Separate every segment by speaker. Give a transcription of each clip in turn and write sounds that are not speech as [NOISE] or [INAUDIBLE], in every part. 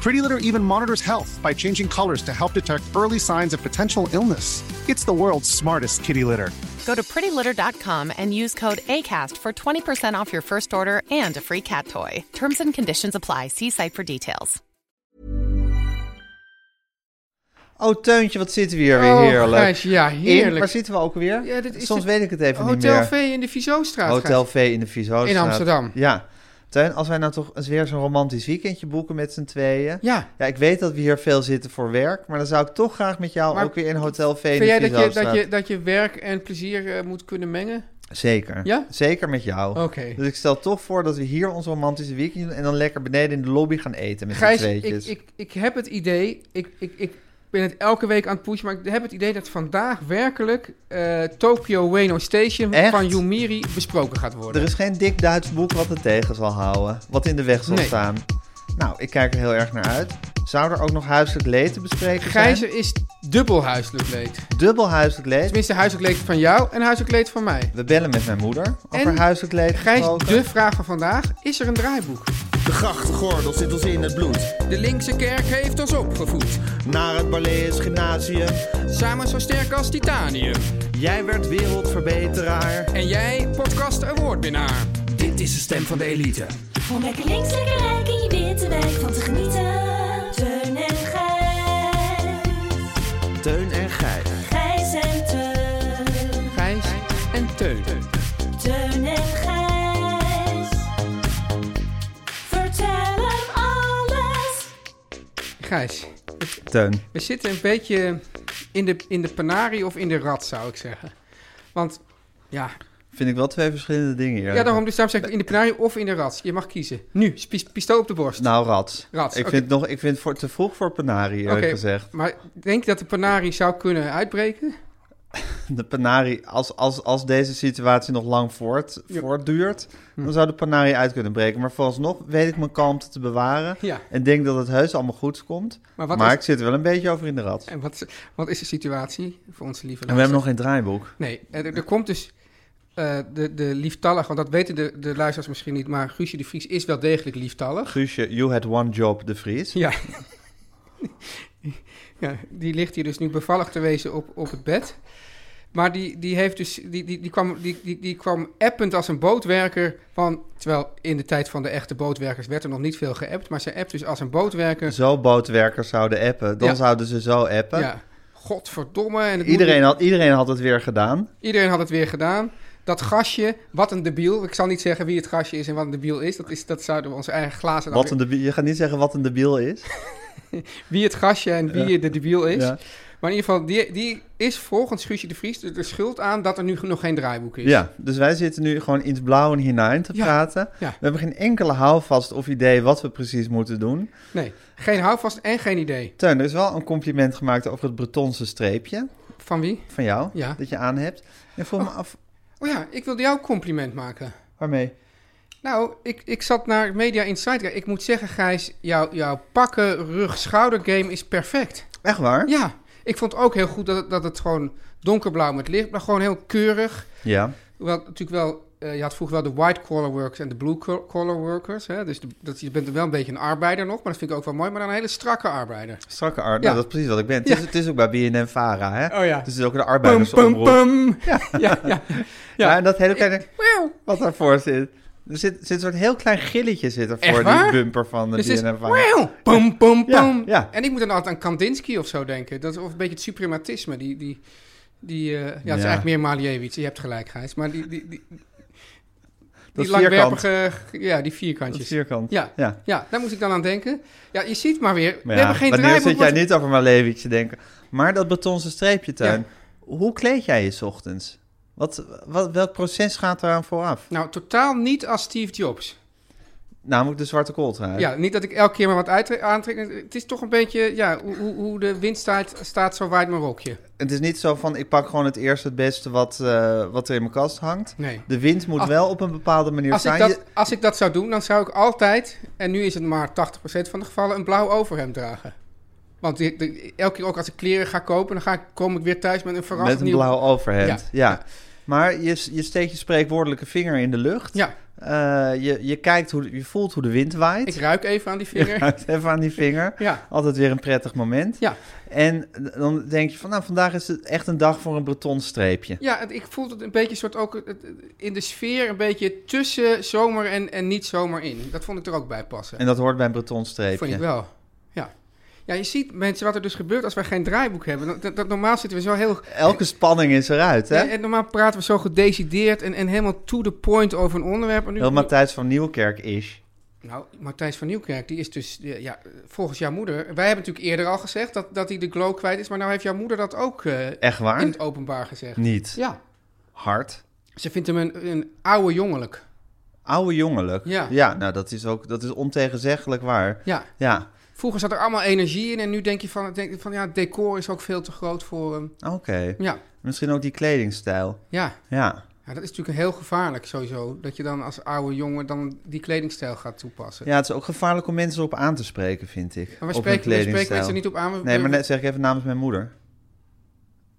Speaker 1: Pretty Litter even monitors health by changing colors to help detect early signs of potential illness. It's the world's smartest kitty litter.
Speaker 2: Go to prettylitter.com and use code ACAST for 20% off your first order and a free cat toy. Terms and conditions apply. See site for details.
Speaker 3: Oh, Teuntje, wat zitten we hier weer
Speaker 4: Oh,
Speaker 3: heerlijk.
Speaker 4: Gijs, ja,
Speaker 3: In-
Speaker 4: heerlijk.
Speaker 3: waar zitten we ook weer?
Speaker 4: Ja, dit is
Speaker 3: Soms
Speaker 4: de-
Speaker 3: weet ik het even niet meer.
Speaker 4: Hotel V in de Vizostraat.
Speaker 3: Hotel V in de Vizostraat.
Speaker 4: In Amsterdam.
Speaker 3: Ja. Teun, als wij nou toch eens weer zo'n romantisch weekendje boeken met z'n tweeën.
Speaker 4: Ja.
Speaker 3: Ja, ik weet dat we hier veel zitten voor werk, maar dan zou ik toch graag met jou
Speaker 4: Maar
Speaker 3: ook weer in Hotel V in
Speaker 4: Vind
Speaker 3: de
Speaker 4: jij dat je,
Speaker 3: Vizostraat.
Speaker 4: dat, je, dat je werk en plezier eh, moet kunnen mengen?
Speaker 3: Zeker.
Speaker 4: Ja?
Speaker 3: Zeker met jou.
Speaker 4: Oké.
Speaker 3: Dus ik stel toch voor dat we hier ons romantische weekendje doen en dan lekker beneden in de lobby gaan eten met z'n
Speaker 4: Gijs, ik,
Speaker 3: tweetjes.
Speaker 4: ik, ik heb het idee, ik, ik, ik ben het elke week aan het pushen, maar ik heb het idee dat vandaag werkelijk eh, Tokyo Ueno Station
Speaker 3: Echt?
Speaker 4: van Yumiri besproken gaat worden.
Speaker 3: Er is geen dik Duits boek wat het tegen zal houden. Wat in de weg zal
Speaker 4: Nee.
Speaker 3: staan. Nou, ik kijk er heel erg naar uit. Zou er ook nog huiselijk leed te bespreken
Speaker 4: Gijs,
Speaker 3: zijn?
Speaker 4: er is dubbel huiselijk leed.
Speaker 3: Dubbel huiselijk leed.
Speaker 4: Tenminste, huiselijk leed van jou en huiselijk leed van mij.
Speaker 3: We bellen met mijn moeder over
Speaker 4: En
Speaker 3: huiselijk leed
Speaker 4: Gijs,
Speaker 3: gesproken.
Speaker 4: de vraag van vandaag, is er een draaiboek?
Speaker 5: De grachtgordel zit ons in het bloed.
Speaker 4: De linkse kerk heeft ons opgevoed,
Speaker 5: Naar het Barlees Gymnasium.
Speaker 4: samen zo sterk als titanium.
Speaker 5: Jij werd wereldverbeteraar.
Speaker 4: En jij, podcast awardwinnaar. Dit is de stem van de elite.
Speaker 6: Om lekker links, lekker rijk in je witte wijk van te genieten. Teun en Gijs.
Speaker 5: Teun en Gijs.
Speaker 6: Gijs en Teun.
Speaker 4: Gijs en Teun.
Speaker 6: Teun en Gijs. Vertel hem alles.
Speaker 4: Gijs,
Speaker 3: Teun.
Speaker 4: we zitten een beetje in de, in de panarie of in de rat, zou ik zeggen. Want, ja,
Speaker 3: Vind ik wel twee verschillende dingen hier.
Speaker 4: ja daarom, dus daarom zeg ik in de panarie of in de rat. Je mag kiezen. Nu, spi- pistool op de borst.
Speaker 3: Nou, rats.
Speaker 4: Rats,
Speaker 3: ik
Speaker 4: oké.
Speaker 3: vind het nog, ik vind het voor, te vroeg voor Panari eerlijk
Speaker 4: Oké,
Speaker 3: gezegd.
Speaker 4: maar denk je dat de panarie zou kunnen uitbreken?
Speaker 3: De Panari, als, als, als deze situatie nog lang voort,
Speaker 4: Ja. Hm.
Speaker 3: voortduurt, dan zou de Panari uit kunnen breken. Maar vooralsnog weet ik mijn kalmte te bewaren.
Speaker 4: Ja.
Speaker 3: En denk dat het heus allemaal goed komt.
Speaker 4: Maar
Speaker 3: Maar,
Speaker 4: wat is-
Speaker 3: ik zit er wel een beetje over in de rat. En
Speaker 4: En wat, is- wat is de situatie voor onze lieve
Speaker 3: we hebben
Speaker 4: luisteraars?
Speaker 3: nog geen draaiboek.
Speaker 4: Nee, er, er komt dus eh, de, de lieftallig, want dat weten de, de luisteraars misschien niet, maar Guusje de Vries is wel degelijk lieftallig. [LAUGHS]
Speaker 3: Guusje, you had one job, de Vries.
Speaker 4: Ja. [LAUGHS] ja. Die ligt hier dus nu bevallig te wezen op, op het bed. Maar die, die, heeft dus, die, die, die, kwam, die, die, die kwam append als een bootwerker. Van, terwijl in de tijd van de echte bootwerkers werd er nog niet veel geappt. Maar ze appt dus als een bootwerker.
Speaker 3: Zo bootwerkers zouden appen, dan
Speaker 4: Ja.
Speaker 3: zouden ze zo appen.
Speaker 4: Ja, godverdomme. En het
Speaker 3: Iedereen, had, iedereen had het weer gedaan.
Speaker 4: Iedereen had het weer gedaan. Dat gastje, wat een debiel. Ik zal niet zeggen wie het gastje is en wat een debiel is. Dat, is, dat zouden we onze eigen glazen... dan
Speaker 3: Wat een debiel, je gaat niet zeggen wat een debiel is.
Speaker 4: weer- Wie het gastje en wie de debiel is.
Speaker 3: Ja.
Speaker 4: Maar in ieder geval, die, die is volgens Guusje de Vries er de schuld aan... dat er nu nog geen draaiboek is.
Speaker 3: Ja, dus wij zitten nu gewoon in het blauw en hinein te
Speaker 4: Ja,
Speaker 3: praten.
Speaker 4: ja.
Speaker 3: We hebben geen enkele houvast of idee wat we precies moeten doen.
Speaker 4: Nee, geen houvast en geen idee.
Speaker 3: Teun, er is wel een compliment gemaakt over het Bretonse streepje
Speaker 4: Van wie?
Speaker 3: van jou,
Speaker 4: Ja.
Speaker 3: dat je aan hebt. En vroeg me af,
Speaker 4: Oh ja, ik wilde jou een compliment maken.
Speaker 3: waarmee?
Speaker 4: Nou, ik, ik zat naar Media Insight. Ik moet zeggen, Gijs, jouw jouw pakken, rug, schouder game is perfect.
Speaker 3: Echt waar?
Speaker 4: Ja, ik vond ook heel goed dat het, dat het gewoon donkerblauw met licht... maar gewoon heel keurig...
Speaker 3: Ja.
Speaker 4: Hoewel het natuurlijk wel, eh, je had vroeger wel de white collar workers en de blue col- collar workers. Hè? Dus de- dat, je bent wel een beetje een arbeider nog, maar dat vind ik ook wel mooi. Maar dan een hele strakke arbeider.
Speaker 3: Strakke arbeid.
Speaker 4: Ja.
Speaker 3: Nou, dat is precies wat ik ben. Het, is,
Speaker 4: Ja.
Speaker 3: het is ook bij BNN Vara, hè?
Speaker 4: Oh ja.
Speaker 3: Dus het is ook de
Speaker 4: Pum, pum,
Speaker 3: arbeidersomroep. [LAUGHS]
Speaker 4: pum. Ja, ja, ja.
Speaker 3: Ja. en dat hele kleine
Speaker 4: Wauw.
Speaker 3: wat daarvoor zit. Er zit, zit een soort heel klein gilletje zit er
Speaker 4: Echt
Speaker 3: voor
Speaker 4: waar?
Speaker 3: die bumper van de
Speaker 4: Dus
Speaker 3: dus
Speaker 4: het is
Speaker 3: DNF.
Speaker 4: wauw, pom, pom,
Speaker 3: Ja,
Speaker 4: pom.
Speaker 3: ja.
Speaker 4: En ik moet dan altijd aan Kandinsky of zo denken. Dat, of een beetje het suprematisme. Die, die, die, eh, ja, het is
Speaker 3: Ja.
Speaker 4: eigenlijk meer Malievich. Je hebt gelijk, Gijs. Maar die, die, die,
Speaker 3: Dat
Speaker 4: die
Speaker 3: is
Speaker 4: langwerpige... Ja, die vierkantjes.
Speaker 3: Dat is vierkant.
Speaker 4: Ja.
Speaker 3: ja.
Speaker 4: Ja, daar moet ik dan aan denken. Ja, je ziet maar weer. we
Speaker 3: Maar ja,
Speaker 4: hebben geen
Speaker 3: wanneer
Speaker 4: draaiboek.
Speaker 3: zit jij
Speaker 4: want-
Speaker 3: niet over Malevich te denken? Maar dat betonse streepje tuin. Hoe kleed jij je 's ochtends? Wat, wat, welk proces gaat eraan vooraf?
Speaker 4: Nou, totaal niet als Steve Jobs.
Speaker 3: Namelijk de zwarte kooltrui.
Speaker 4: Ja, niet dat ik elke keer maar wat uittre- aantrek. Het is toch een beetje, ja, hoe, hoe- hoe de wind staat, staat zo waait mijn rokje.
Speaker 3: Het is niet zo van, ik pak gewoon het eerste het beste wat, eh, wat er in mijn kast hangt.
Speaker 4: Nee.
Speaker 3: De wind moet
Speaker 4: Als-
Speaker 3: wel op een bepaalde manier
Speaker 4: Als ik,
Speaker 3: staan.
Speaker 4: dat,
Speaker 3: Je-
Speaker 4: als ik dat zou doen, dan zou ik altijd, en nu is het maar 80% van de gevallen, een blauw overhemd dragen. Want die- die- elke keer ook als ik kleren ga kopen, dan ga ik, kom ik weer thuis met een
Speaker 3: Met
Speaker 4: verrassend
Speaker 3: een
Speaker 4: nieuw-
Speaker 3: blauw overhemd. Ja.
Speaker 4: Ja.
Speaker 3: Maar je, je steekt je spreekwoordelijke vinger in de lucht.
Speaker 4: Ja,
Speaker 3: Eh, je, je, kijkt hoe, de- je voelt hoe de wind waait.
Speaker 4: ik ruik even aan die
Speaker 3: Je
Speaker 4: vinger.
Speaker 3: ruikt even aan die vinger.
Speaker 4: Ja.
Speaker 3: Altijd weer een prettig moment.
Speaker 4: Ja.
Speaker 3: En dan denk je van, nou, vandaag is het echt een dag voor een bretonstreepje.
Speaker 4: Ja, het- ik voel het een beetje soort ook het- het- in de sfeer een beetje tussen zomer en, en niet zomer in. Dat vond ik er ook bij passen.
Speaker 3: En dat hoort bij een bretonstreepje.
Speaker 4: Vond ik wel. Ja. ja, je ziet mensen wat er dus gebeurt als wij geen draaiboek hebben. Dat, dat, dat normaal zitten we zo heel...
Speaker 3: Elke spanning is eruit, hè?
Speaker 4: En, en normaal praten we zo gedecideerd en, en helemaal to the point over een onderwerp. En nu,
Speaker 3: Heel Matthijs van Nieuwkerk is.
Speaker 4: nou, Matthijs van Nieuwkerk, die is dus eh, ja, volgens jouw moeder... Wij hebben natuurlijk eerder al gezegd dat, dat hij de glow kwijt is. Maar nou heeft jouw moeder dat ook eh,
Speaker 3: Echt waar?
Speaker 4: in het openbaar gezegd.
Speaker 3: Niet.
Speaker 4: Ja,
Speaker 3: Hard.
Speaker 4: ze vindt hem een, een oude jongelijk.
Speaker 3: Oude jongenlijk.
Speaker 4: Ja.
Speaker 3: nou dat is ook dat is ontegenzeggelijk waar.
Speaker 4: Ja,
Speaker 3: Ja,
Speaker 4: vroeger zat er allemaal energie in. En nu denk je van, denk je van ja, het decor is ook veel te groot voor hem.
Speaker 3: oké.
Speaker 4: Ja,
Speaker 3: Misschien ook die kledingstijl.
Speaker 4: ja.
Speaker 3: Ja.
Speaker 4: Ja, dat is natuurlijk heel gevaarlijk sowieso. Dat je dan als oude jongen dan die kledingstijl gaat toepassen.
Speaker 3: ja, het is ook gevaarlijk om mensen op aan te spreken, vind ik.
Speaker 4: Maar we
Speaker 3: op hun
Speaker 4: spreken, we spreken
Speaker 3: kledingstijl.
Speaker 4: mensen niet op aan. we-
Speaker 3: Nee, maar
Speaker 4: we-
Speaker 3: net zeg ik even namens mijn moeder.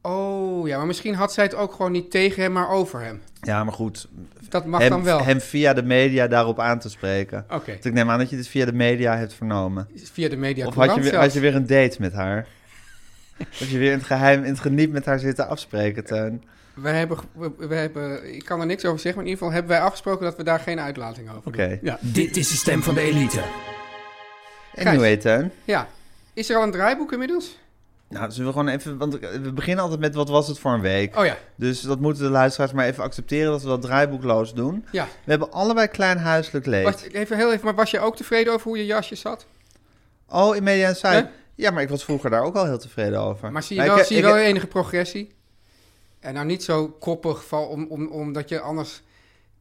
Speaker 4: Oh, ja, maar misschien had zij het ook gewoon niet tegen hem, maar over hem.
Speaker 3: Ja, maar goed.
Speaker 4: Dat mag
Speaker 3: Hem,
Speaker 4: dan wel.
Speaker 3: hem via de media daarop aan te spreken.
Speaker 4: Oké,
Speaker 3: Want ik neem aan dat je dit via de media hebt vernomen.
Speaker 4: via de media.
Speaker 3: of had je,
Speaker 4: courant
Speaker 3: weer,
Speaker 4: zelfs.
Speaker 3: had je weer een date met haar? [LAUGHS] dat je weer in het geheim, in het geniep met haar zitten afspreken, Teun.
Speaker 4: Wij hebben, ge- we, we hebben, ik kan er niks over zeggen, maar in ieder geval hebben wij afgesproken dat we daar geen uitlating over
Speaker 3: Oké.
Speaker 4: doen. Ja.
Speaker 5: Dit is de stem van de elite.
Speaker 3: Anyway, Teun.
Speaker 4: ja. Is er al een draaiboek inmiddels?
Speaker 3: Nou, zullen we gewoon even... Want we beginnen altijd met wat was het voor een week.
Speaker 4: Oh ja,
Speaker 3: Dus dat moeten de luisteraars maar even accepteren... dat we dat draaiboekloos doen.
Speaker 4: ja.
Speaker 3: We hebben allebei klein huiselijk leed.
Speaker 4: Was, even heel even, maar was je ook tevreden over hoe je jasje zat?
Speaker 3: Oh, in Media en Site.
Speaker 4: Hè?
Speaker 3: Ja, maar ik was vroeger daar ook al heel tevreden over.
Speaker 4: Maar zie je
Speaker 3: Maar
Speaker 4: wel,
Speaker 3: ik-
Speaker 4: zie je
Speaker 3: ik-
Speaker 4: wel enige progressie? En nou niet zo koppig, val- om, om, omdat je anders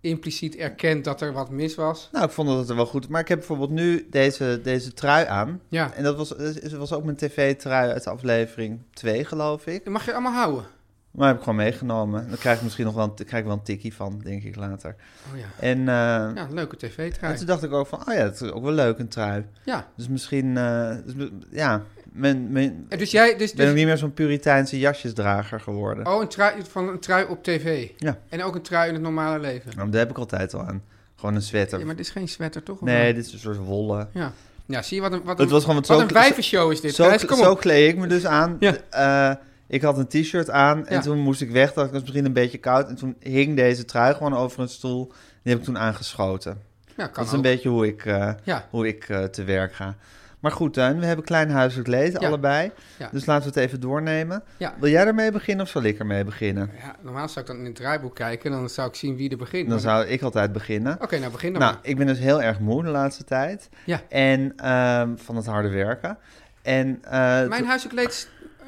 Speaker 4: impliciet erkent dat er wat mis was.
Speaker 3: Nou, ik vond dat het er wel goed... Maar ik heb bijvoorbeeld nu deze, deze trui aan.
Speaker 4: Ja.
Speaker 3: En dat was, dat was ook mijn tv-trui uit aflevering 2, geloof ik.
Speaker 4: Dat mag je allemaal houden.
Speaker 3: Maar heb ik gewoon meegenomen. Dan krijg ik misschien nog wel een, krijg ik wel een tikkie van, denk ik later.
Speaker 4: Oh ja.
Speaker 3: En, eh,
Speaker 4: Ja, leuke
Speaker 3: en
Speaker 4: tv-trui.
Speaker 3: toen dacht ik ook van, oh ja, het is ook wel leuk, een trui.
Speaker 4: Ja.
Speaker 3: Dus misschien, eh, dus, ja, men, men,
Speaker 4: En dus jij, dus,
Speaker 3: ben ook
Speaker 4: dus
Speaker 3: niet meer zo'n Puriteinse jasjesdrager geworden.
Speaker 4: oh, een trui van een trui op tv.
Speaker 3: Ja.
Speaker 4: En ook een trui in het normale leven.
Speaker 3: Nou, dat heb ik altijd al aan. Gewoon een
Speaker 4: Ja,
Speaker 3: sweater.
Speaker 4: maar dit is geen sweater toch? Of
Speaker 3: nee,
Speaker 4: wel?
Speaker 3: dit is een soort wollen.
Speaker 4: Ja. Ja, zie je wat een wat
Speaker 3: Het
Speaker 4: een,
Speaker 3: was gewoon
Speaker 4: wat
Speaker 3: zo-
Speaker 4: een wijvenshow is dit.
Speaker 3: Zo,
Speaker 4: Gijs,
Speaker 3: kle-
Speaker 4: kom
Speaker 3: zo
Speaker 4: op.
Speaker 3: kleed ik me dus aan.
Speaker 4: Ja.
Speaker 3: Eh, ik had een t-shirt aan en
Speaker 4: Ja.
Speaker 3: toen moest ik weg. Dat was misschien een beetje koud. En toen hing deze trui gewoon over een stoel. Die heb ik toen aangeschoten.
Speaker 4: Ja, kan
Speaker 3: dat is een
Speaker 4: ook.
Speaker 3: beetje hoe ik, eh,
Speaker 4: Ja.
Speaker 3: hoe ik eh, te werk ga. Maar goed, Tuin, we hebben klein huiselijk leed,
Speaker 4: Ja.
Speaker 3: allebei.
Speaker 4: Ja.
Speaker 3: Dus laten we het even doornemen.
Speaker 4: Ja.
Speaker 3: Wil jij ermee beginnen of zal ik ermee beginnen?
Speaker 4: Ja, normaal zou ik dan in het draaiboek kijken en dan zou ik zien wie er begint.
Speaker 3: Dan
Speaker 4: Maar-
Speaker 3: zou ik altijd beginnen.
Speaker 4: Oké, nou begin dan
Speaker 3: nou,
Speaker 4: maar.
Speaker 3: ik ben dus heel erg moe de laatste tijd.
Speaker 4: Ja.
Speaker 3: En ehm, van het harde werken. En eh,
Speaker 4: Mijn
Speaker 3: toen-
Speaker 4: huiselijk leed... is, eh,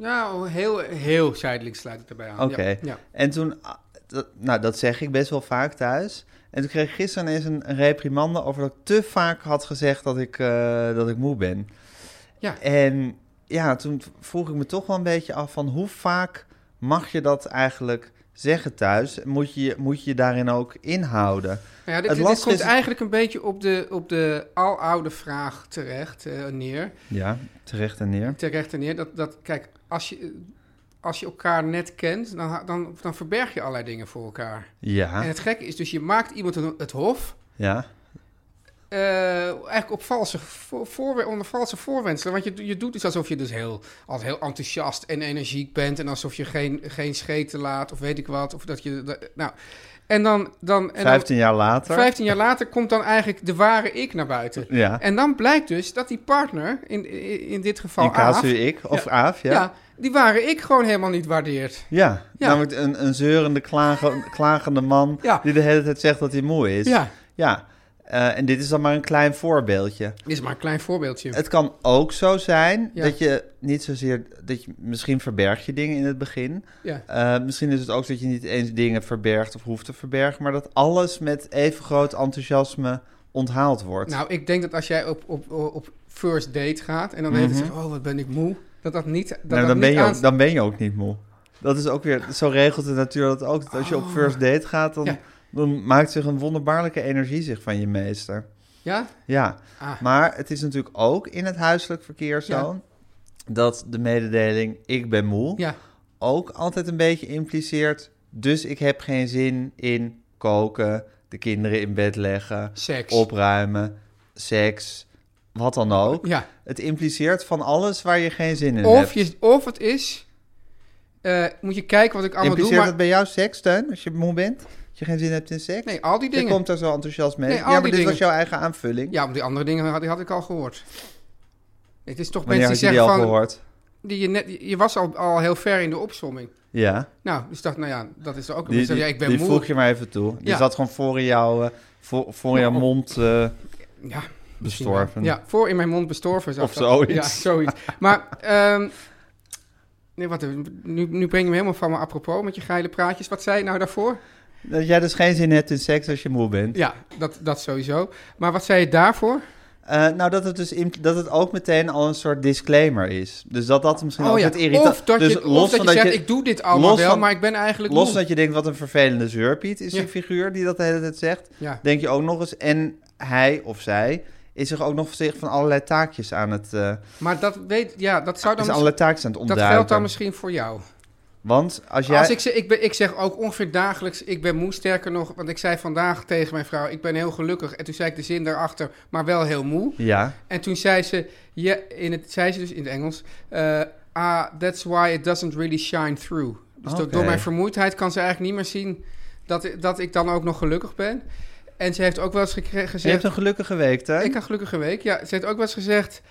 Speaker 4: Ja, oh, heel, heel zijdelings sluit het erbij aan.
Speaker 3: Oké.
Speaker 4: Ja, ja.
Speaker 3: En toen, ah, dat, nou, dat zeg ik best wel vaak thuis. En toen kreeg ik gisteren eens een, een reprimande over dat ik te vaak had gezegd dat ik, eh, dat ik moe ben.
Speaker 4: Ja.
Speaker 3: En ja, toen vroeg ik me toch wel een beetje af van hoe vaak mag je dat eigenlijk zeggen thuis? Moet je moet je je daarin ook inhouden?
Speaker 4: Nou ja,
Speaker 3: Het
Speaker 4: dit, dit, dit
Speaker 3: lastige
Speaker 4: komt
Speaker 3: is-
Speaker 4: eigenlijk een beetje op de, op de aloude vraag terecht eh, neer.
Speaker 3: Ja, terecht en neer.
Speaker 4: Terecht en neer. Dat, dat, kijk, als je, als je elkaar net kent, dan, ha- dan, dan verberg je allerlei dingen voor elkaar.
Speaker 3: Ja,
Speaker 4: En het gekke is dus, je maakt iemand een- het hof
Speaker 3: ja.
Speaker 4: eh, eigenlijk op valse vo- voorwe- onder valse voorwendselen. Want je, je doet dus alsof je dus heel, als heel enthousiast en energiek bent. En alsof je geen, geen scheten laat of weet ik wat. Of dat je, dat- nou, en dan, dan, en dan
Speaker 3: 15 jaar later.
Speaker 4: 15 jaar later komt dan eigenlijk de ware ik naar buiten.
Speaker 3: Ja.
Speaker 4: En dan blijkt dus dat die partner, in, in, in dit geval
Speaker 3: in casu
Speaker 4: Aaf,
Speaker 3: ik, of Aaf,
Speaker 4: ja. die ware ik gewoon helemaal niet waardeert.
Speaker 3: Ja,
Speaker 4: Ja.
Speaker 3: namelijk een, een zeurende, klagen- klagende man
Speaker 4: Ja.
Speaker 3: die de hele tijd zegt dat hij moe is.
Speaker 4: Ja.
Speaker 3: Ja. Eh, en dit is dan maar een klein voorbeeldje.
Speaker 4: Dit is maar een klein voorbeeldje.
Speaker 3: Het kan ook zo zijn
Speaker 4: Ja.
Speaker 3: dat je niet zozeer... Dat je, misschien verberg je dingen in het begin.
Speaker 4: ja.
Speaker 3: Eh, misschien is het ook dat je niet eens dingen verbergt of hoeft te verbergen... maar dat alles met even groot enthousiasme onthaald wordt.
Speaker 4: Nou, ik denk dat als jij op, op, op first date gaat en dan even zegt, oh, wat ben ik moe. Dat dat niet... Dat
Speaker 3: Nou,
Speaker 4: dat
Speaker 3: Mhm. dan, ben
Speaker 4: niet
Speaker 3: je ook,
Speaker 4: aanst-
Speaker 3: dan ben je ook niet moe. Dat is ook weer, zo regelt de natuur dat ook. Dat als je op first date gaat, dan,
Speaker 4: Oh. Ja.
Speaker 3: dan maakt zich een wonderbaarlijke energie zich van je meester.
Speaker 4: Ja?
Speaker 3: Ja,
Speaker 4: Ah.
Speaker 3: maar het is natuurlijk ook in het huiselijk verkeer zo... dat de mededeling ik ben moe
Speaker 4: Ja.
Speaker 3: ook altijd een beetje impliceert... dus ik heb geen zin in koken, de kinderen in bed leggen...
Speaker 4: Seks.
Speaker 3: opruimen, seks, wat dan ook.
Speaker 4: Ja.
Speaker 3: Het impliceert van alles waar je geen zin in hebt.
Speaker 4: Of, je, of het is... eh, moet je kijken wat ik allemaal
Speaker 3: Impliceert
Speaker 4: doe, maar...
Speaker 3: dat bij jou seks, Teun, als je moe bent? Dat je geen zin hebt in seks?
Speaker 4: Nee, al die
Speaker 3: Je
Speaker 4: dingen.
Speaker 3: komt daar zo enthousiast mee.
Speaker 4: Nee,
Speaker 3: ja,
Speaker 4: al
Speaker 3: maar
Speaker 4: die
Speaker 3: dit was
Speaker 4: dingen.
Speaker 3: jouw eigen aanvulling.
Speaker 4: Ja, maar die andere dingen had, die had ik al gehoord. Het is toch
Speaker 3: Wanneer had
Speaker 4: mensen
Speaker 3: je
Speaker 4: die
Speaker 3: die al
Speaker 4: zeggen van...
Speaker 3: gehoord?
Speaker 4: Die je, net, je was al, al heel ver in de opsomming.
Speaker 3: Ja.
Speaker 4: Nou, dus dacht, nou ja, dat is er ook.
Speaker 3: Die,
Speaker 4: Dus
Speaker 3: die,
Speaker 4: ja, ik ben
Speaker 3: die
Speaker 4: moe.
Speaker 3: voeg je maar even toe. Die
Speaker 4: Ja.
Speaker 3: zat gewoon voor in jouw, eh, voor, voor jouw mond eh,
Speaker 4: Ja, misschien wel.
Speaker 3: bestorven.
Speaker 4: Ja, voor in mijn mond bestorven. zat
Speaker 3: Of
Speaker 4: dat.
Speaker 3: zoiets.
Speaker 4: Ja, zoiets. maar, ehm, nee, wat, nu, nu breng je me helemaal van me apropos met je geile praatjes. Wat zei je nou daarvoor?
Speaker 3: Dat jij dus geen zin hebt in seks als je moe bent.
Speaker 4: Ja, dat, dat sowieso. Maar wat zei je daarvoor?
Speaker 3: Eh, nou, dat het, dus impl- dat het ook meteen al een soort disclaimer is. Dus dat dat misschien ook
Speaker 4: Oh ja,
Speaker 3: het irritant...
Speaker 4: of dat
Speaker 3: dus
Speaker 4: je, of dat
Speaker 3: van
Speaker 4: je zegt, ik doe dit allemaal
Speaker 3: los
Speaker 4: wel,
Speaker 3: van-
Speaker 4: maar ik ben eigenlijk
Speaker 3: Los
Speaker 4: moe.
Speaker 3: dat je denkt, wat een vervelende zeurpiet is
Speaker 4: Ja.
Speaker 3: die figuur die dat de hele tijd zegt.
Speaker 4: Ja.
Speaker 3: Denk je ook nog eens. En hij of zij is zich ook nog zich van allerlei taakjes aan het, eh,
Speaker 4: Maar dat, weet, ja, dat zou dan...
Speaker 3: is
Speaker 4: misschien-
Speaker 3: allerlei taakjes aan Ah, het
Speaker 4: Dat
Speaker 3: ontduiken.
Speaker 4: geldt dan misschien voor jou.
Speaker 3: Want als jij...
Speaker 4: Als ik, zeg, ik, ben, ik zeg ook ongeveer dagelijks, ik ben moe. Sterker nog, want ik zei vandaag tegen mijn vrouw, ik ben heel gelukkig. En toen zei ik de zin daarachter, maar wel heel moe.
Speaker 3: Ja,
Speaker 4: En toen zei ze, ja, in het, zei ze dus in het Engels, eh, ah, that's why it doesn't really shine through. Dus do-
Speaker 3: Oké.
Speaker 4: door mijn vermoeidheid kan ze eigenlijk niet meer zien dat, dat ik dan ook nog gelukkig ben. En ze heeft ook wel eens gekre-
Speaker 3: je hebt
Speaker 4: gezegd,
Speaker 3: een gelukkige week, hè?
Speaker 4: ik had gelukkige week. Ja, ze heeft ook wel eens gezegd,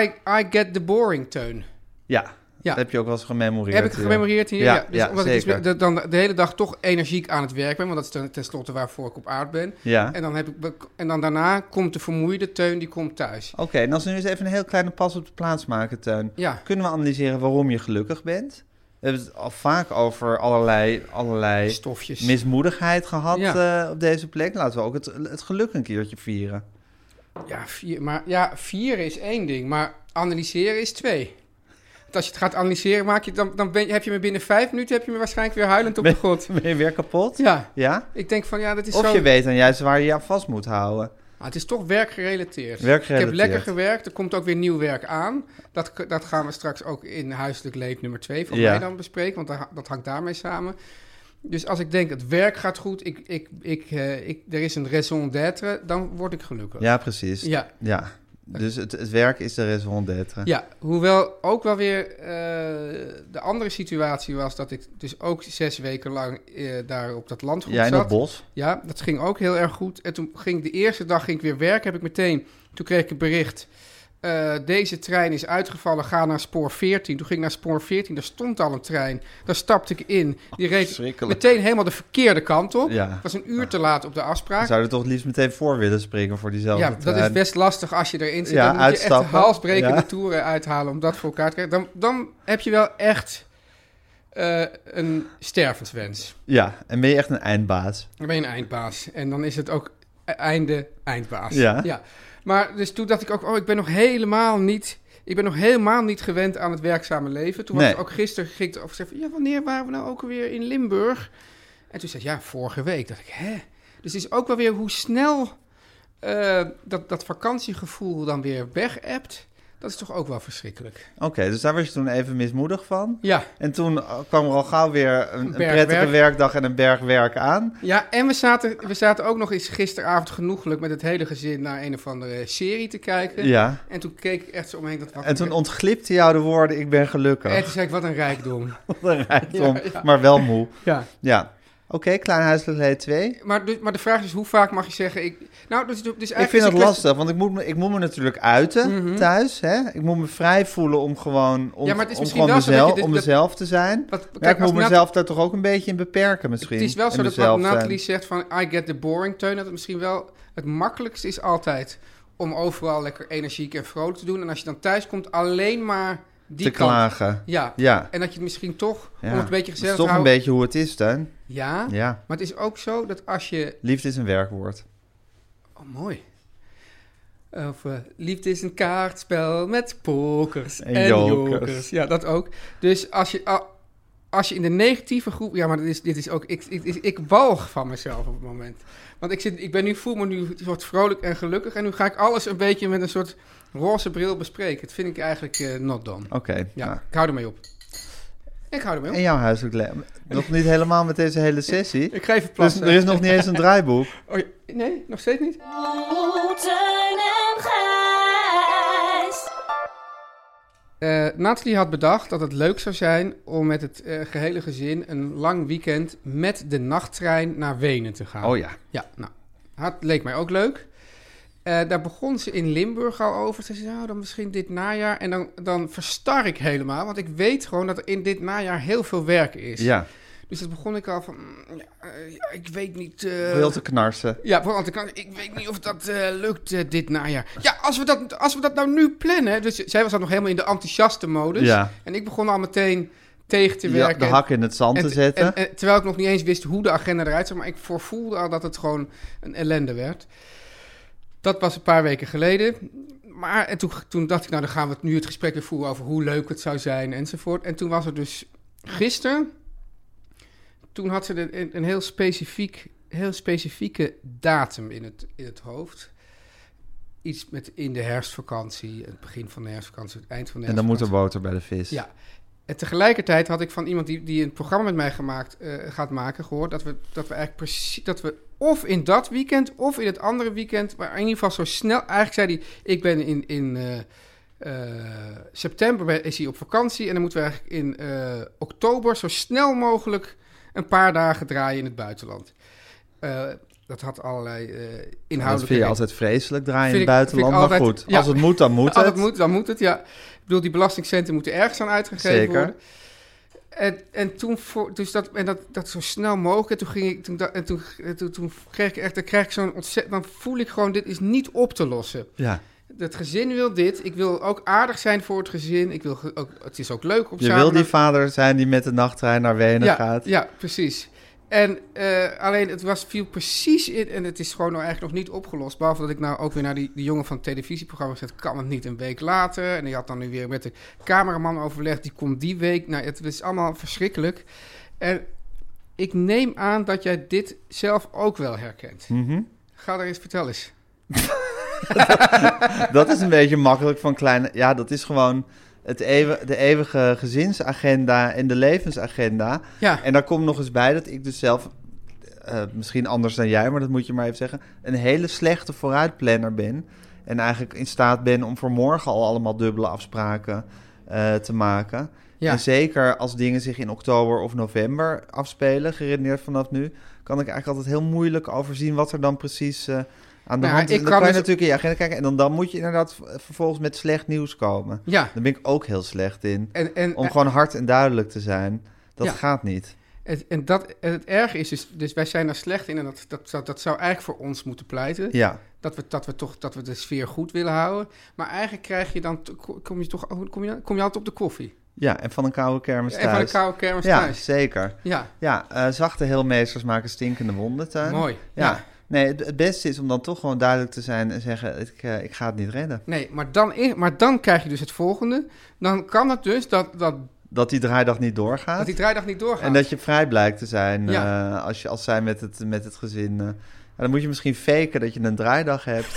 Speaker 4: I, I get the boring teun.
Speaker 3: Ja.
Speaker 4: Ja.
Speaker 3: dat heb je ook wel eens gememoreerd.
Speaker 4: Heb ik
Speaker 3: hier.
Speaker 4: gememoreerd hier?
Speaker 3: Ja,
Speaker 4: Ja, dus
Speaker 3: ja,
Speaker 4: omdat ik dus
Speaker 3: zeker.
Speaker 4: de- dan de hele dag toch energiek aan het werk ben, want dat is ten- tenslotte waarvoor ik op aard ben.
Speaker 3: Ja.
Speaker 4: En, dan heb ik, en dan daarna komt de vermoeide teun, die komt thuis.
Speaker 3: Oké, en als we nu eens even een heel kleine pas op de plaats maken, Teun.
Speaker 4: Ja.
Speaker 3: Kunnen we analyseren waarom je gelukkig bent? We hebben het al vaak over allerlei, allerlei
Speaker 4: Stofjes.
Speaker 3: mismoedigheid gehad
Speaker 4: Ja.
Speaker 3: eh, op deze plek. Laten we ook het, het geluk een keertje vieren. [LAUGHS]
Speaker 4: Ja, vier, maar, ja, vieren is één ding, maar analyseren is twee. Want als je het gaat analyseren, maak je, dan, dan ben, je- heb je me binnen vijf minuten heb je me waarschijnlijk weer
Speaker 3: [LAUGHS]
Speaker 4: huilend op de grond.
Speaker 3: Ben je weer kapot?
Speaker 4: Ja,
Speaker 3: Ja?
Speaker 4: ik denk van ja, dat is
Speaker 3: Of
Speaker 4: zo...
Speaker 3: je weet dan juist waar je je aan vast moet houden.
Speaker 4: Ah, het is toch werkgerelateerd.
Speaker 3: Werkgerelateerd.
Speaker 4: Ik heb lekker gewerkt, er komt ook weer nieuw werk aan. Dat, k- dat gaan we straks ook in huiselijk leed nummer twee van
Speaker 3: Ja.
Speaker 4: mij dan bespreken, want daar- dat hangt daarmee samen. Dus als ik denk, het werk gaat goed, ik, ik, ik, eh, ik, er is een raison d'être, dan word ik gelukkig.
Speaker 3: Ja, precies.
Speaker 4: Ja.
Speaker 3: Ja. Dus het, het werk is de raison d'être.
Speaker 4: Ja, hoewel ook wel weer eh, de andere situatie was dat ik dus ook zes weken lang eh, daar op dat landgoed
Speaker 3: Jij in
Speaker 4: zat.
Speaker 3: dat bos.
Speaker 4: Ja, dat ging ook heel erg goed. En toen ging ik de eerste dag ging ik weer werken, heb ik meteen, toen kreeg ik een bericht. eh, deze trein is uitgevallen, ga naar spoor 14. Toen ging ik naar spoor 14, daar stond al een trein. Daar stapte ik in. Die reed
Speaker 3: verschrikkelijk.
Speaker 4: meteen helemaal de verkeerde kant op.
Speaker 3: Ja.
Speaker 4: Ik was een uur te laat op de afspraak.
Speaker 3: Zou je er toch het liefst meteen voor willen springen voor diezelfde
Speaker 4: Ja, dat
Speaker 3: trein?
Speaker 4: is best lastig als je erin zit.
Speaker 3: Ja,
Speaker 4: dan moet je echt
Speaker 3: uitstappen.
Speaker 4: de halsbrekende
Speaker 3: Ja.
Speaker 4: toeren uithalen om dat voor elkaar te krijgen. Dan, dan heb je wel echt eh, een stervenswens.
Speaker 3: Ja, en ben je echt een eindbaas.
Speaker 4: Dan ben je een eindbaas. En dan is het ook e- einde eindbaas.
Speaker 3: Ja.
Speaker 4: Maar dus toen dacht ik ook, oh, ik ben nog helemaal niet... Ik ben nog helemaal niet gewend aan het werkzame leven. Toen was
Speaker 3: Nee.
Speaker 4: het ook gisteren, ging ik erover zeggen... van, Ja, wanneer waren we nou ook weer in Limburg? En toen zei ik, ja, vorige week. dacht ik, hè? Dus het is ook wel weer hoe snel eh, dat, dat vakantiegevoel dan weer weg-appt. Dat is toch ook wel verschrikkelijk.
Speaker 3: Oké, dus daar was je toen even mismoedig van.
Speaker 4: Ja,
Speaker 3: En toen eh, kwam er al gauw weer een, een
Speaker 4: berg
Speaker 3: prettige
Speaker 4: werk.
Speaker 3: werkdag en een berg werk aan.
Speaker 4: ja en we zaten, we zaten ook nog eens gisteravond genoeglijk met het hele gezin naar een of andere serie te kijken.
Speaker 3: Ja.
Speaker 4: En toen keek ik echt zo omheen. Dat, wat
Speaker 3: En toen ontglipte jou de woorden, ik ben gelukkig.
Speaker 4: en toen zei ik, wat een rijkdom.
Speaker 3: Wat een rijkdom,
Speaker 4: [LAUGHS] Ja, ja.
Speaker 3: maar wel moe.
Speaker 4: Ja.
Speaker 3: Ja. Oké, klein huiselijk leed 2.
Speaker 4: Maar, dus, maar de vraag is, hoe vaak mag je zeggen... Ik, nou, dus, dus eigenlijk
Speaker 3: Ik vind
Speaker 4: is
Speaker 3: dat
Speaker 4: de kwestie-
Speaker 3: lastig, want ik moet me, ik moet me natuurlijk uiten thuis. Hè? Ik moet me vrij voelen om gewoon, om,
Speaker 4: Ja, maar het is
Speaker 3: om
Speaker 4: misschien
Speaker 3: gewoon
Speaker 4: wel zo dat
Speaker 3: mezelf,
Speaker 4: je dit-
Speaker 3: om
Speaker 4: dat-
Speaker 3: mezelf te zijn.
Speaker 4: Wat-
Speaker 3: ja,
Speaker 4: kijk,
Speaker 3: ik
Speaker 4: als
Speaker 3: moet
Speaker 4: Nat-
Speaker 3: mezelf daar toch ook een beetje in beperken misschien.
Speaker 4: Het is wel
Speaker 3: en
Speaker 4: zo dat wat
Speaker 3: mezelf eh, zijn.
Speaker 4: Nathalie zegt van... I get the boring teun. Dat het misschien wel het makkelijkste is altijd... om overal lekker energiek en vrolijk te doen. En als je dan thuis komt, alleen maar die
Speaker 3: te
Speaker 4: kant.
Speaker 3: klagen.
Speaker 4: Ja.
Speaker 3: Ja.
Speaker 4: En dat je het misschien toch,
Speaker 3: Ja.
Speaker 4: om het een beetje
Speaker 3: Dat is
Speaker 4: gezellig te
Speaker 3: toch een
Speaker 4: houden...
Speaker 3: beetje hoe het is, Tuin.
Speaker 4: Ja,
Speaker 3: Ja,
Speaker 4: maar het is ook zo dat als je...
Speaker 3: liefde is een werkwoord.
Speaker 4: Oh, mooi. Of eh, liefde is een kaartspel met pokers en,
Speaker 3: En jokers.
Speaker 4: jokers. Ja, dat ook. Dus als je, a- als je in de negatieve groep... Ja, maar dit is, dit is ook... Ik, ik, ik, ik walg van mezelf op het moment. Want ik, zit, ik ben nu, voel me nu een soort vrolijk en gelukkig. En nu ga ik alles een beetje met een soort roze bril bespreken. Dat vind ik eigenlijk eh, not done.
Speaker 3: Oké.
Speaker 4: Ja,
Speaker 3: nou.
Speaker 4: ik hou ermee op. Ik hou ermee
Speaker 3: En
Speaker 4: op.
Speaker 3: jouw huiselijk leven? Nog niet helemaal met deze hele sessie.
Speaker 4: Ik ga even
Speaker 3: Dus
Speaker 4: plassen.
Speaker 3: er is nog niet eens een
Speaker 4: [LAUGHS]
Speaker 3: draaiboek.
Speaker 4: Oh, ja, nee, nog steeds niet?
Speaker 6: Oh, Teun en Gijs.
Speaker 4: Eh Nathalie had bedacht dat het leuk zou zijn om met het eh, gehele gezin een lang weekend met de nachttrein naar Wenen te gaan.
Speaker 3: Oh ja.
Speaker 4: Ja, nou, het leek mij ook leuk. Eh, daar begon ze in Limburg al over. Ze zei, nou, dan misschien dit najaar. En dan, dan verstar ik helemaal, want ik weet gewoon dat er in dit najaar heel veel werk is.
Speaker 3: Ja,
Speaker 4: Dus dat begon ik al van, mm, ja, eh, ja, ik weet niet... eh,
Speaker 3: heel te knarsen.
Speaker 4: ja, want ik, ik weet niet of dat eh, lukt eh, dit najaar. Ja, als we, dat, als we dat nou nu plannen. Dus zij was dan nog helemaal in de enthousiaste modus.
Speaker 3: Ja.
Speaker 4: En ik begon al meteen tegen te
Speaker 3: Ja,
Speaker 4: werken.
Speaker 3: de hak in het zand te
Speaker 4: en-
Speaker 3: zetten.
Speaker 4: en- en- terwijl ik nog niet eens wist hoe de agenda eruit zag. Maar ik voorvoelde al dat het gewoon een ellende werd. Dat was een paar weken geleden. Maar en toen, toen dacht ik, nou dan gaan we het nu het gesprek weer voeren over hoe leuk het zou zijn enzovoort. En toen was er dus gisteren, toen had ze een, een- een heel, specifiek, heel specifieke datum in het, in het hoofd. Iets met in de herfstvakantie, het begin van de herfstvakantie, het eind van de
Speaker 3: En dan moet er
Speaker 4: herfstvakantie.
Speaker 3: boter bij de vis.
Speaker 4: Ja. En tegelijkertijd had ik van iemand die, die een programma met mij gemaakt, eh, gaat maken gehoord dat we, dat we eigenlijk precies. dat we of in dat weekend of in het andere weekend. maar in ieder geval zo snel. Eigenlijk zei hij: Ik ben in. in eh, eh, september ben- is hij op vakantie. En dan moeten we eigenlijk in eh, oktober zo snel mogelijk een paar dagen draaien in het buitenland. Eh, dat had allerlei eh
Speaker 3: Dat
Speaker 4: inhoudelijke
Speaker 3: vind je
Speaker 4: redenen.
Speaker 3: altijd vreselijk, draaien in
Speaker 4: Vind
Speaker 3: het
Speaker 4: ik- vind ik
Speaker 3: buitenland. Maar
Speaker 4: altijd-
Speaker 3: goed,
Speaker 4: ja.
Speaker 3: als het moet, dan moet
Speaker 4: Als
Speaker 3: het.
Speaker 4: het Oh, moet, dan moet het, ja. Ik bedoel, die belastingcenten moeten ergens aan uitgegeven
Speaker 3: Zeker.
Speaker 4: worden. En, en toen, voor, dus dat, en dat, dat zo snel mogelijk. En toen, ging ik, toen, da- en toen, en toen, toen kreeg ik echt, dan krijg ik zo'n ontzettend, dan voel ik gewoon, dit is niet op te lossen.
Speaker 3: Ja.
Speaker 4: Het gezin wil dit. Ik wil ook aardig zijn voor het gezin. Ik wil ge- ook, het is ook leuk om
Speaker 3: Je
Speaker 4: samen
Speaker 3: wil die
Speaker 4: naar-
Speaker 3: vader zijn die met de nachttrein naar Wenen
Speaker 4: ja,
Speaker 3: gaat.
Speaker 4: Ja, precies. En eh, alleen het was, viel precies in, en het is gewoon nou eigenlijk nog niet opgelost. Behalve dat ik nou ook weer naar die, die jongen van het televisieprogramma zet, kan het niet een week later. En die had dan nu weer met de cameraman overlegd, die komt die week. Nou, het is allemaal verschrikkelijk. En ik neem aan dat jij dit zelf ook wel herkent.
Speaker 3: Mhm.
Speaker 4: Ga daar eens, vertel eens.
Speaker 3: Dat is een beetje makkelijk van kleine... Ja, dat is gewoon het eeuw- de eeuwige gezinsagenda en de levensagenda.
Speaker 4: Ja,
Speaker 3: En daar komt nog eens bij dat ik dus zelf... eh, misschien anders dan jij, maar dat moet je maar even zeggen. Een hele slechte vooruitplanner ben. En eigenlijk in staat ben om voor morgen al allemaal dubbele afspraken eh, te maken.
Speaker 4: ja.
Speaker 3: En zeker als dingen zich in oktober of november afspelen, geredeneerd vanaf nu, kan ik eigenlijk altijd heel moeilijk overzien wat er dan precies eh, aan de
Speaker 4: Nou,
Speaker 3: hand is.
Speaker 4: ik
Speaker 3: En dan kan
Speaker 4: kan
Speaker 3: je
Speaker 4: dus-
Speaker 3: natuurlijk in je agenda kijken en dan, dan moet je inderdaad v- vervolgens met slecht nieuws komen.
Speaker 4: ja.
Speaker 3: Daar ben ik ook heel slecht in.
Speaker 4: En, en,
Speaker 3: Om gewoon hard en duidelijk te zijn, dat
Speaker 4: Eh, Ja.
Speaker 3: gaat niet.
Speaker 4: en, en dat, en het erge is, dus, dus wij zijn daar slecht in en dat, dat, zou- dat zou eigenlijk voor ons moeten pleiten.
Speaker 3: Ja,
Speaker 4: Dat we, dat we toch dat we de sfeer goed willen houden. Maar eigenlijk krijg je dan, te- kom je toch oh, kom je, kom je altijd op de koffie.
Speaker 3: ja en van een koude kermis thuis.
Speaker 4: En van een koude kermis
Speaker 3: ja,
Speaker 4: thuis.
Speaker 3: zeker.
Speaker 4: Ja,
Speaker 3: Ja, eh, zachte heelmeesters maken stinkende wonden. Tuin.
Speaker 4: mooi.
Speaker 3: Ja. Nee, het, het beste is om dan toch gewoon duidelijk te zijn en zeggen, ik, eh, ik ga het niet redden.
Speaker 4: Nee, maar dan, in- maar dan krijg je dus het volgende. Dan kan het dus dat, dat,
Speaker 3: Dat die draaidag niet doorgaat.
Speaker 4: dat die draaidag niet doorgaat.
Speaker 3: En dat je vrij blijkt te zijn
Speaker 4: Ja.
Speaker 3: eh, als, je, als zij met het, met het gezin. eh, ja, dan moet je misschien faken dat je een draaidag hebt.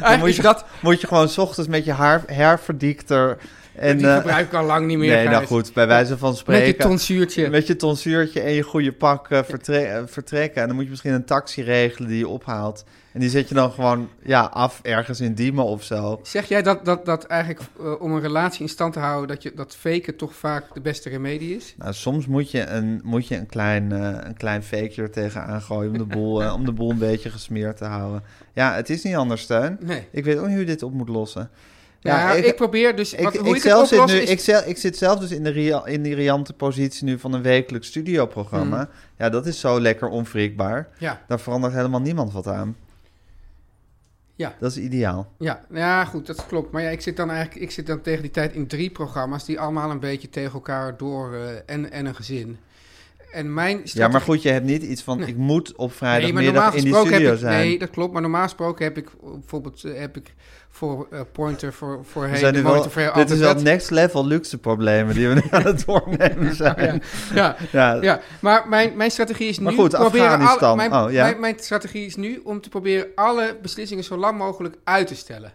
Speaker 3: Dan moet je,
Speaker 4: dat
Speaker 3: moet je gewoon 's ochtends met je haar, haarverdikter. En,
Speaker 4: die
Speaker 3: eh,
Speaker 4: gebruik ik al lang niet meer.
Speaker 3: nee, nou
Speaker 4: Gijs.
Speaker 3: goed, bij wijze van
Speaker 4: Met je
Speaker 3: spreken.
Speaker 4: tonsuurtje.
Speaker 3: Met je tonsuurtje en je goede pak eh, vertre- eh, vertrekken. En dan moet je misschien een taxi regelen die je ophaalt. En die zet je dan gewoon ja, af ergens in Diemen of zo.
Speaker 4: Zeg jij dat, dat, dat eigenlijk eh, om een relatie in stand te houden, dat, je, dat faken toch vaak de beste remedie is?
Speaker 3: Nou, soms moet je een, moet je een, klein, eh een klein fakeje er tegenaan gooien om de, boel, eh, om de boel een beetje gesmeerd te houden. Ja, het is niet anders, Steun.
Speaker 4: Nee.
Speaker 3: Ik weet ook niet hoe je dit op moet lossen.
Speaker 4: Ja, ik, probeer dus.
Speaker 3: Ik,
Speaker 4: wat, hoe
Speaker 3: ik
Speaker 4: ik het
Speaker 3: zelf zit
Speaker 4: oplos
Speaker 3: nu,
Speaker 4: is-
Speaker 3: ik, zel- ik zit zelf dus in de, ria- in die riante positie nu van een wekelijks studioprogramma.
Speaker 4: Hmm.
Speaker 3: Ja, dat is zo lekker onwrikbaar.
Speaker 4: Ja,
Speaker 3: Daar verandert helemaal niemand wat aan.
Speaker 4: Ja.
Speaker 3: Dat is ideaal.
Speaker 4: ja, ja, goed, dat klopt. Maar ja, ik zit dan eigenlijk ik zit dan tegen die tijd in drie programma's die allemaal een beetje tegen elkaar door eh, en, en een gezin. En mijn
Speaker 3: Ja, maar
Speaker 4: strategie-
Speaker 3: goed, je hebt niet iets van...
Speaker 4: Nee.
Speaker 3: ik moet op
Speaker 4: Nee, maar
Speaker 3: vrijdagmiddag
Speaker 4: normaal
Speaker 3: in die
Speaker 4: gesproken
Speaker 3: studio
Speaker 4: heb ik,
Speaker 3: zijn.
Speaker 4: Nee, dat klopt. Maar normaal gesproken heb ik eh, bijvoorbeeld eh, heb ik voor eh, Pointer, voor, voor
Speaker 3: we
Speaker 4: hey,
Speaker 3: zijn
Speaker 4: de
Speaker 3: nu wel,
Speaker 4: Monitor, voor
Speaker 3: dit is wel
Speaker 4: Albert
Speaker 3: next level luxe problemen die we nu aan
Speaker 4: [LAUGHS]
Speaker 3: het doornemen zijn.
Speaker 4: Wet. Ja,
Speaker 3: Ja,
Speaker 4: Ja, maar mijn, mijn strategie is nu...
Speaker 3: Maar goed,
Speaker 4: proberen
Speaker 3: Afghanistan.
Speaker 4: alle- mijn,
Speaker 3: Oh, ja.
Speaker 4: mijn, mijn strategie is nu om te proberen alle beslissingen zo lang mogelijk uit te stellen.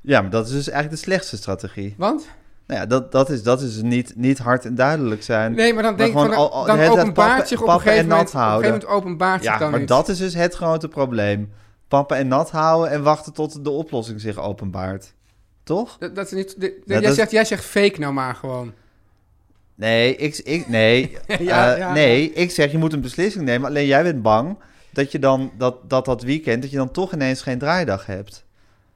Speaker 3: Ja, maar dat is dus eigenlijk de slechtste strategie.
Speaker 4: Want?
Speaker 3: Nou ja, dat, dat is, dat is dus niet, niet hard en duidelijk zijn.
Speaker 4: Nee, maar dan denk ik
Speaker 3: gewoon
Speaker 4: van...
Speaker 3: al- al-
Speaker 4: dan
Speaker 3: de hele tijd
Speaker 4: openbaart
Speaker 3: pappen-
Speaker 4: zich op een
Speaker 3: pappen en
Speaker 4: gegeven moment...
Speaker 3: nat
Speaker 4: Op een
Speaker 3: houden.
Speaker 4: gegeven moment openbaart zich
Speaker 3: Ja,
Speaker 4: dan
Speaker 3: maar
Speaker 4: iets.
Speaker 3: dat is dus het grote probleem. Pampen en nat houden en wachten tot de oplossing zich openbaart. Toch?
Speaker 4: Dat, dat is niet, de- de-
Speaker 3: Ja,
Speaker 4: jij,
Speaker 3: dat-
Speaker 4: zegt, jij zegt fake nou maar gewoon.
Speaker 3: Nee, ik, ik,
Speaker 4: [LAUGHS]
Speaker 3: nee,
Speaker 4: Ja,
Speaker 3: eh,
Speaker 4: ja.
Speaker 3: nee, ik zeg je moet een beslissing nemen. Alleen jij bent bang dat je dan dat, dat, dat weekend, dat je dan toch ineens geen draaidag hebt.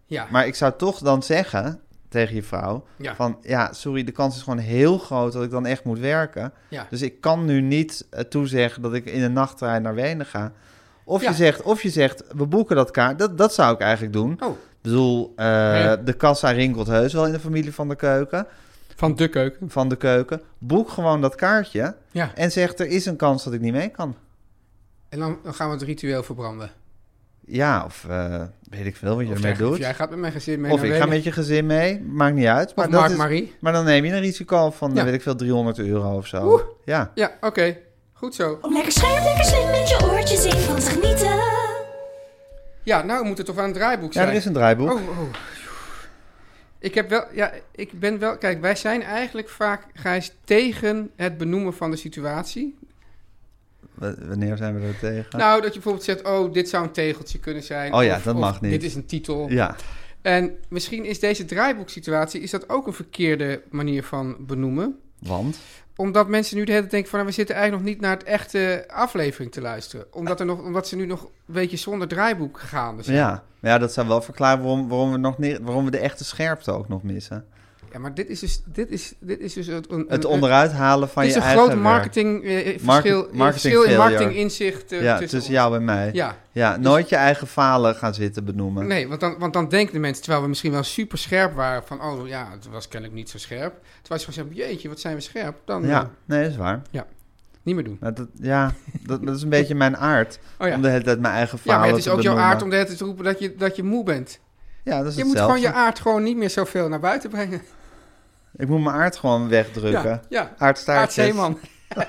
Speaker 4: Ja,
Speaker 3: Maar ik zou toch dan zeggen tegen je vrouw:
Speaker 4: Ja.
Speaker 3: van ja, sorry, de kans is gewoon heel groot dat ik dan echt moet werken.
Speaker 4: ja.
Speaker 3: Dus ik kan nu niet eh, toezeggen dat ik in een nachttrein naar Wenen ga. Of,
Speaker 4: Ja.
Speaker 3: je zegt, of je zegt, we boeken dat kaart. Dat, dat zou ik eigenlijk doen.
Speaker 4: Oh,
Speaker 3: Ik bedoel, eh,
Speaker 4: Ja.
Speaker 3: de kassa rinkelt heus wel in de familie van de keuken.
Speaker 4: van de keuken.
Speaker 3: Van de keuken. Boek gewoon dat kaartje.
Speaker 4: Ja,
Speaker 3: En zeg, er is een kans dat ik niet mee kan.
Speaker 4: en dan, dan gaan we het ritueel verbranden.
Speaker 3: Ja, of eh, weet ik veel wat je
Speaker 4: Of,
Speaker 3: ermee
Speaker 4: jij, of
Speaker 3: doet.
Speaker 4: jij gaat met mijn gezin mee
Speaker 3: Of
Speaker 4: naar
Speaker 3: ik ga
Speaker 4: Wenen.
Speaker 3: met je gezin mee. Maakt niet uit. Maar,
Speaker 4: Of
Speaker 3: dat
Speaker 4: Mark
Speaker 3: is-
Speaker 4: Marie.
Speaker 3: maar dan neem je een risico van, eh,
Speaker 4: Ja.
Speaker 3: weet ik veel, 300 euro of zo.
Speaker 4: Oeh.
Speaker 3: Ja.
Speaker 4: Ja, oké. Goed zo.
Speaker 6: Om lekker scherp, lekker slim met je oortjes in van te genieten.
Speaker 4: Ja, nou we moeten toch aan het draaiboek
Speaker 3: ja,
Speaker 4: zijn.
Speaker 3: er is een draaiboek.
Speaker 4: Oh, oh. Ik heb wel, ja, ik ben wel, kijk, wij zijn eigenlijk vaak, Gijs, tegen het benoemen van de situatie.
Speaker 3: W- Wanneer zijn we er tegen?
Speaker 4: Nou, dat je bijvoorbeeld zegt, oh, dit zou een tegeltje kunnen zijn.
Speaker 3: Oh ja, dat mag niet.
Speaker 4: Dit is een titel.
Speaker 3: ja.
Speaker 4: En misschien is deze draaiboeksituatie, is dat ook een verkeerde manier van benoemen.
Speaker 3: Want?
Speaker 4: Omdat mensen nu de hele tijd denken van, nou, we zitten eigenlijk nog niet naar het echte aflevering te luisteren. Omdat, er nog, omdat ze nu nog een beetje zonder draaiboek gaan. Dus zijn.
Speaker 3: Ja. Maar ja, dat zou wel verklaren waarom, waarom, we nog niet, waarom we de echte scherpte ook nog missen.
Speaker 4: Ja, maar dit is dus, dit is, dit is dus een, een-
Speaker 3: Het
Speaker 4: een-
Speaker 3: onderuit halen van
Speaker 4: Het is
Speaker 3: je
Speaker 4: een
Speaker 3: eigen
Speaker 4: groot
Speaker 3: werk.
Speaker 4: marketing, eh, eh,
Speaker 3: Market-
Speaker 4: verschil, eh,
Speaker 3: marketing
Speaker 4: verschil in
Speaker 3: failure.
Speaker 4: marketinginzicht eh,
Speaker 3: Ja,
Speaker 4: tussen,
Speaker 3: tussen jou en mij.
Speaker 4: ons.
Speaker 3: Ja,
Speaker 4: Ja, Dus-
Speaker 3: nooit je eigen falen gaan zitten benoemen.
Speaker 4: nee, want dan, want dan denken de mensen, terwijl we misschien wel super scherp waren, van oh ja, het was kennelijk niet zo scherp. Terwijl je gewoon zegt, jeetje, wat zijn we scherp, dan eh,
Speaker 3: Ja, nee, dat is waar.
Speaker 4: niet meer doen.
Speaker 3: Maar dat, ja, dat, dat is een beetje mijn aard.
Speaker 4: Oh ja.
Speaker 3: Om de hele tijd mijn eigen
Speaker 4: Ja,
Speaker 3: falen
Speaker 4: maar het is
Speaker 3: te
Speaker 4: ook jouw
Speaker 3: benoemen.
Speaker 4: aard om de hele tijd te roepen dat je, dat je moe bent.
Speaker 3: Ja, dat is
Speaker 4: Je moet
Speaker 3: hetzelfde.
Speaker 4: gewoon je aard gewoon niet meer zoveel naar buiten
Speaker 3: [LAUGHS]
Speaker 4: brengen.
Speaker 3: Ik moet mijn aard gewoon wegdrukken.
Speaker 4: Ja, ja. Aard
Speaker 3: Aardstaartjes.
Speaker 4: Zeeman.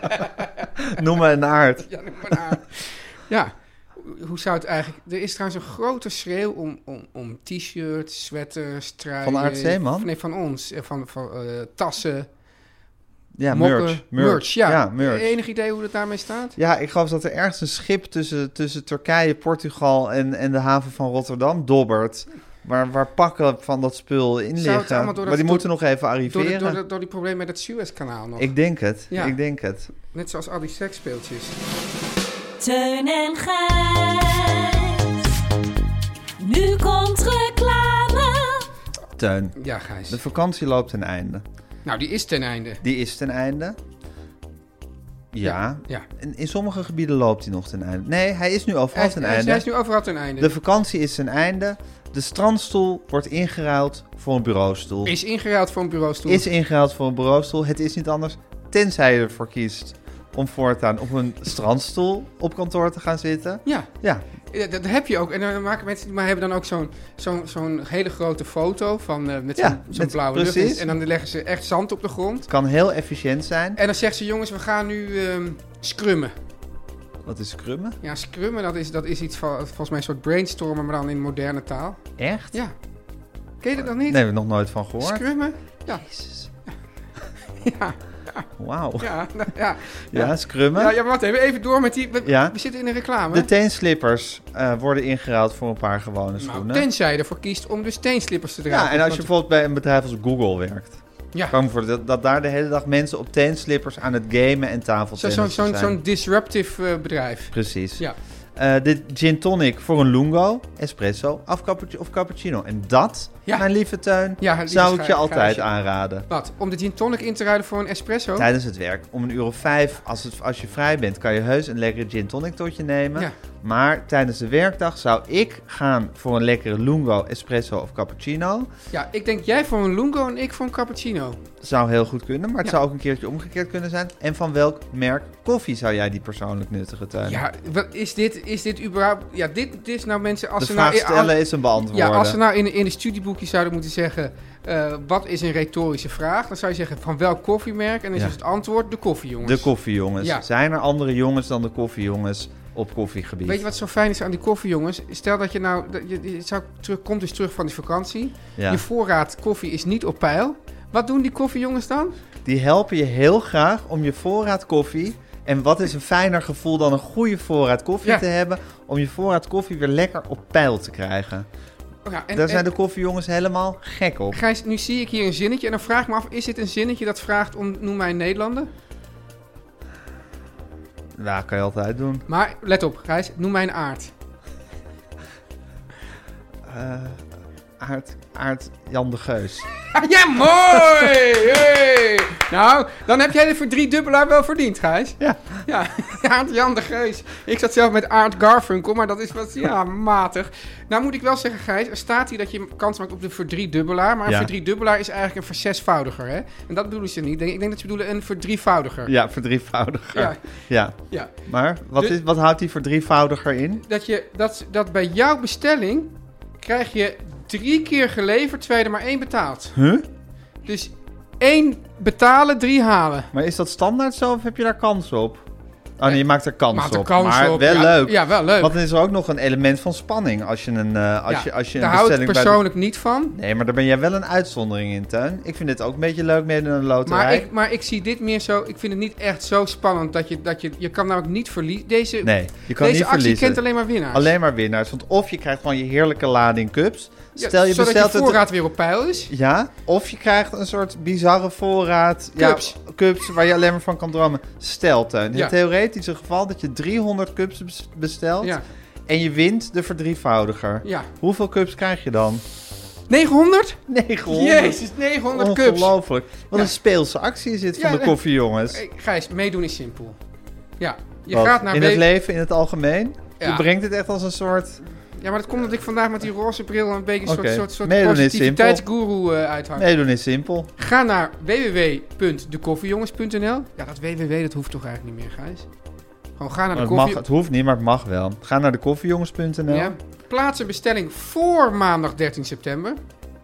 Speaker 3: [LAUGHS]
Speaker 4: [LAUGHS]
Speaker 3: Noem me een aard.
Speaker 4: Ja, noem maar een aard. ja. Hoe zou het eigenlijk... Er is trouwens een grote schreeuw om, om, om t-shirts, sweaters, truien...
Speaker 3: Van Aard Zeeman?
Speaker 4: Nee, van ons. eh, Van, van eh, tassen,
Speaker 3: Ja,
Speaker 4: mokken.
Speaker 3: merch.
Speaker 4: ja.
Speaker 3: merch.
Speaker 4: Enig idee hoe dat daarmee staat?
Speaker 3: Ja, ik geloof dat er ergens een schip tussen, tussen Turkije, Portugal en, en de haven van Rotterdam dobbert. Waar, waar pakken van dat spul in
Speaker 4: Zou het
Speaker 3: liggen.
Speaker 4: allemaal door dat-
Speaker 3: maar die
Speaker 4: door-
Speaker 3: moeten nog even
Speaker 4: Door,
Speaker 3: arriveren.
Speaker 4: de, door, de- door die probleem met het Suezkanaal nog.
Speaker 3: Ik denk het,
Speaker 4: Ja.
Speaker 3: ik denk het.
Speaker 4: Net zoals al die seksspeeltjes.
Speaker 6: Teun en Gijs. Nu komt reclame.
Speaker 3: Teun,
Speaker 4: Ja, Gijs.
Speaker 3: de vakantie loopt ten einde.
Speaker 4: Nou, die is ten einde.
Speaker 3: Die is ten einde. Ja.
Speaker 4: Ja.
Speaker 3: In, in sommige gebieden loopt hij nog ten einde. Nee, hij is nu overal
Speaker 4: Hij,
Speaker 3: ten
Speaker 4: hij is-
Speaker 3: einde.
Speaker 4: hij is nu overal ten einde.
Speaker 3: De vakantie is ten einde. De strandstoel wordt ingeruild voor een bureaustoel.
Speaker 4: Is ingeruild voor een bureaustoel.
Speaker 3: is ingehaald voor een bureaustoel. Het is niet anders, tenzij je ervoor kiest om voortaan op een strandstoel op kantoor te gaan zitten.
Speaker 4: Ja,
Speaker 3: Ja,
Speaker 4: eh, dat heb je ook. En dan maken mensen, maar hebben dan ook zo'n zo'n zo'n hele grote foto van, eh, met zo'n
Speaker 3: Ja,
Speaker 4: zo'n
Speaker 3: met-
Speaker 4: blauwe
Speaker 3: precies.
Speaker 4: lucht. En dan leggen ze echt zand op de grond.
Speaker 3: het kan heel efficiënt zijn.
Speaker 4: En dan zegt ze, jongens, we gaan nu ehm, scrummen.
Speaker 3: Wat is krummen?
Speaker 4: Ja, scrummen, dat is, dat is iets van, volgens mij een soort brainstormen, maar dan in moderne taal.
Speaker 3: Echt?
Speaker 4: Ja. Ken je dat dan
Speaker 3: Nee,
Speaker 4: niet?
Speaker 3: we hebben nog nooit van gehoord.
Speaker 4: Scrummen? Ja. Ja,
Speaker 3: Wauw. Ja,
Speaker 4: ja, [LAUGHS] nou, ja.
Speaker 3: scrummen.
Speaker 4: Ja, ja, maar wacht even, even door met die... We,
Speaker 3: Ja.
Speaker 4: we zitten in een reclame.
Speaker 3: De teenslippers eh, worden ingeruild voor een paar gewone
Speaker 4: nou,
Speaker 3: schoenen.
Speaker 4: tenzij je ervoor kiest om dus teenslippers te dragen.
Speaker 3: ja, en als je
Speaker 4: Want-
Speaker 3: bijvoorbeeld bij een bedrijf als Google werkt.
Speaker 4: Ja.
Speaker 3: Kan me voor dat, dat daar de hele dag mensen op teenslippers aan het gamen en
Speaker 4: Zo-
Speaker 3: tafeltennis
Speaker 4: Zo'n
Speaker 3: zijn.
Speaker 4: zo'n zo'n disruptive eh, bedrijf.
Speaker 3: Precies.
Speaker 4: Ja.
Speaker 3: Eh, de gin tonic voor een lungo, espresso of, cappucci- of cappuccino. En dat,
Speaker 4: Ja.
Speaker 3: mijn lieve tuin,
Speaker 4: Ja, lieve
Speaker 3: zou ik
Speaker 4: scha-
Speaker 3: je altijd
Speaker 4: gaasje.
Speaker 3: aanraden.
Speaker 4: Wat? Om de gin tonic in te ruilen voor een espresso?
Speaker 3: Tijdens het werk, om een uur of vijf, als, het, als je vrij bent, kan je heus een lekkere gin tonic tot je nemen.
Speaker 4: Ja.
Speaker 3: Maar tijdens de werkdag zou ik gaan voor een lekkere lungo, espresso of cappuccino.
Speaker 4: Ja, ik denk jij voor een lungo en ik voor een cappuccino.
Speaker 3: Zou heel goed kunnen, maar het
Speaker 4: Ja.
Speaker 3: zou ook een keertje omgekeerd kunnen zijn. En van welk merk koffie zou jij die persoonlijk nuttige tuin?
Speaker 4: Ja, wat is dit, is dit überhaupt... Ja, dit, dit is nou mensen... Als
Speaker 3: de
Speaker 4: ze
Speaker 3: vraag
Speaker 4: nou,
Speaker 3: stellen
Speaker 4: als-
Speaker 3: is een beantwoorden.
Speaker 4: ja, als ze nou in, in de studieboekjes zouden moeten zeggen... eh, wat is een retorische vraag? Dan zou je zeggen, van welk koffiemerk? En dan
Speaker 3: Ja.
Speaker 4: is het antwoord de koffiejongens.
Speaker 3: De koffiejongens.
Speaker 4: nou- Ja.
Speaker 3: Zijn er andere jongens dan de koffiejongens op koffiegebied?
Speaker 4: Weet je wat zo fijn is aan die koffiejongens? Stel dat je nou... Dat je, je zou terug, komt dus terug van die vakantie.
Speaker 3: Ja.
Speaker 4: Je voorraad koffie is niet op peil. Wat doen die koffiejongens dan?
Speaker 3: Die helpen je heel graag om je voorraad koffie... En wat is een fijner gevoel dan een goede voorraad koffie
Speaker 4: Ja.
Speaker 3: te hebben... om je voorraad koffie weer lekker op peil te krijgen.
Speaker 4: Oh ja, en-
Speaker 3: Daar
Speaker 4: en-
Speaker 3: zijn de koffiejongens helemaal gek op.
Speaker 4: Gijs, nu zie ik hier een zinnetje en dan vraag ik me af, is dit een zinnetje dat vraagt om noem mij een Nederlander?
Speaker 3: Nou, kan je altijd doen.
Speaker 4: Maar let op, Gijs, noem mij een aard. [LAUGHS]
Speaker 3: Aard, aard Jan de Geus.
Speaker 4: Ah, ja, mooi! Hey! Nou, dan heb jij de voor drie dubbelaar wel verdiend, Gijs.
Speaker 3: Ja.
Speaker 4: Ja, [LAUGHS] Aard Jan de Geus. Ik zat zelf met Aard Garfunkel, maar dat is
Speaker 3: [LAUGHS]
Speaker 4: wat, ja, matig. Nou moet ik wel zeggen, Gijs, er staat hier dat je kans maakt op de verdriedubbelaar. Maar een
Speaker 3: Ja.
Speaker 4: verdriedubbelaar is eigenlijk een verzesvoudiger, hè? En dat bedoelen ze niet. Ik denk- Ik denk dat ze bedoelen een verdrievoudiger.
Speaker 3: Ja, verdrievoudiger.
Speaker 4: Ja.
Speaker 3: Ja.
Speaker 4: ja.
Speaker 3: Maar wat,
Speaker 4: Dus-
Speaker 3: is, wat houdt die verdrievoudiger in?
Speaker 4: dat, je, dat, dat bij jouw bestelling krijg je drie keer geleverd, terwijl je er maar één betaalt.
Speaker 3: Huh?
Speaker 4: Dus één betalen, drie halen.
Speaker 3: Maar is dat standaard zo of heb je daar kans op? Oh nee, je maakt er kans
Speaker 4: Maakt er
Speaker 3: op.
Speaker 4: kans
Speaker 3: maar
Speaker 4: op,
Speaker 3: wel
Speaker 4: ja.
Speaker 3: leuk.
Speaker 4: Ja, wel leuk.
Speaker 3: Want dan is er ook nog een element van spanning als je een, eh, als
Speaker 4: Ja,
Speaker 3: je, als je een
Speaker 4: daar hou ik
Speaker 3: bestelling bij de-
Speaker 4: persoonlijk niet van.
Speaker 3: Nee, maar daar ben jij wel een uitzondering in, Tuin. Ik vind dit ook een beetje leuk mee in een loterij.
Speaker 4: Maar ik, maar ik zie dit meer zo. Ik vind het niet echt zo spannend dat je. Dat je, je kan namelijk niet verliezen. Deze,
Speaker 3: Nee, je kan
Speaker 4: deze
Speaker 3: niet
Speaker 4: actie
Speaker 3: verliezen.
Speaker 4: kent alleen maar winnaars.
Speaker 3: Alleen maar winnaars. Want of je krijgt gewoon je heerlijke lading cups.
Speaker 4: Ja,
Speaker 3: Stel je
Speaker 4: zodat
Speaker 3: bestelt
Speaker 4: je
Speaker 3: het-
Speaker 4: voorraad weer op peil is.
Speaker 3: Ja, of je krijgt een soort bizarre voorraad
Speaker 4: Cups.
Speaker 3: Ja, cups waar je alleen maar van kan dromen. Stel, Teun,
Speaker 4: Ja.
Speaker 3: het theoretische geval dat je 300 cups bes- bestelt
Speaker 4: Ja.
Speaker 3: en je wint de verdrievoudiger.
Speaker 4: Ja.
Speaker 3: Hoeveel cups krijg je dan? [LAUGHS]
Speaker 4: 900?
Speaker 3: 900.
Speaker 4: Jezus, 900 cups.
Speaker 3: Ongelooflijk. Wat
Speaker 4: Ja.
Speaker 3: een speelse actie is dit
Speaker 4: Ja,
Speaker 3: van de
Speaker 4: nee.
Speaker 3: koffiejongens.
Speaker 4: Hey, Gijs, meedoen is simpel. Ja, je
Speaker 3: Wat?
Speaker 4: gaat naar
Speaker 3: in
Speaker 4: B-
Speaker 3: het leven, in het algemeen?
Speaker 4: Ja.
Speaker 3: Je brengt het echt als een soort...
Speaker 4: Ja, maar dat komt omdat ik vandaag met die roze bril een beetje een
Speaker 3: Oké.
Speaker 4: soort, soort, soort
Speaker 3: Nee, dan is het
Speaker 4: positiviteitsgoeroe eh uithang.
Speaker 3: Nee, doen is simpel.
Speaker 4: Ga naar www.dekoffiejongens.nl. Ja, dat www dat hoeft toch eigenlijk niet meer, Gijs? Gewoon ga naar de
Speaker 3: Het,
Speaker 4: koffie...
Speaker 3: Oh, mag, het hoeft niet, maar het mag wel. Ga naar de koffiejongens.nl.
Speaker 4: ja. Plaats een bestelling voor maandag 13 september.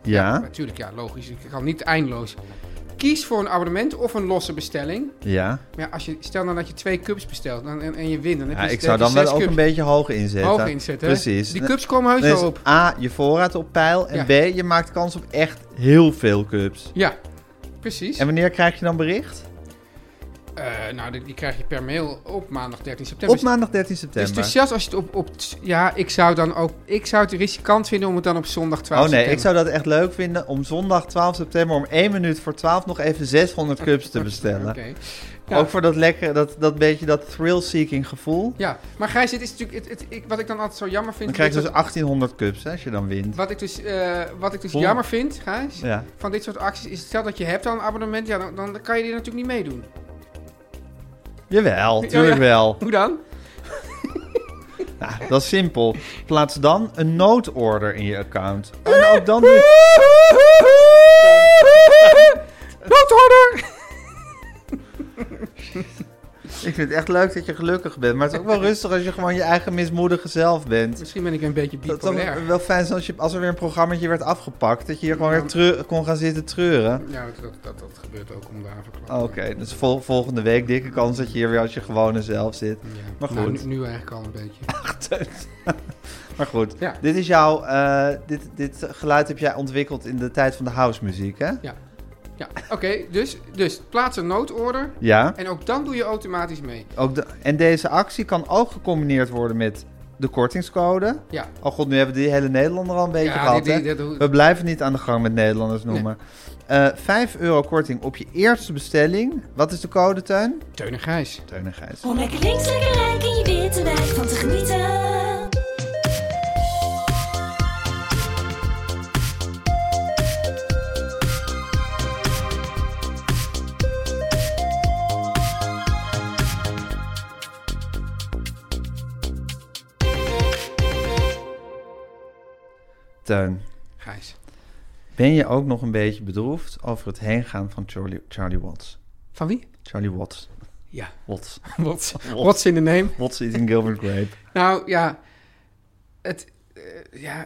Speaker 3: Ja.
Speaker 4: Natuurlijk, ja, logisch. Ik kan niet eindeloos. Kies voor een abonnement of een losse bestelling.
Speaker 3: ja.
Speaker 4: Maar ja, als je, stel nou dat je twee cups bestelt dan, en, en je wint. Dan heb
Speaker 3: Ja,
Speaker 4: je,
Speaker 3: ik
Speaker 4: heb
Speaker 3: zou
Speaker 4: je
Speaker 3: dan wel
Speaker 4: zes
Speaker 3: ook
Speaker 4: cups
Speaker 3: een beetje hoog inzetten.
Speaker 4: hoog inzetten. hè?
Speaker 3: Precies. Dus-
Speaker 4: Die
Speaker 3: Dan-
Speaker 4: cups komen heus
Speaker 3: dan is
Speaker 4: wel op.
Speaker 3: A, je voorraad op peil. En B, je maakt kans op echt heel veel cups.
Speaker 4: Ja, precies.
Speaker 3: En wanneer krijg je dan bericht?
Speaker 4: Eh, nou, die, die krijg je per mail op maandag 13 september.
Speaker 3: Op maandag 13 september.
Speaker 4: Dus, dus zelfs als je het op, op... Ja, ik zou dan ook... Ik zou het riskant vinden om het dan op zondag 12
Speaker 3: Oh nee, ik
Speaker 4: september-
Speaker 3: zou dat echt leuk vinden om zondag 12 september om 1 minuut voor 12 nog even 600 cups te bestellen.
Speaker 4: Oké. Ja.
Speaker 3: Ook voor dat lekkere, dat, dat beetje dat thrill-seeking gevoel.
Speaker 4: Ja, maar Gijs, dit is natuurlijk... Het, het- ik, wat ik dan altijd zo jammer vind...
Speaker 3: Dan krijg je
Speaker 4: dit
Speaker 3: dus
Speaker 4: soort-
Speaker 3: 1800 cups hè, als je dan wint.
Speaker 4: Wat ik dus, eh, wat ik dus
Speaker 3: Vol.
Speaker 4: jammer vind, Gijs,
Speaker 3: Ja.
Speaker 4: van dit soort acties... is stel dat je hebt al een abonnement, ja, dan, dan kan je die natuurlijk niet meedoen. Oh
Speaker 3: Jawel,
Speaker 4: ja.
Speaker 3: tuurlijk
Speaker 4: [LAUGHS]
Speaker 3: wel.
Speaker 4: Hoe dan?
Speaker 3: Nou, dat is simpel. Plaats dan een noodorder in je account. En ook dan
Speaker 4: [LAUGHS]
Speaker 3: doe
Speaker 4: Noodorder!
Speaker 3: [LAUGHS] Ik vind het echt leuk dat je gelukkig bent. Maar het is ook
Speaker 4: [LAUGHS]
Speaker 3: wel rustig als je gewoon je eigen mismoedige zelf bent.
Speaker 4: Misschien ben ik een beetje
Speaker 3: Dat zou
Speaker 4: bipolair.
Speaker 3: wel fijn zijn als, je, als er weer een programmaatje werd afgepakt. Dat je hier gewoon weer treu- kon gaan zitten treuren.
Speaker 4: Ja, dat, dat, dat, dat gebeurt ook om de havenklap.
Speaker 3: Oké, dus vol- volgende week dikke kans dat je hier weer als je gewone zelf zit.
Speaker 4: Ja,
Speaker 3: Maar goed.
Speaker 4: nou, nu, nu eigenlijk al een beetje.
Speaker 3: [LAUGHS] Maar goed,
Speaker 4: Ja.
Speaker 3: dit is jouw... eh, dit, dit geluid heb jij ontwikkeld in de tijd van de house muziek, hè?
Speaker 4: Ja, oké. dus, dus plaats een noodorder.
Speaker 3: Ja.
Speaker 4: En ook dan doe je automatisch mee.
Speaker 3: Ook de, en deze actie kan ook gecombineerd worden met de kortingscode.
Speaker 4: Ja.
Speaker 3: Oh god, nu hebben we die hele Nederlander al een beetje
Speaker 4: ja,
Speaker 3: gehad,
Speaker 4: die-
Speaker 3: hè?
Speaker 4: die- dat-
Speaker 3: We blijven niet aan de gang met Nederlanders noemen. Eh 5 euro korting op je eerste bestelling. Wat is de code, Teun?
Speaker 4: Teun en Gijs.
Speaker 3: Teun en Gijs.
Speaker 4: Oh.
Speaker 6: Om lekker links, lekker rijk in je witte wijk van te genieten.
Speaker 3: Teun,
Speaker 4: Gijs.
Speaker 3: ben je ook nog een beetje bedroefd over het heengaan van Charlie, Charlie Watts?
Speaker 4: Van wie?
Speaker 3: Charlie Watts.
Speaker 4: Ja. [LAUGHS]
Speaker 3: Watts.
Speaker 4: What's, what's in the name?
Speaker 3: Watts eating Gilbert Grape.
Speaker 4: Nou, ja. Het, eh, ja,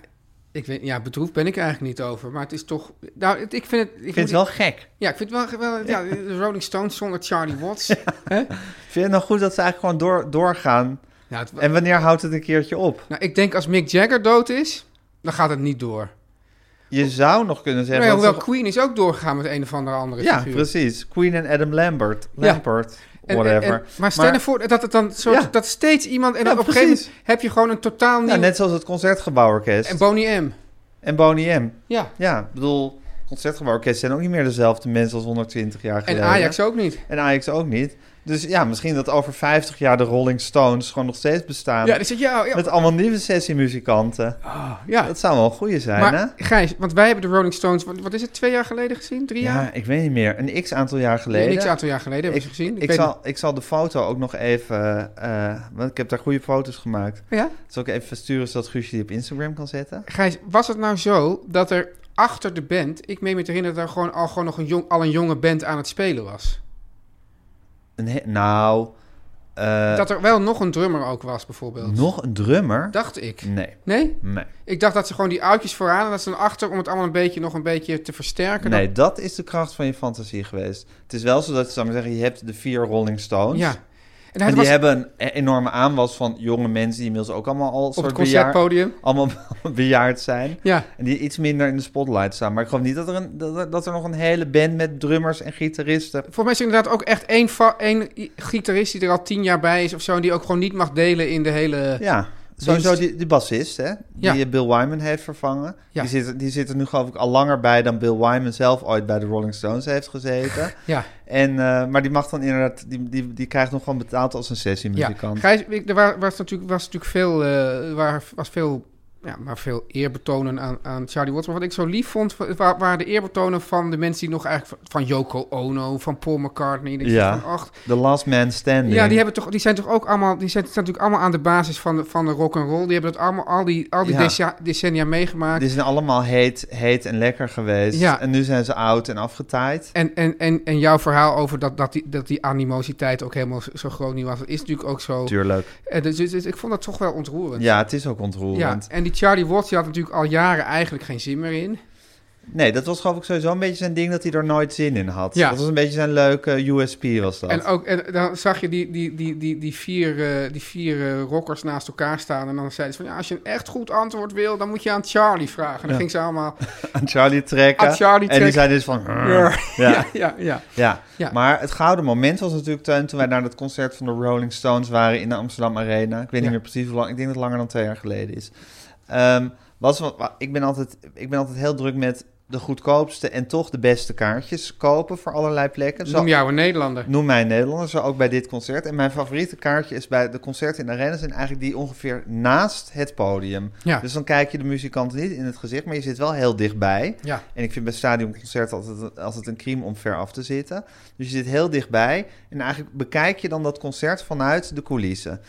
Speaker 4: ik weet, ja, bedroefd ben ik er eigenlijk niet over. Maar het is toch... Nou, het- ik vind het...
Speaker 3: Ik vind het wel gek.
Speaker 4: Ja, ik vind het wel... wel ja, de Rolling Stones zonder Charlie
Speaker 3: [LAUGHS]
Speaker 4: Watts. hè?
Speaker 3: Vind je het nou goed dat ze eigenlijk gewoon door, doorgaan?
Speaker 4: Nou, het,
Speaker 3: En wanneer houdt het een keertje op?
Speaker 4: nou, ik denk als Mick Jagger dood is, dan gaat het niet door.
Speaker 3: Je zou nog kunnen
Speaker 4: Nou
Speaker 3: zeggen...
Speaker 4: ja,
Speaker 3: dat ze-
Speaker 4: hoewel Queen is ook doorgegaan met een of andere andere
Speaker 3: Ja,
Speaker 4: figuur.
Speaker 3: precies. Queen en Adam Lambert.
Speaker 4: Ja.
Speaker 3: Lambert,
Speaker 4: En- en-
Speaker 3: whatever.
Speaker 4: en- maar stel je voor dat het dan soort,
Speaker 3: Ja.
Speaker 4: dat steeds iemand... En
Speaker 3: Ja,
Speaker 4: op een gegeven moment
Speaker 3: precies.
Speaker 4: heb je gewoon een totaal nieuw...
Speaker 3: Ja, nou, net zoals het Concertgebouworkest
Speaker 4: En
Speaker 3: en,
Speaker 4: Bonnie M.
Speaker 3: Boney M.
Speaker 4: Ja.
Speaker 3: Ja, ik bedoel, Concertgebouworkest zijn ook niet meer dezelfde mensen als 120 jaar
Speaker 4: En
Speaker 3: geleden.
Speaker 4: Ajax ook niet.
Speaker 3: En Ajax ook niet. Dus ja, misschien dat over 50 jaar de Rolling Stones gewoon nog steeds bestaan.
Speaker 4: Ja, dus ik- ja, ja,
Speaker 3: Met allemaal nieuwe sessiemuzikanten.
Speaker 4: ja.
Speaker 3: Dat zou wel een goeie zijn, hè?
Speaker 4: Ah. Maar Gijs, want wij hebben de Rolling Stones, wat, wat is het, twee jaar geleden gezien? Drie
Speaker 3: Ja,
Speaker 4: jaar?
Speaker 3: ik weet niet meer. Een x-aantal jaar geleden.
Speaker 4: Nee, niks aantal jaar geleden hebben
Speaker 3: ik,
Speaker 4: we ze gezien.
Speaker 3: ik,
Speaker 4: weet
Speaker 3: zal, ik zal de foto ook nog even... eh, want ik heb daar goede foto's gemaakt.
Speaker 4: niet. Ja?
Speaker 3: Zal ik even sturen zodat Guusje die op Instagram kan zetten?
Speaker 4: Gijs, was het nou zo dat er achter de band, ik meen me te herinneren dat er gewoon al, gewoon nog een jong, al een jonge band aan het spelen was?
Speaker 3: Een he- nou, eh,
Speaker 4: dat er wel nog een drummer ook was, bijvoorbeeld.
Speaker 3: nog Mm. een drummer?
Speaker 4: Dacht ik.
Speaker 3: Nee,
Speaker 4: Nee?
Speaker 3: nee.
Speaker 4: Ik dacht dat ze gewoon die oudjes vooraan en dat ze dan achter om het allemaal een beetje, nog een beetje te versterken.
Speaker 3: Nee, dat is de kracht van je fantasie geweest. Het is wel zo dat je zou maar zeggen, je hebt de vier Rolling
Speaker 4: Dan-
Speaker 3: Stones.
Speaker 4: ja. En hij
Speaker 3: en die
Speaker 4: was
Speaker 3: hebben een e- enorme aanwas van jonge mensen die inmiddels ook allemaal al
Speaker 4: op het
Speaker 3: soort bejaard,
Speaker 4: concertpodium.
Speaker 3: allemaal [LAUGHS] bejaard zijn.
Speaker 4: Ja.
Speaker 3: En die iets minder in de spotlight staan. Maar ik geloof niet dat er, een, dat, er- dat er nog een hele band met drummers en gitaristen...
Speaker 4: Voor mij is er inderdaad ook echt één, va- één i- gitarist die er al tien jaar bij is of zo. En die ook gewoon niet mag delen in de hele.
Speaker 3: Ja, sowieso
Speaker 4: Dienst.
Speaker 3: die, die bassist, hè? Die
Speaker 4: Ja.
Speaker 3: eh, Bill Wyman heeft vervangen.
Speaker 4: Ja.
Speaker 3: Die, zit, die zit er nu geloof ik al langer bij dan Bill Wyman zelf ooit bij de Rolling Stones heeft gezeten.
Speaker 4: [LAUGHS] Ja,
Speaker 3: En, eh, maar die mag dan inderdaad, die, die, die krijgt nog gewoon betaald als een
Speaker 4: ja.
Speaker 3: sessiemuzikant.
Speaker 4: Gijs, ik- er wa- was natuurlijk, was natuurlijk veel, eh, waar, was veel, ja, maar veel eerbetonen aan, aan Charlie Watts. Maar wat ik zo lief vond, wa- wa- waren de eerbetonen van de mensen die nog eigenlijk van, van Yoko Ono, van Paul McCartney. Dat je
Speaker 3: Ja.
Speaker 4: van, ach,
Speaker 3: The Last Man Standing.
Speaker 4: ja, die, hebben toch, die zijn toch ook allemaal, die zijn, staan natuurlijk allemaal aan de basis van de, van de rock and roll. Die hebben dat allemaal al die, al die
Speaker 3: Ja.
Speaker 4: deca- decennia meegemaakt.
Speaker 3: Die zijn allemaal heet, heet en lekker geweest.
Speaker 4: Ja.
Speaker 3: En nu zijn ze oud en afgetaaid.
Speaker 4: En, en, en, en jouw verhaal over dat, dat, die, dat die animositeit ook helemaal zo- zo groot niet was, dat is natuurlijk ook zo.
Speaker 3: Tuurlijk.
Speaker 4: En dus, dus- dus ik vond dat toch wel ontroerend.
Speaker 3: Ja, het is ook ontroerend.
Speaker 4: Ja, en die Charlie Watts die had natuurlijk al jaren eigenlijk geen zin meer in.
Speaker 3: Nee, dat was geloof ik sowieso een beetje zijn ding dat hij er nooit zin in had.
Speaker 4: Ja.
Speaker 3: Dat was een beetje zijn leuke USP was dat.
Speaker 4: En, oh, ook, en dan zag je die, die, die, die, die vier, eh, die vier eh, rockers naast elkaar staan. En dan zeiden ze van, ja, als je een echt goed antwoord wil, dan moet je aan Charlie vragen. En dan ging ze allemaal...
Speaker 3: aan Charlie trekken.
Speaker 4: Aan Charlie
Speaker 3: En die
Speaker 4: trekken.
Speaker 3: zijn dus van...
Speaker 4: Ja,
Speaker 3: Ja.
Speaker 4: [LAUGHS] ja, ja. ja.
Speaker 3: Ja.
Speaker 4: Ja.
Speaker 3: maar het gouden moment was natuurlijk Teun, toen wij naar dat concert van de Rolling Stones waren in de Amsterdam Arena. Ik weet niet
Speaker 4: Ja.
Speaker 3: meer precies hoe lang, ik denk dat het langer dan twee jaar geleden is. Ehm, was, wat- wa- ik, ben altijd, ik ben altijd heel druk met de goedkoopste en toch de beste kaartjes kopen voor allerlei plekken. Zo,
Speaker 4: Noem jou een Nederlander.
Speaker 3: noem mij Nederlander, zo ook bij dit concert. En mijn favoriete kaartje is bij de concerten in de arena zijn eigenlijk die ongeveer naast het podium.
Speaker 4: Ja.
Speaker 3: Dus dan kijk je de muzikanten niet in het gezicht, maar je zit wel heel dichtbij.
Speaker 4: Ja.
Speaker 3: En ik vind bij stadionconcerten altijd, altijd een crime om ver af te zitten. Dus je zit heel dichtbij. En eigenlijk bekijk je dan dat concert vanuit de coulissen.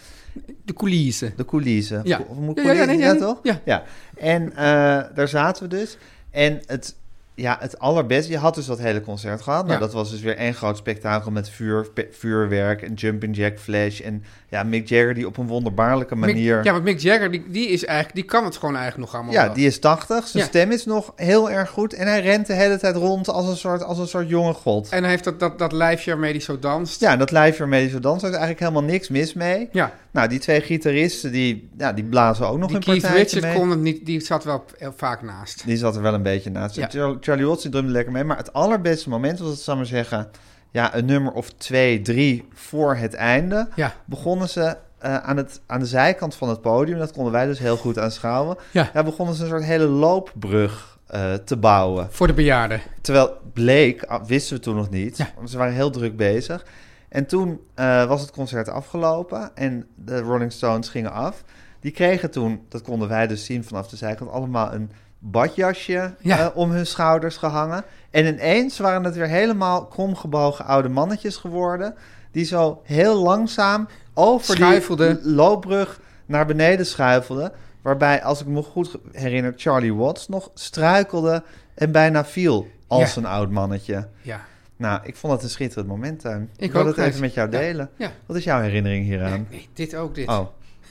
Speaker 4: De coulissen.
Speaker 3: De coulissen.
Speaker 4: Ja.
Speaker 3: Cou- moet
Speaker 4: Ja, ja,
Speaker 3: coulissen?
Speaker 4: ja,
Speaker 3: Ja,
Speaker 4: nee, ja,
Speaker 3: toch?
Speaker 4: ja.
Speaker 3: En eh, daar zaten we dus. En het Ja, het allerbeste. Je had dus dat hele concert gehad. Nou,
Speaker 4: Ja.
Speaker 3: dat was dus weer één groot spektakel met vuur, pe- vuurwerk en jumping jack flash. En ja, Mick Jagger die op een wonderbaarlijke manier...
Speaker 4: Mick- ja, want Mick Jagger, die, die, is eigenlijk, die kan het gewoon eigenlijk nog allemaal
Speaker 3: Ja,
Speaker 4: wel.
Speaker 3: die is 80. Zijn
Speaker 4: Ja.
Speaker 3: stem is nog heel erg goed. En hij rent de hele tijd rond als een soort, als een soort jonge god.
Speaker 4: En hij heeft dat, dat, dat lijfje waarmee hij zo danst.
Speaker 3: Ja, dat lijfje waarmee ze dansen, er is eigenlijk helemaal niks mis mee.
Speaker 4: Ja,
Speaker 3: Nou, die twee gitaristen, die, ja, die blazen ook nog
Speaker 4: die
Speaker 3: een
Speaker 4: Keith
Speaker 3: partijtje
Speaker 4: Richard
Speaker 3: mee.
Speaker 4: kon het niet, die zat wel heel vaak naast.
Speaker 3: Die zat er wel een beetje naast.
Speaker 4: Ja.
Speaker 3: Char- Charlie Watts die drumde lekker mee. Maar het allerbeste moment was, dat zou maar zeggen... Ja, een nummer of twee, drie voor het einde...
Speaker 4: Ja.
Speaker 3: begonnen ze eh, aan, het, aan de zijkant van het podium... dat konden wij dus heel goed aanschouwen...
Speaker 4: Ja.
Speaker 3: begonnen ze een soort hele loopbrug eh, te bouwen.
Speaker 4: Voor de bejaarden.
Speaker 3: Terwijl bleek, ah, wisten we toen nog niet.
Speaker 4: Ja.
Speaker 3: want Ze waren heel druk bezig. En toen eh, was het concert afgelopen en de Rolling Stones gingen af. Die kregen toen, dat konden wij dus zien vanaf de zijkant, allemaal een badjasje
Speaker 4: Ja.
Speaker 3: eh, om hun schouders gehangen. En ineens waren het weer helemaal kromgebogen oude mannetjes geworden. Die zo heel langzaam over
Speaker 4: Schuifelden.
Speaker 3: die loopbrug naar beneden schuifelden. Waarbij, als ik me goed herinner, Charlie Watts nog struikelde en bijna viel als
Speaker 4: Ja.
Speaker 3: een oud mannetje.
Speaker 4: Ja.
Speaker 3: Nou, ik vond het een schitterend moment, Tuin. Ik,
Speaker 4: ook,
Speaker 3: wil het
Speaker 4: Gijs.
Speaker 3: even met jou
Speaker 4: Ja.
Speaker 3: delen.
Speaker 4: Ja.
Speaker 3: Wat is jouw herinnering hieraan?
Speaker 4: Nee, dit ook dit.
Speaker 3: Oh,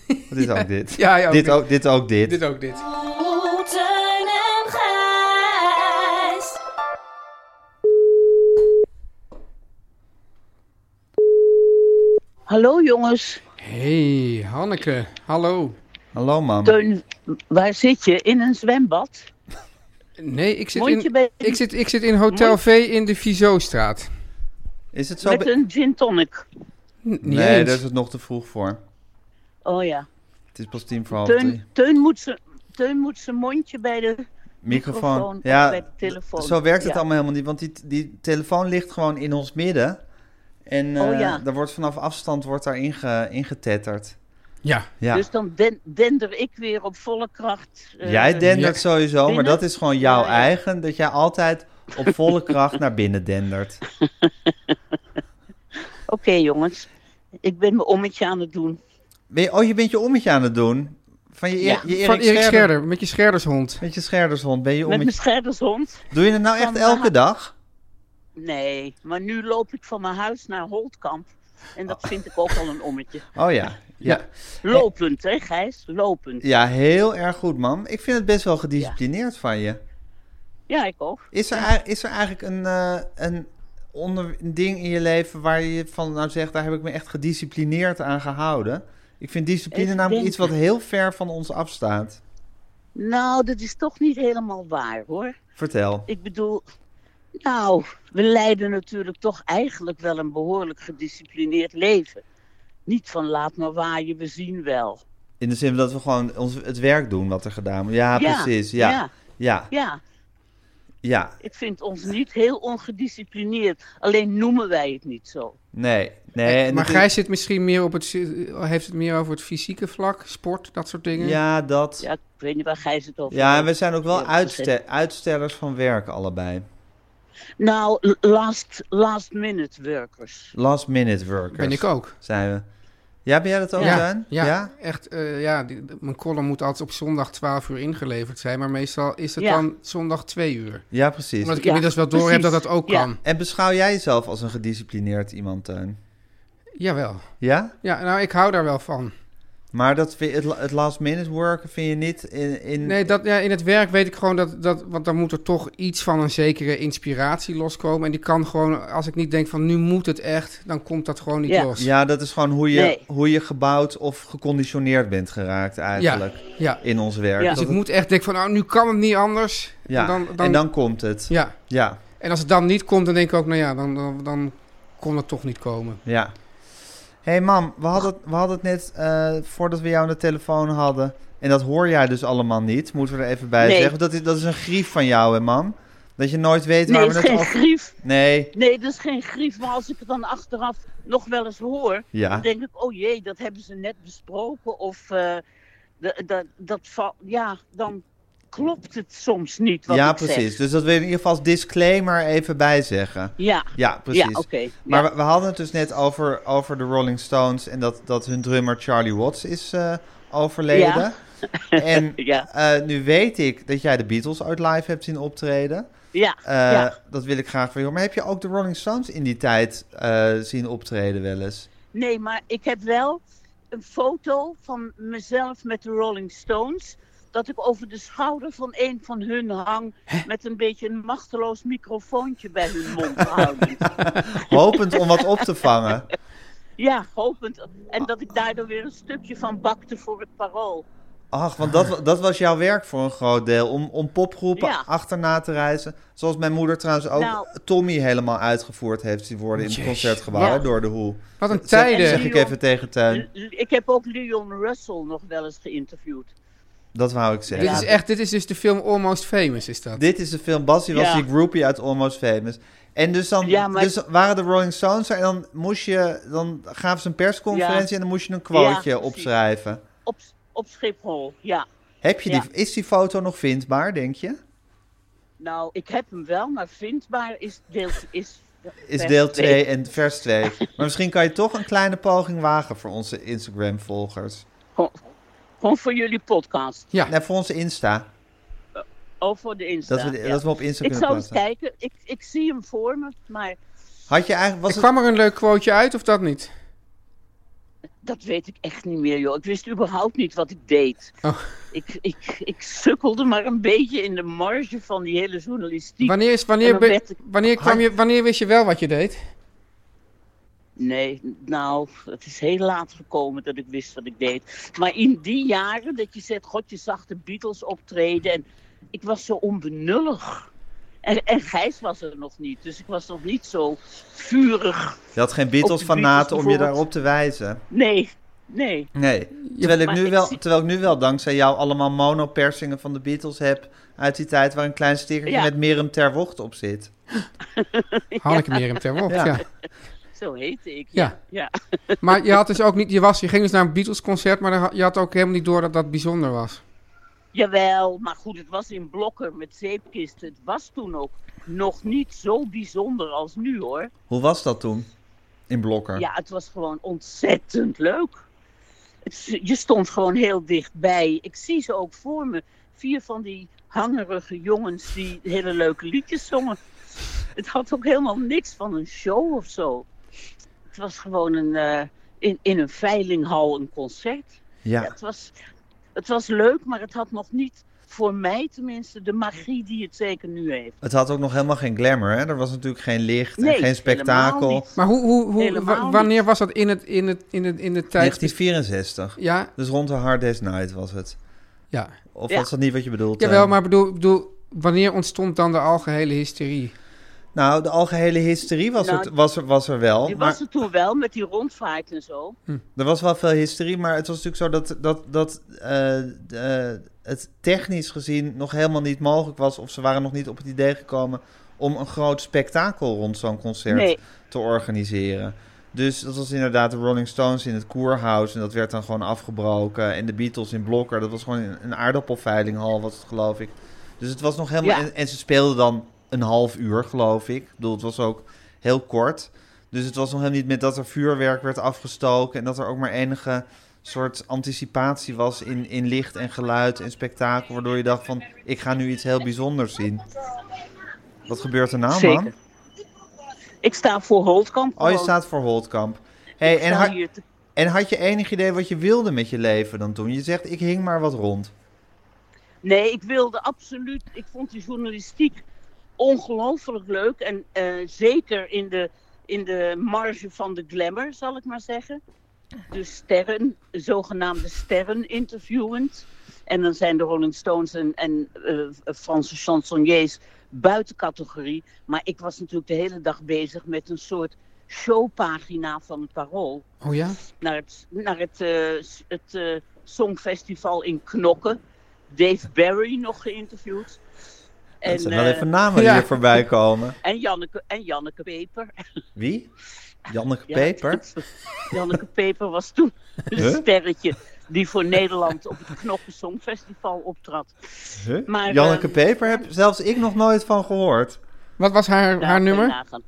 Speaker 3: wat is ook dit?
Speaker 4: [LAUGHS] Ja, ja, ook
Speaker 3: dit,
Speaker 4: dit.
Speaker 3: ook, dit ook dit.
Speaker 4: Dit ook dit.
Speaker 6: Oh, Teun en Gijs.
Speaker 7: Hallo jongens,
Speaker 4: Hey, Hanneke. Hallo.
Speaker 3: Hallo, mam.
Speaker 7: Teun, waar zit je? In een zwembad?
Speaker 4: Nee, ik zit,
Speaker 7: Mondje
Speaker 4: in,
Speaker 7: bij-
Speaker 4: ik zit, ik zit in Hotel V in de Vizostraat.
Speaker 3: Is het zo...
Speaker 7: Met
Speaker 3: be-
Speaker 7: een gin tonic.
Speaker 4: N- Niet
Speaker 3: Nee,
Speaker 4: eens.
Speaker 3: daar is het nog te vroeg voor.
Speaker 7: Oh ja.
Speaker 3: Het is pas tien voor half drie.
Speaker 7: Teun, Teun, moet zijn, Teun moet zijn mondje bij de...
Speaker 3: Microfoon.
Speaker 7: microfoon of
Speaker 3: ja,
Speaker 7: bij de telefoon.
Speaker 3: Zo werkt het
Speaker 7: Ja.
Speaker 3: allemaal helemaal niet, want die, die telefoon ligt gewoon in ons midden. En eh,
Speaker 7: Oh, ja.
Speaker 3: daar wordt vanaf afstand wordt daar inge, ingetetterd.
Speaker 4: Ja,
Speaker 3: Ja.
Speaker 7: Dus dan den- dender ik weer op volle kracht. eh,
Speaker 3: Jij dendert
Speaker 4: Ja.
Speaker 3: sowieso, maar
Speaker 7: binnen?
Speaker 3: dat is gewoon jouw
Speaker 7: Ja, ja.
Speaker 3: eigen. Dat jij altijd op volle kracht naar binnen dendert.
Speaker 7: Oké jongens, ik ben mijn ommetje aan het doen.
Speaker 3: Ben je- oh, je bent je ommetje aan het doen. Van je,
Speaker 7: Ja.
Speaker 3: je Erik,
Speaker 4: van Erik
Speaker 3: Scherder-
Speaker 4: Scherder, met je Scherdershond.
Speaker 3: Met je scherdershond ben je
Speaker 7: Met mijn
Speaker 3: ommetje.
Speaker 7: scherdershond?
Speaker 3: Doe je het nou echt
Speaker 7: Van-
Speaker 3: elke dag?
Speaker 7: Nee, maar nu loop ik van mijn huis naar Holtkamp. En dat vind ik ook al een ommetje.
Speaker 3: Oh ja. Ja,
Speaker 7: Lopend, hè Gijs? Lopend.
Speaker 3: ja heel erg goed, mam. Ik vind het best wel gedisciplineerd van je.
Speaker 7: Ja, ik ook.
Speaker 3: Is er, ei- is er eigenlijk een, eh, een, onder, een ding in je leven waar je van nou zegt, daar heb ik me echt gedisciplineerd aan gehouden? Ik vind discipline
Speaker 7: Even
Speaker 3: namelijk iets wat
Speaker 7: denken.
Speaker 3: heel ver van ons afstaat.
Speaker 7: Nou, dat is toch niet helemaal waar hoor.
Speaker 3: Vertel.
Speaker 7: Ik bedoel, nou, we leiden natuurlijk toch eigenlijk wel een behoorlijk gedisciplineerd leven. Niet van laat maar waaien, we zien wel.
Speaker 3: In de zin dat we gewoon ons, het werk doen wat er gedaan wordt. Ja, precies. Ja, ja, ja.
Speaker 7: ja, ja. Ik vind ons niet heel ongedisciplineerd. Alleen noemen wij het niet zo.
Speaker 3: Nee, nee. en
Speaker 4: Eh, maar
Speaker 3: dat
Speaker 4: Gijs
Speaker 3: is-
Speaker 4: zit misschien meer op het, heeft het meer over het fysieke vlak, sport, dat soort dingen.
Speaker 3: Ja, dat.
Speaker 7: Ja, ik weet niet waar Gijs het over
Speaker 3: Ja, en
Speaker 7: heeft.
Speaker 3: we zijn ook wel
Speaker 7: Ja, precies.
Speaker 3: uitste- uitstellers van werk allebei.
Speaker 7: Nou, l- last, last minute workers.
Speaker 3: Last minute workers.
Speaker 4: ben ik ook.
Speaker 3: Zijn we. Ja, ben jij dat ook,
Speaker 4: ja,
Speaker 3: Duin?
Speaker 4: Ja, echt. eh, ja, die- mijn column moet altijd op zondag 12 uur ingeleverd zijn, maar meestal is het
Speaker 7: Ja.
Speaker 4: dan zondag 2 uur.
Speaker 3: Ja, precies.
Speaker 4: Omdat ik
Speaker 7: Ja,
Speaker 4: inmiddels wel door heb dat
Speaker 7: precies.
Speaker 4: dat ook
Speaker 7: Ja.
Speaker 4: kan.
Speaker 3: En beschouw jij jezelf als een gedisciplineerd iemand, Teun?
Speaker 4: Jawel.
Speaker 3: Ja?
Speaker 4: Ja, nou, ik hou daar wel van.
Speaker 3: Maar dat vind, het, la- het last minute worken vind je niet in... in...
Speaker 4: Nee, dat, ja, in het werk weet ik gewoon dat, dat... Want dan moet er toch iets van een zekere inspiratie loskomen. En die kan gewoon... Als ik niet denk van nu moet het echt... dan komt dat gewoon niet
Speaker 7: Ja.
Speaker 4: los.
Speaker 3: Ja, dat is gewoon hoe je,
Speaker 7: Nee.
Speaker 3: hoe je gebouwd of geconditioneerd bent geraakt eigenlijk
Speaker 4: ja.
Speaker 3: in ons werk.
Speaker 7: Ja.
Speaker 4: Dus
Speaker 3: Dat
Speaker 4: ik moet echt denken van nou, nu kan het niet anders.
Speaker 3: het- ja.
Speaker 4: En dan, dan,
Speaker 3: en dan komt het. Ja.
Speaker 4: ja.
Speaker 3: ja,
Speaker 4: En als het dan niet komt, dan denk ik ook... nou ja, dan, dan, dan kon het toch niet komen.
Speaker 3: Hé hey, mam, we hadden, het- we hadden het net eh, voordat we jou aan de telefoon hadden... en dat hoor jij dus allemaal niet, moeten we er even bij
Speaker 7: Nee.
Speaker 3: zeggen. Dat is, dat is een grief van jou, hè mam? Dat je nooit weet
Speaker 7: Nee,
Speaker 3: waar
Speaker 7: dat
Speaker 3: we
Speaker 7: is
Speaker 3: het
Speaker 7: geen
Speaker 3: over...
Speaker 7: grief.
Speaker 3: Nee,
Speaker 7: Nee, dat is geen grief. Maar als ik het dan achteraf nog wel eens hoor...
Speaker 3: ja.
Speaker 7: Dan denk ik, oh jee, dat hebben ze net besproken. Of eh, d- d- dat valt. Ja, dan klopt het soms niet. Wat
Speaker 3: ja,
Speaker 7: ik zeg.
Speaker 3: precies. Dus dat wil je in ieder geval als disclaimer even bij zeggen.
Speaker 7: Ja,
Speaker 3: Ja,
Speaker 7: ja
Speaker 3: precies.
Speaker 7: oké.
Speaker 3: Maar
Speaker 7: ja.
Speaker 3: we, we hadden het dus net over, over de Rolling Stones en dat, dat hun drummer Charlie Watts is eh, overleden.
Speaker 7: Ja.
Speaker 3: [LAUGHS] En
Speaker 7: Ja.
Speaker 3: eh, nu weet ik dat jij de Beatles uit live hebt zien optreden.
Speaker 7: Ja,
Speaker 3: Eh,
Speaker 7: ja.
Speaker 3: Dat wil ik graag van jou. Maar heb je ook de Rolling Stones in die tijd eh, zien optreden wel eens?
Speaker 7: Nee, maar ik heb wel een foto van mezelf met de Rolling Stones. Dat ik over de schouder van een van hun hang. met een beetje een machteloos microfoontje bij hun mond
Speaker 3: [LAUGHS]
Speaker 7: houdend.
Speaker 3: Hopend om wat op te vangen.
Speaker 7: Ja, hopend. En dat ik daardoor weer een stukje van bakte voor het parool.
Speaker 3: Ach, want dat, wa- dat was jouw werk voor een groot deel. Om, om popgroepen
Speaker 7: Ja.
Speaker 3: achterna te reizen. Zoals mijn moeder trouwens ook
Speaker 7: Nou.
Speaker 3: Tommy helemaal uitgevoerd heeft zien worden in het
Speaker 4: Jeetje.
Speaker 3: concertgebouw hè,
Speaker 7: Ja.
Speaker 3: door de hoe.
Speaker 4: Wat een
Speaker 3: Zeg,
Speaker 4: tijden.
Speaker 3: zeg ik even tegen Teun.
Speaker 7: L- Ik heb ook Leon Russell nog wel eens geïnterviewd.
Speaker 3: Dat wou ik zeggen.
Speaker 4: Dit is echt, dit is dus de film Almost Famous, is dat?
Speaker 3: Dit is de film. Bassie was
Speaker 7: Ja.
Speaker 3: die groupie uit Almost Famous. En dus dan
Speaker 7: Ja, maar-
Speaker 3: dus waren de Rolling Stones er en dan moest je, dan gaven ze een persconferentie
Speaker 7: Ja.
Speaker 3: en dan moest je een quoteje
Speaker 7: Ja, precies.
Speaker 3: opschrijven.
Speaker 7: Op, op Schiphol, ja.
Speaker 3: Heb je die,
Speaker 7: Ja.
Speaker 3: is die foto nog vindbaar, denk je?
Speaker 7: Nou, ik heb hem wel, maar vindbaar is deel. Is,
Speaker 3: [LAUGHS] Is
Speaker 7: vers
Speaker 3: deel
Speaker 7: twee.
Speaker 3: 2 en vers 2. maar misschien kan je toch een kleine poging wagen voor onze Instagram-volgers.
Speaker 7: Gewoon, gewoon voor jullie podcast.
Speaker 4: Ja.
Speaker 3: Nee, voor onze Insta.
Speaker 7: Of voor de Insta.
Speaker 3: Dat, we,
Speaker 7: ja.
Speaker 3: dat we op Insta
Speaker 7: Ik
Speaker 3: kunnen
Speaker 7: zou eens
Speaker 3: plaatsen.
Speaker 7: kijken. Ik, ik zie hem voor me, maar
Speaker 3: Had je eigenlijk, was
Speaker 4: Er
Speaker 3: het,
Speaker 4: kwam er een leuk quoteje uit, of dat niet?
Speaker 7: dat weet ik echt niet meer, joh. Ik wist überhaupt niet wat ik deed.
Speaker 4: Oh.
Speaker 7: Ik, ik, ik sukkelde maar een beetje in de marge van die hele journalistiek.
Speaker 4: Wanneer, is,
Speaker 7: En
Speaker 4: wanneer,
Speaker 7: dan
Speaker 4: be-
Speaker 7: werd ik-
Speaker 4: wanneer, kwam je, wanneer wist je wel wat je
Speaker 7: [LAUGHS]
Speaker 4: deed?
Speaker 7: Nee, nou, het is heel laat gekomen dat ik wist wat ik deed. Maar in die jaren dat je zegt, god, je zag de Beatles optreden en ik was zo onbenullig. En, en Gijs was er nog niet, dus ik was nog niet zo vurig.
Speaker 3: je had geen
Speaker 7: Beatles
Speaker 3: Beatles-fanaten om je
Speaker 7: bijvoorbeeld.
Speaker 3: daarop te wijzen.
Speaker 7: Nee, nee.
Speaker 3: Nee, terwijl ik,
Speaker 7: maar
Speaker 3: nu
Speaker 7: ik
Speaker 3: wel,
Speaker 7: zie-
Speaker 3: terwijl ik nu wel dankzij jou allemaal monopersingen van de Beatles heb uit die tijd waar een klein stickertje
Speaker 7: Ja.
Speaker 3: met Merem ter Wocht op zit.
Speaker 4: Hanneke Merem ter Wolf,
Speaker 3: Ja.
Speaker 4: ja.
Speaker 7: Zo heette ik.
Speaker 4: Ja.
Speaker 7: ja. [LAUGHS]
Speaker 4: Maar je had dus ook niet, je, was, je ging dus naar een Beatles concert, maar dan ha- je had ook helemaal niet door dat dat bijzonder was.
Speaker 7: Jawel, maar goed, het was in blokken met zeepkisten. Het was toen ook nog niet zo bijzonder als nu hoor.
Speaker 3: Hoe was dat toen? In Blokker.
Speaker 7: Ja, het was gewoon ontzettend leuk. Het, je stond gewoon heel dichtbij. Ik zie ze ook voor me. Vier van die hangerige jongens die hele leuke liedjes zongen. Het had ook helemaal niks van een show of zo. Het was gewoon een, eh, in, in een veilinghal een concert. Ja,
Speaker 3: Ja.
Speaker 7: het, was, het was leuk, maar het had nog niet, voor mij tenminste, de magie die het zeker nu heeft.
Speaker 3: Het had ook nog helemaal geen glamour, hè? Er was natuurlijk geen licht en
Speaker 7: Nee,
Speaker 3: geen
Speaker 7: helemaal
Speaker 3: spektakel.
Speaker 7: niet.
Speaker 4: Maar hoe, hoe, hoe,
Speaker 7: Helemaal
Speaker 4: wa-
Speaker 7: niet.
Speaker 4: wanneer was dat in, het, in, het, in, het, in de tijd?
Speaker 3: 1964.
Speaker 4: Ja,
Speaker 3: Dus rond de Hard Day's Night was het.
Speaker 4: ja.
Speaker 3: Of
Speaker 7: Ja.
Speaker 3: was dat niet wat je bedoelt?
Speaker 4: Jawel,
Speaker 3: eh?
Speaker 4: maar bedoel, bedoel, wanneer ontstond dan de algehele hysterie?
Speaker 3: Nou, de algehele hysterie was,
Speaker 7: Nou,
Speaker 3: het, was, er, was er wel.
Speaker 7: Die
Speaker 3: maar
Speaker 7: was er toen wel, met die rondvaart en zo.
Speaker 3: Er was wel veel hysterie, maar het was natuurlijk zo dat, dat, dat eh, eh, het technisch gezien nog helemaal niet mogelijk was. Of ze waren nog niet op het idee gekomen om een groot spektakel rond zo'n concert
Speaker 7: Nee.
Speaker 3: te organiseren. Dus dat was inderdaad de Rolling Stones in het Koerhuis. En dat werd dan gewoon afgebroken. En de Beatles in Blokker. Dat was gewoon een- een aardappelveilinghal, was het geloof ik. Dus het was nog helemaal...
Speaker 7: Ja.
Speaker 3: En, en ze speelden dan een half uur, geloof ik. Ik bedoel, het was ook heel kort. Dus het was nog helemaal niet met dat er vuurwerk werd afgestoken. En dat er ook maar enige soort anticipatie was in, in licht en geluid en spektakel. Waardoor je dacht van, ik ga nu iets heel bijzonders zien. Wat gebeurt er nou,
Speaker 7: Zeker.
Speaker 3: man?
Speaker 7: Ik sta voor Holtkamp.
Speaker 3: Oh, je
Speaker 7: gewoon.
Speaker 3: staat voor Holtkamp. Hey, en,
Speaker 7: sta
Speaker 3: ha-
Speaker 7: hier te-
Speaker 3: en had je enig idee wat je wilde met je leven dan toen? Je zegt, ik hing maar wat rond.
Speaker 7: Nee, ik wilde absoluut. Ik vond die journalistiek ongelooflijk leuk. En eh, zeker in de, in de marge van de glamour, zal ik maar zeggen. Dus sterren, zogenaamde sterren interviewend. En dan zijn de Rolling Stones en, en eh, Franse chansonniers buiten categorie. Maar ik was natuurlijk de hele dag bezig met een soort showpagina van het Parool
Speaker 4: Oh ja?
Speaker 7: naar het, naar het, eh, s- het eh, Songfestival in Knokken. Dave Barry nog geïnterviewd.
Speaker 3: Dat
Speaker 7: En,
Speaker 3: zijn wel
Speaker 7: eh,
Speaker 3: even
Speaker 7: [LAUGHS]
Speaker 3: namen die
Speaker 4: ja.
Speaker 3: hier voorbij komen.
Speaker 7: en, Janneke, en Janneke Peper. [LAUGHS]
Speaker 3: Wie? Janneke
Speaker 7: Ja,
Speaker 3: Peper?
Speaker 7: [LAUGHS] Janneke Peper was toen een
Speaker 3: Huh?
Speaker 7: sterretje die voor Nederland op het Knokken Songfestival optrad.
Speaker 3: Huh?
Speaker 7: maar,
Speaker 3: Janneke
Speaker 7: ehm,
Speaker 3: Peper heb zelfs ik nog nooit van gehoord.
Speaker 4: Wat was haar,
Speaker 7: Nou,
Speaker 4: haar
Speaker 7: kun je
Speaker 4: nummer?
Speaker 7: nagaan.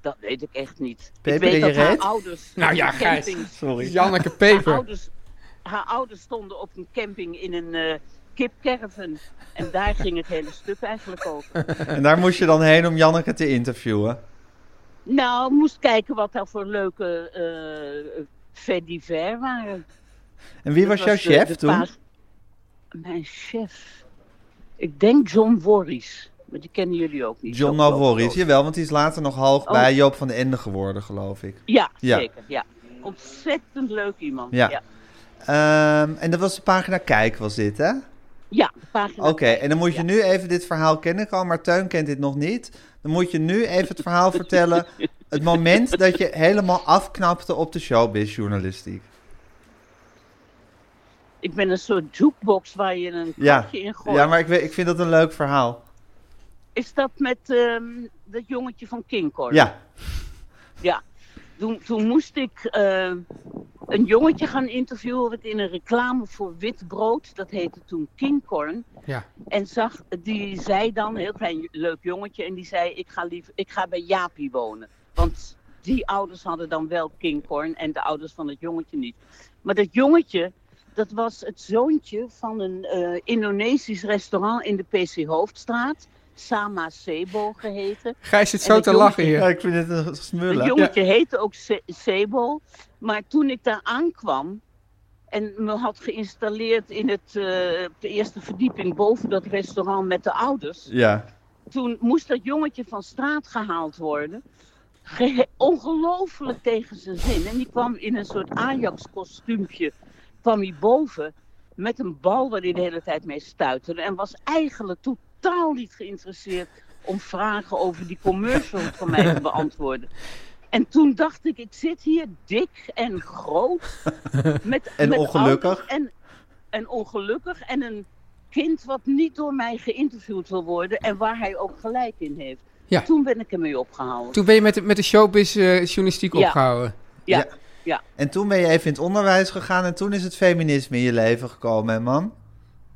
Speaker 7: Dat weet ik echt niet.
Speaker 3: Peper
Speaker 7: ik weet
Speaker 3: in je
Speaker 7: dat haar
Speaker 3: reet?
Speaker 7: ouders
Speaker 4: Nou ja,
Speaker 7: op de
Speaker 4: Gijs.
Speaker 7: camping-
Speaker 3: Sorry.
Speaker 4: Janneke
Speaker 7: haar
Speaker 4: Peper.
Speaker 7: ouders haar ouders stonden op een camping in een eh kipcaravan. En daar ging het hele stuk eigenlijk over.
Speaker 3: En daar moest je dan heen om Janneke te interviewen.
Speaker 7: Nou, moest kijken wat daar voor leuke eh faits divers waren.
Speaker 3: En wie was
Speaker 7: Dat
Speaker 3: jouw
Speaker 7: de-
Speaker 3: chef
Speaker 7: de
Speaker 3: toen?
Speaker 7: paas- Mijn chef? Ik denk John Worries. Maar die kennen jullie ook niet.
Speaker 3: John
Speaker 7: zo groot.
Speaker 3: Norris. Jawel, want die is later nog half
Speaker 7: Oh.
Speaker 3: bij Joop van de Ende geworden, geloof ik.
Speaker 7: Ja,
Speaker 3: Ja.
Speaker 7: zeker. Ja. Ontzettend leuk iemand.
Speaker 3: Ja.
Speaker 7: Ja, ja.
Speaker 3: Ehm, en dat was de pagina Kijk, was dit, hè?
Speaker 7: de pagina.
Speaker 3: Oké, en dan moet je nu even dit verhaal kennen. Ik al, maar Teun kent dit nog niet. Dan moet je nu even het
Speaker 7: [LAUGHS]
Speaker 3: verhaal vertellen. Het moment dat je helemaal afknapte op de showbiz-journalistiek.
Speaker 7: Ik ben een soort jukebox waar je een
Speaker 3: Ja,
Speaker 7: kaartje in gooit.
Speaker 3: ja maar ik, we- ik vind dat een leuk verhaal.
Speaker 7: Is dat met ehm, dat jongetje van Kinkor?
Speaker 3: Ja,
Speaker 7: Ja. Toen, toen moest ik eh, een jongetje gaan interviewen wat in een reclame voor wit brood, dat heette toen Kingcorn,
Speaker 4: Ja.
Speaker 7: en zag, die zei dan, een heel klein leuk jongetje, en die zei ik ga, lief, ik ga bij Jaapie wonen. Want die ouders hadden dan wel Kingcorn en de ouders van het jongetje niet. Maar dat jongetje, dat was het zoontje van een eh, Indonesisch restaurant in de PC Hoofdstraat, Sama Sebo geheten.
Speaker 4: Gijs zit
Speaker 7: En
Speaker 4: zo
Speaker 7: dat
Speaker 4: te
Speaker 7: jongetje-
Speaker 4: lachen hier.
Speaker 3: ja ik vind het een
Speaker 7: het
Speaker 3: smullen.
Speaker 7: jongetje heette ook Se- Sebo. Maar toen ik daar aankwam en me had geïnstalleerd in het, eh, op de eerste verdieping boven dat restaurant met de ouders.
Speaker 3: Ja,
Speaker 7: Toen moest dat jongetje van straat gehaald worden. Gehe- ongelooflijk tegen zijn zin. En die kwam in een soort Ajax-kostuumpje kwam hij boven met een bal waar hij de hele tijd mee stuiterde. En was eigenlijk totaal niet geïnteresseerd om vragen over die commercial van mij te beantwoorden. En toen dacht ik, ik zit hier dik en
Speaker 3: [LAUGHS]
Speaker 7: groot. Met,
Speaker 3: En
Speaker 7: met
Speaker 3: ongelukkig.
Speaker 7: ouders En, en ongelukkig. En een kind wat niet door mij geïnterviewd wil worden. En waar hij ook gelijk in heeft.
Speaker 4: Ja.
Speaker 7: Toen ben ik ermee opgehouden.
Speaker 4: Toen ben je met de, met de showbiz eh, journalistiek
Speaker 7: Ja.
Speaker 4: opgehouden.
Speaker 7: ja.
Speaker 3: Ja. En toen ben je even in het onderwijs gegaan en toen is het feminisme in je leven gekomen, hè, man?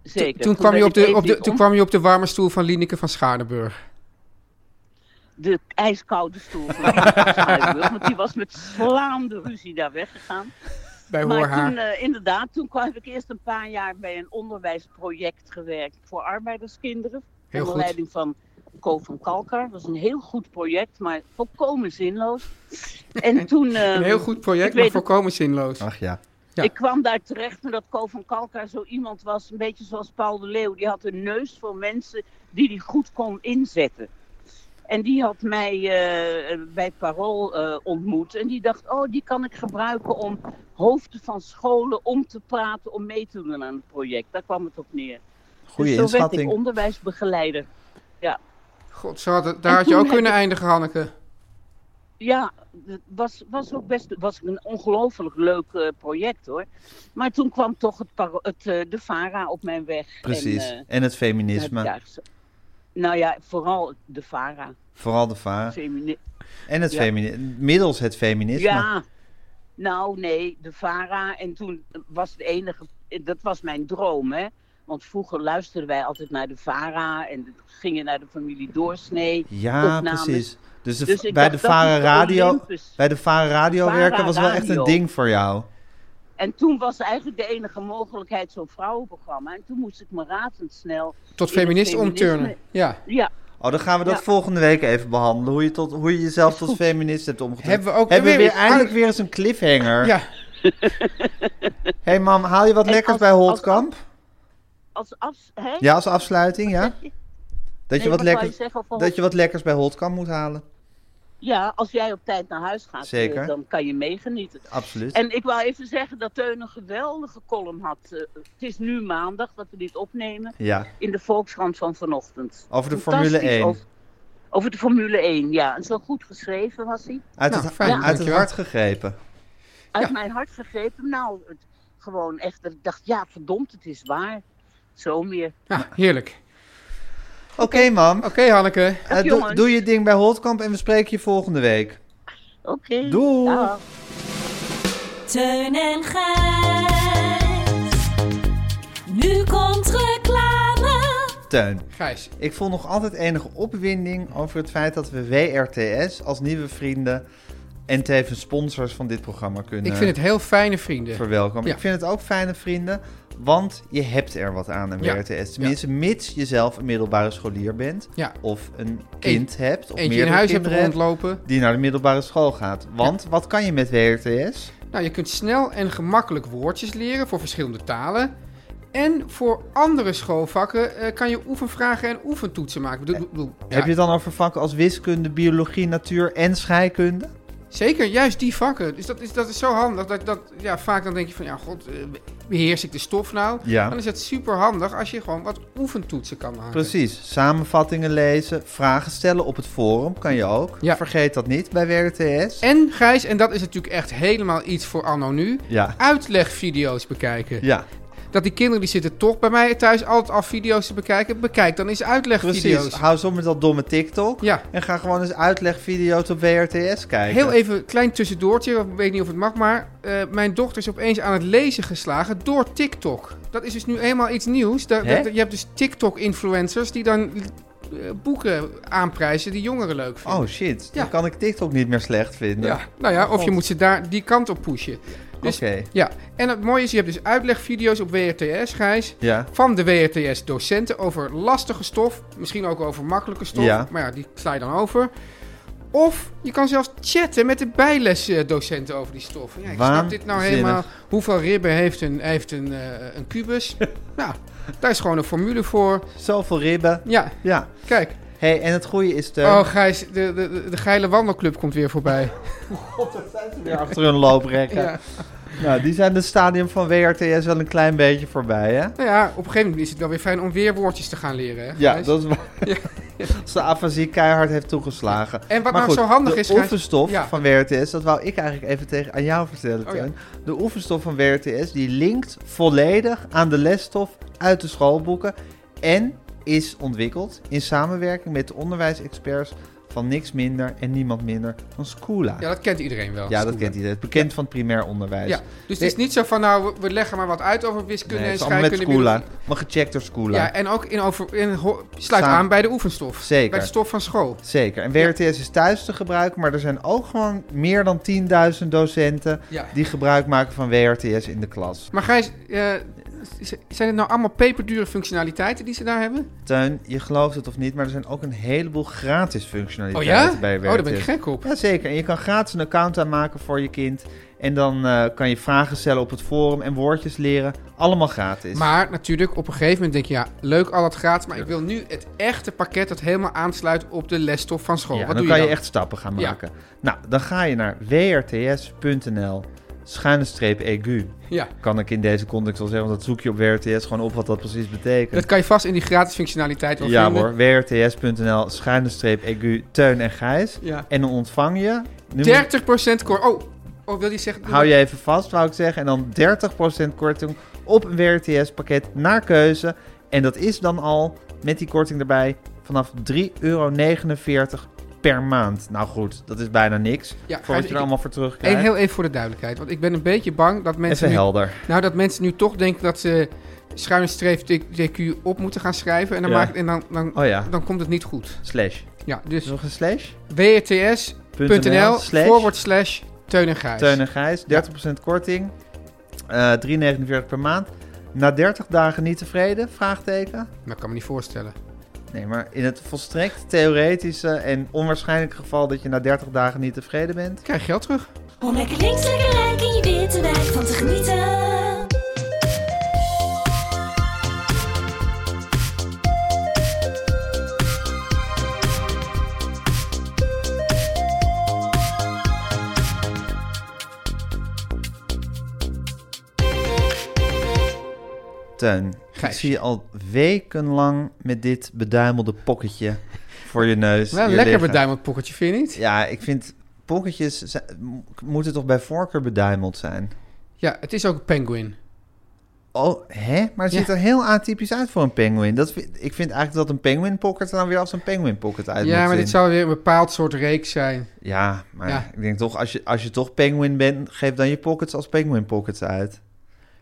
Speaker 7: zeker.
Speaker 4: Toen, kwam
Speaker 7: ben
Speaker 4: je op
Speaker 7: ik
Speaker 4: de, op
Speaker 7: even
Speaker 4: de,
Speaker 7: die
Speaker 4: toen
Speaker 7: om-
Speaker 4: kwam je op de warme stoel van Lineke van Schaardenburg.
Speaker 7: de ijskoude stoel van de [LAUGHS] Schuilenburg, Want die was met slaande ruzie daar weggegaan.
Speaker 4: Bij
Speaker 7: Maar
Speaker 4: Hoorhaar.
Speaker 7: toen, eh, inderdaad, toen kwam, heb ik eerst een paar jaar bij een onderwijsproject gewerkt voor arbeiderskinderen.
Speaker 4: Heel
Speaker 7: onder
Speaker 4: goed.
Speaker 7: leiding van Ko van Kalkar. Dat was een heel goed project, maar volkomen
Speaker 4: [LAUGHS]
Speaker 7: zinloos. En toen... eh,
Speaker 4: Een heel goed project,
Speaker 7: ik
Speaker 4: maar
Speaker 7: weet het-
Speaker 4: volkomen zinloos.
Speaker 3: Ach ja.
Speaker 4: Ja.
Speaker 7: ik kwam daar terecht omdat Ko van Kalkar zo iemand was, een beetje zoals Paul de Leeuw. Die had een neus voor mensen die hij goed kon inzetten. En die had mij eh, bij Parool eh, ontmoet. En die dacht, oh, die kan ik gebruiken om hoofden van scholen om te praten, om mee te doen aan het project. Daar kwam het op neer.
Speaker 3: Goeie
Speaker 7: dus zo werd ik
Speaker 3: inschatting.
Speaker 7: onderwijsbegeleider.
Speaker 4: God, zo had het- daar had je
Speaker 7: toen
Speaker 4: ook
Speaker 7: heb
Speaker 4: kunnen
Speaker 7: ik-
Speaker 4: eindigen, Hanneke.
Speaker 7: Ja, het was, was ook best was een ongelooflijk leuk eh, project hoor. Maar toen kwam toch het, paro- het, eh, de VARA op mijn weg.
Speaker 3: Precies.
Speaker 7: En, eh,
Speaker 3: En het
Speaker 7: heb ik
Speaker 3: feminisme.
Speaker 7: daar gez- Nou ja, vooral de VARA.
Speaker 3: Vooral de vaar.
Speaker 7: Femini-
Speaker 3: En het
Speaker 7: Ja.
Speaker 3: feminisme. Middels het feminisme.
Speaker 7: ja, nou nee, de VARA. En toen was het enige, dat was mijn droom hè. Want vroeger luisterden wij altijd naar de VARA en gingen naar de familie Doorsnee.
Speaker 3: Ja,
Speaker 7: opnames.
Speaker 3: precies. Dus, de-
Speaker 7: Dus ik
Speaker 3: bij,
Speaker 7: dacht,
Speaker 3: de
Speaker 7: dat is
Speaker 3: Varen
Speaker 7: de
Speaker 3: radio,
Speaker 7: Olympus.
Speaker 3: bij de Varen Radio
Speaker 7: Varen
Speaker 3: werken was wel echt een
Speaker 7: Radio.
Speaker 3: ding voor jou.
Speaker 7: En toen was eigenlijk de enige mogelijkheid zo'n vrouwenprogramma. En toen moest ik me razendsnel.
Speaker 4: Tot
Speaker 7: in het
Speaker 4: feminist omturnen.
Speaker 7: feminisme-
Speaker 4: Ja.
Speaker 7: Ja,
Speaker 3: Oh, dan gaan we dat
Speaker 7: Ja.
Speaker 3: volgende week even behandelen. Hoe je, tot, hoe je jezelf tot feminist hebt omgetrokken.
Speaker 4: Hebben we ook weer
Speaker 3: weer
Speaker 4: iets
Speaker 3: eindelijk
Speaker 4: uit-
Speaker 3: weer eens een cliffhanger.
Speaker 4: ja.
Speaker 3: Hé hey mam, haal je wat
Speaker 7: En
Speaker 3: lekkers
Speaker 7: als-
Speaker 3: bij
Speaker 7: als-
Speaker 3: Holtkamp?
Speaker 7: als af. Hè?
Speaker 3: Ja, als afsluiting,
Speaker 7: [LAUGHS]
Speaker 3: ja? Dat, je,
Speaker 7: Nee,
Speaker 3: wat
Speaker 7: wat wou je
Speaker 3: lekkers,
Speaker 7: zeggen over
Speaker 3: dat je wat lekkers bij Holtkamp moet halen.
Speaker 7: Ja, als jij op tijd naar huis gaat, eh,
Speaker 3: Zeker.
Speaker 7: dan kan je meegenieten.
Speaker 3: Absoluut.
Speaker 7: En ik wou even zeggen dat Teun een geweldige column had. Eh, het is nu maandag dat we dit opnemen.
Speaker 3: Ja,
Speaker 7: In de Volkskrant van vanochtend.
Speaker 3: Over de
Speaker 7: Fantastisch,
Speaker 3: Formule 1.
Speaker 7: Over, over de Formule 1, ja. En zo goed geschreven was hij.
Speaker 3: uit,
Speaker 4: Nou,
Speaker 3: het,
Speaker 4: fijn,
Speaker 3: uit het
Speaker 4: dankjewel.
Speaker 3: hart gegrepen.
Speaker 7: Uit
Speaker 4: Ja.
Speaker 7: mijn hart gegrepen. Nou, het, gewoon echt. dat Ik dacht, ja, verdomd, het is waar. Zo meer.
Speaker 4: Ja, heerlijk.
Speaker 3: Oké mam,
Speaker 4: Oké, Hanneke.
Speaker 3: Eh,
Speaker 7: Dag,
Speaker 3: doe,
Speaker 7: jongens.
Speaker 3: doe je ding bij Holtkamp en we spreken je volgende week.
Speaker 7: Oké.
Speaker 3: Doei.
Speaker 7: dag.
Speaker 6: Teun en Gijs. Nu komt reclame.
Speaker 3: Teun.
Speaker 4: Gijs.
Speaker 3: Ik voel nog altijd enige opwinding over het feit dat we WRTS als nieuwe vrienden En tevens sponsors van dit programma kunnen
Speaker 4: Ik vind het heel fijne vrienden.
Speaker 3: verwelkomen.
Speaker 4: Ja.
Speaker 3: Ik vind het ook fijne vrienden, want je hebt er wat aan een
Speaker 4: Ja.
Speaker 3: WRTS. Tenminste, mits je zelf een middelbare scholier bent.
Speaker 4: Ja.
Speaker 3: Of een kind hebt. Of
Speaker 4: Eentje in huis hebt
Speaker 3: kinderen
Speaker 4: rondlopen.
Speaker 3: Die naar de middelbare school gaat. Want wat kan je met WRTS?
Speaker 4: Nou, je kunt snel en gemakkelijk woordjes leren voor verschillende talen. En voor andere schoolvakken eh, kan je oefenvragen en oefentoetsen maken. Ik bedoel- bedoel, ja,
Speaker 3: Heb je het dan over vakken als wiskunde, biologie, natuur en scheikunde?
Speaker 4: Zeker, juist die vakken. Dus dat is, dat is zo handig. Dat, dat, ja, vaak dan denk je van, ja, god, eh, beheers ik de stof nou?
Speaker 3: Ja.
Speaker 4: Dan is het super handig als je gewoon wat oefentoetsen kan maken.
Speaker 3: Precies. Samenvattingen lezen, vragen stellen op het forum kan je ook.
Speaker 4: Ja.
Speaker 3: Vergeet dat niet bij WRTS.
Speaker 4: En Gijs, en dat is natuurlijk echt helemaal iets voor anno nu,
Speaker 3: Ja.
Speaker 4: uitlegvideo's bekijken. [LAUGHS]
Speaker 3: Ja,
Speaker 4: Dat die kinderen die zitten toch bij mij thuis altijd al video's te bekijken. Bekijk dan eens
Speaker 3: precies.
Speaker 4: uitlegvideo's.
Speaker 3: Hou zo met dat domme TikTok.
Speaker 4: Ja.
Speaker 3: En ga gewoon eens uitlegvideo's op WRTS kijken.
Speaker 4: Heel even een klein tussendoortje, ik weet niet of het mag, maar eh, mijn dochter is opeens aan het lezen geslagen door TikTok. Dat is dus nu eenmaal iets nieuws. Daar-
Speaker 3: Hè?
Speaker 4: daar- je hebt dus TikTok-influencers die dan eh, boeken aanprijzen die jongeren leuk vinden.
Speaker 3: Oh shit,
Speaker 4: Ja.
Speaker 3: dan kan ik TikTok niet meer slecht vinden.
Speaker 4: ja. Nou ja, of je
Speaker 3: Oh, God.
Speaker 4: moet ze daar die kant op pushen. Dus,
Speaker 3: Oké.
Speaker 4: Ja, en het mooie is, je hebt dus uitlegvideo's op WRTS, Gijs.
Speaker 3: Ja.
Speaker 4: Van de WRTS-docenten over lastige stof. Misschien ook over makkelijke stof.
Speaker 3: Ja.
Speaker 4: Maar ja, die sla je dan over. Of je kan zelfs chatten met de bijlesdocenten over die stof. Ja, ik snap dit nou
Speaker 3: Waanzinnig.
Speaker 4: helemaal. Hoeveel ribben heeft een, heeft een, eh, een
Speaker 3: [LAUGHS]
Speaker 4: kubus? nou, daar is gewoon een formule voor.
Speaker 3: Zoveel ribben.
Speaker 4: Ja,
Speaker 3: Ja.
Speaker 4: kijk.
Speaker 3: hey, en het goede is de...
Speaker 4: Oh, Gijs, de, de, de, de geile wandelclub komt weer voorbij.
Speaker 3: weer [LAUGHS] achter hun looprekken.
Speaker 4: Ja.
Speaker 3: Nou, die zijn het stadium van WRTS wel een klein beetje voorbij, hè?
Speaker 4: Nou ja, op een gegeven moment is het wel weer fijn om weer woordjes te gaan leren. Hè,
Speaker 3: Ja,
Speaker 4: Gijs?
Speaker 3: dat is
Speaker 4: [LAUGHS]
Speaker 3: waar. [LAUGHS] Als de afasie keihard heeft toegeslagen.
Speaker 4: En
Speaker 3: maar
Speaker 4: wat nou
Speaker 3: goed,
Speaker 4: zo handig is,
Speaker 3: De
Speaker 4: Gijs-
Speaker 3: oefenstof
Speaker 4: Ja.
Speaker 3: van WRTS, dat wou ik eigenlijk even tegen aan jou vertellen,
Speaker 4: Oh ja.
Speaker 3: Teun. De oefenstof van WRTS, die linkt volledig aan de lesstof uit de schoolboeken. En is ontwikkeld in samenwerking met de onderwijsexperts van niks minder en niemand minder dan Scula.
Speaker 4: ja, dat kent iedereen wel.
Speaker 3: Ja, dat kent iedereen. Bekend van het primair onderwijs.
Speaker 4: Ja, dus het is niet zo van, nou, we- we leggen maar wat uit over wiskunde
Speaker 3: Nee, het
Speaker 4: en
Speaker 3: is allemaal met
Speaker 4: scheikunde.
Speaker 3: Scula.
Speaker 4: biologie.
Speaker 3: Maar gecheckt door Scula.
Speaker 4: Ja, en ook in over, in, ho- sluit
Speaker 3: Samen.
Speaker 4: aan bij de oefenstof.
Speaker 3: Zeker.
Speaker 4: Bij de stof van school.
Speaker 3: Zeker. En WRTS is thuis te gebruiken, maar er zijn ook gewoon meer dan 10.000 docenten
Speaker 4: Ja.
Speaker 3: die gebruik maken van WRTS in de klas.
Speaker 4: Maar Gijs, eh, z- zijn het nou allemaal peperdure functionaliteiten die ze daar hebben?
Speaker 3: Tuin, je gelooft het of niet, maar er zijn ook een heleboel gratis
Speaker 4: Oh
Speaker 3: functionaliteiten
Speaker 4: ja?
Speaker 3: bij
Speaker 4: Oh,
Speaker 3: WRTS.
Speaker 4: daar ben ik gek op.
Speaker 3: Ja, zeker. En je kan gratis een account aanmaken voor je kind. En dan eh, kan je vragen stellen op het forum en woordjes leren. Allemaal gratis.
Speaker 4: Maar natuurlijk, op een gegeven moment denk je, ja, leuk al dat gratis, maar ik wil nu het echte pakket dat helemaal aansluit op de lesstof van school.
Speaker 3: Ja,
Speaker 4: Wat
Speaker 3: dan
Speaker 4: doe
Speaker 3: kan
Speaker 4: je
Speaker 3: je,
Speaker 4: dan?
Speaker 3: echt stappen gaan
Speaker 4: Ja.
Speaker 3: maken. Nou, dan ga je naar wrts.nl schuine streep E egu.
Speaker 4: Ja,
Speaker 3: Kan ik in deze context wel zeggen, want dat zoek je op WRTS gewoon op wat dat precies betekent.
Speaker 4: dat kan je vast in die gratis functionaliteit wel
Speaker 3: Ja
Speaker 4: vinden.
Speaker 3: hoor, wrts.nl schuine streep egu Teun en Gijs.
Speaker 4: Ja.
Speaker 3: En dan ontvang je, nu
Speaker 4: 30% kor. Oh, oh, wil je zeggen...
Speaker 3: moet- hou je even vast wou ik zeggen, en dan 30% korting op een WRTS pakket naar keuze. En dat is dan al, met die korting erbij, vanaf 3,49 euro per maand. Nou goed, dat is bijna niks
Speaker 4: Ja,
Speaker 3: voor
Speaker 4: Gijs,
Speaker 3: wat je
Speaker 4: ik-
Speaker 3: er allemaal voor terugkrijgt.
Speaker 4: En heel even voor de duidelijkheid, want ik ben een beetje bang dat mensen,
Speaker 3: Even
Speaker 4: nu,
Speaker 3: helder.
Speaker 4: nou, dat mensen nu toch denken dat ze schuine streef DQ op moeten gaan schrijven. En dan,
Speaker 3: Ja.
Speaker 4: maakt, en dan, dan,
Speaker 3: Oh ja.
Speaker 4: dan komt het niet goed.
Speaker 3: Slash.
Speaker 4: Ja,
Speaker 3: Is
Speaker 4: dus
Speaker 3: er nog een slash?
Speaker 4: wrts.nl
Speaker 3: slash-
Speaker 4: forward slash Teun en Gijs.
Speaker 3: Teun en Gijs, 30% korting. Eh, 3,49 per maand. Na 30 dagen niet tevreden? Vraagteken.
Speaker 4: Maar ik Nou, kan me niet voorstellen.
Speaker 3: Nee, maar in het volstrekt theoretische en onwaarschijnlijke geval dat je na 30 dagen niet tevreden bent.
Speaker 4: Ik krijg geld terug.
Speaker 6: Om lekker links, lekker rijk in je witte wijk van te genieten.
Speaker 3: Teun, ik
Speaker 4: Gijs.
Speaker 3: zie je al wekenlang met dit beduimelde pocketje voor je
Speaker 4: [LAUGHS]
Speaker 3: neus.
Speaker 4: Wel een
Speaker 3: hier
Speaker 4: lekker
Speaker 3: liggen.
Speaker 4: beduimeld pocketje, vind je niet?
Speaker 3: Ja, ik vind pocketjes zijn- mo- moeten toch bij voorkeur beduimeld zijn?
Speaker 4: Ja, het is ook een penguin.
Speaker 3: Oh, hè? Maar het ziet
Speaker 4: Ja.
Speaker 3: er heel atypisch uit voor een penguin. Dat, vind- ik vind eigenlijk dat een penguin pocket er dan weer als een penguin pocket uit moet
Speaker 4: Ja, maar
Speaker 3: zien.
Speaker 4: dit zou weer een bepaald soort reeks zijn.
Speaker 3: Ja, maar
Speaker 4: Ja.
Speaker 3: ik denk toch, als je, als je toch penguin bent, geef dan je pockets als penguin pockets uit.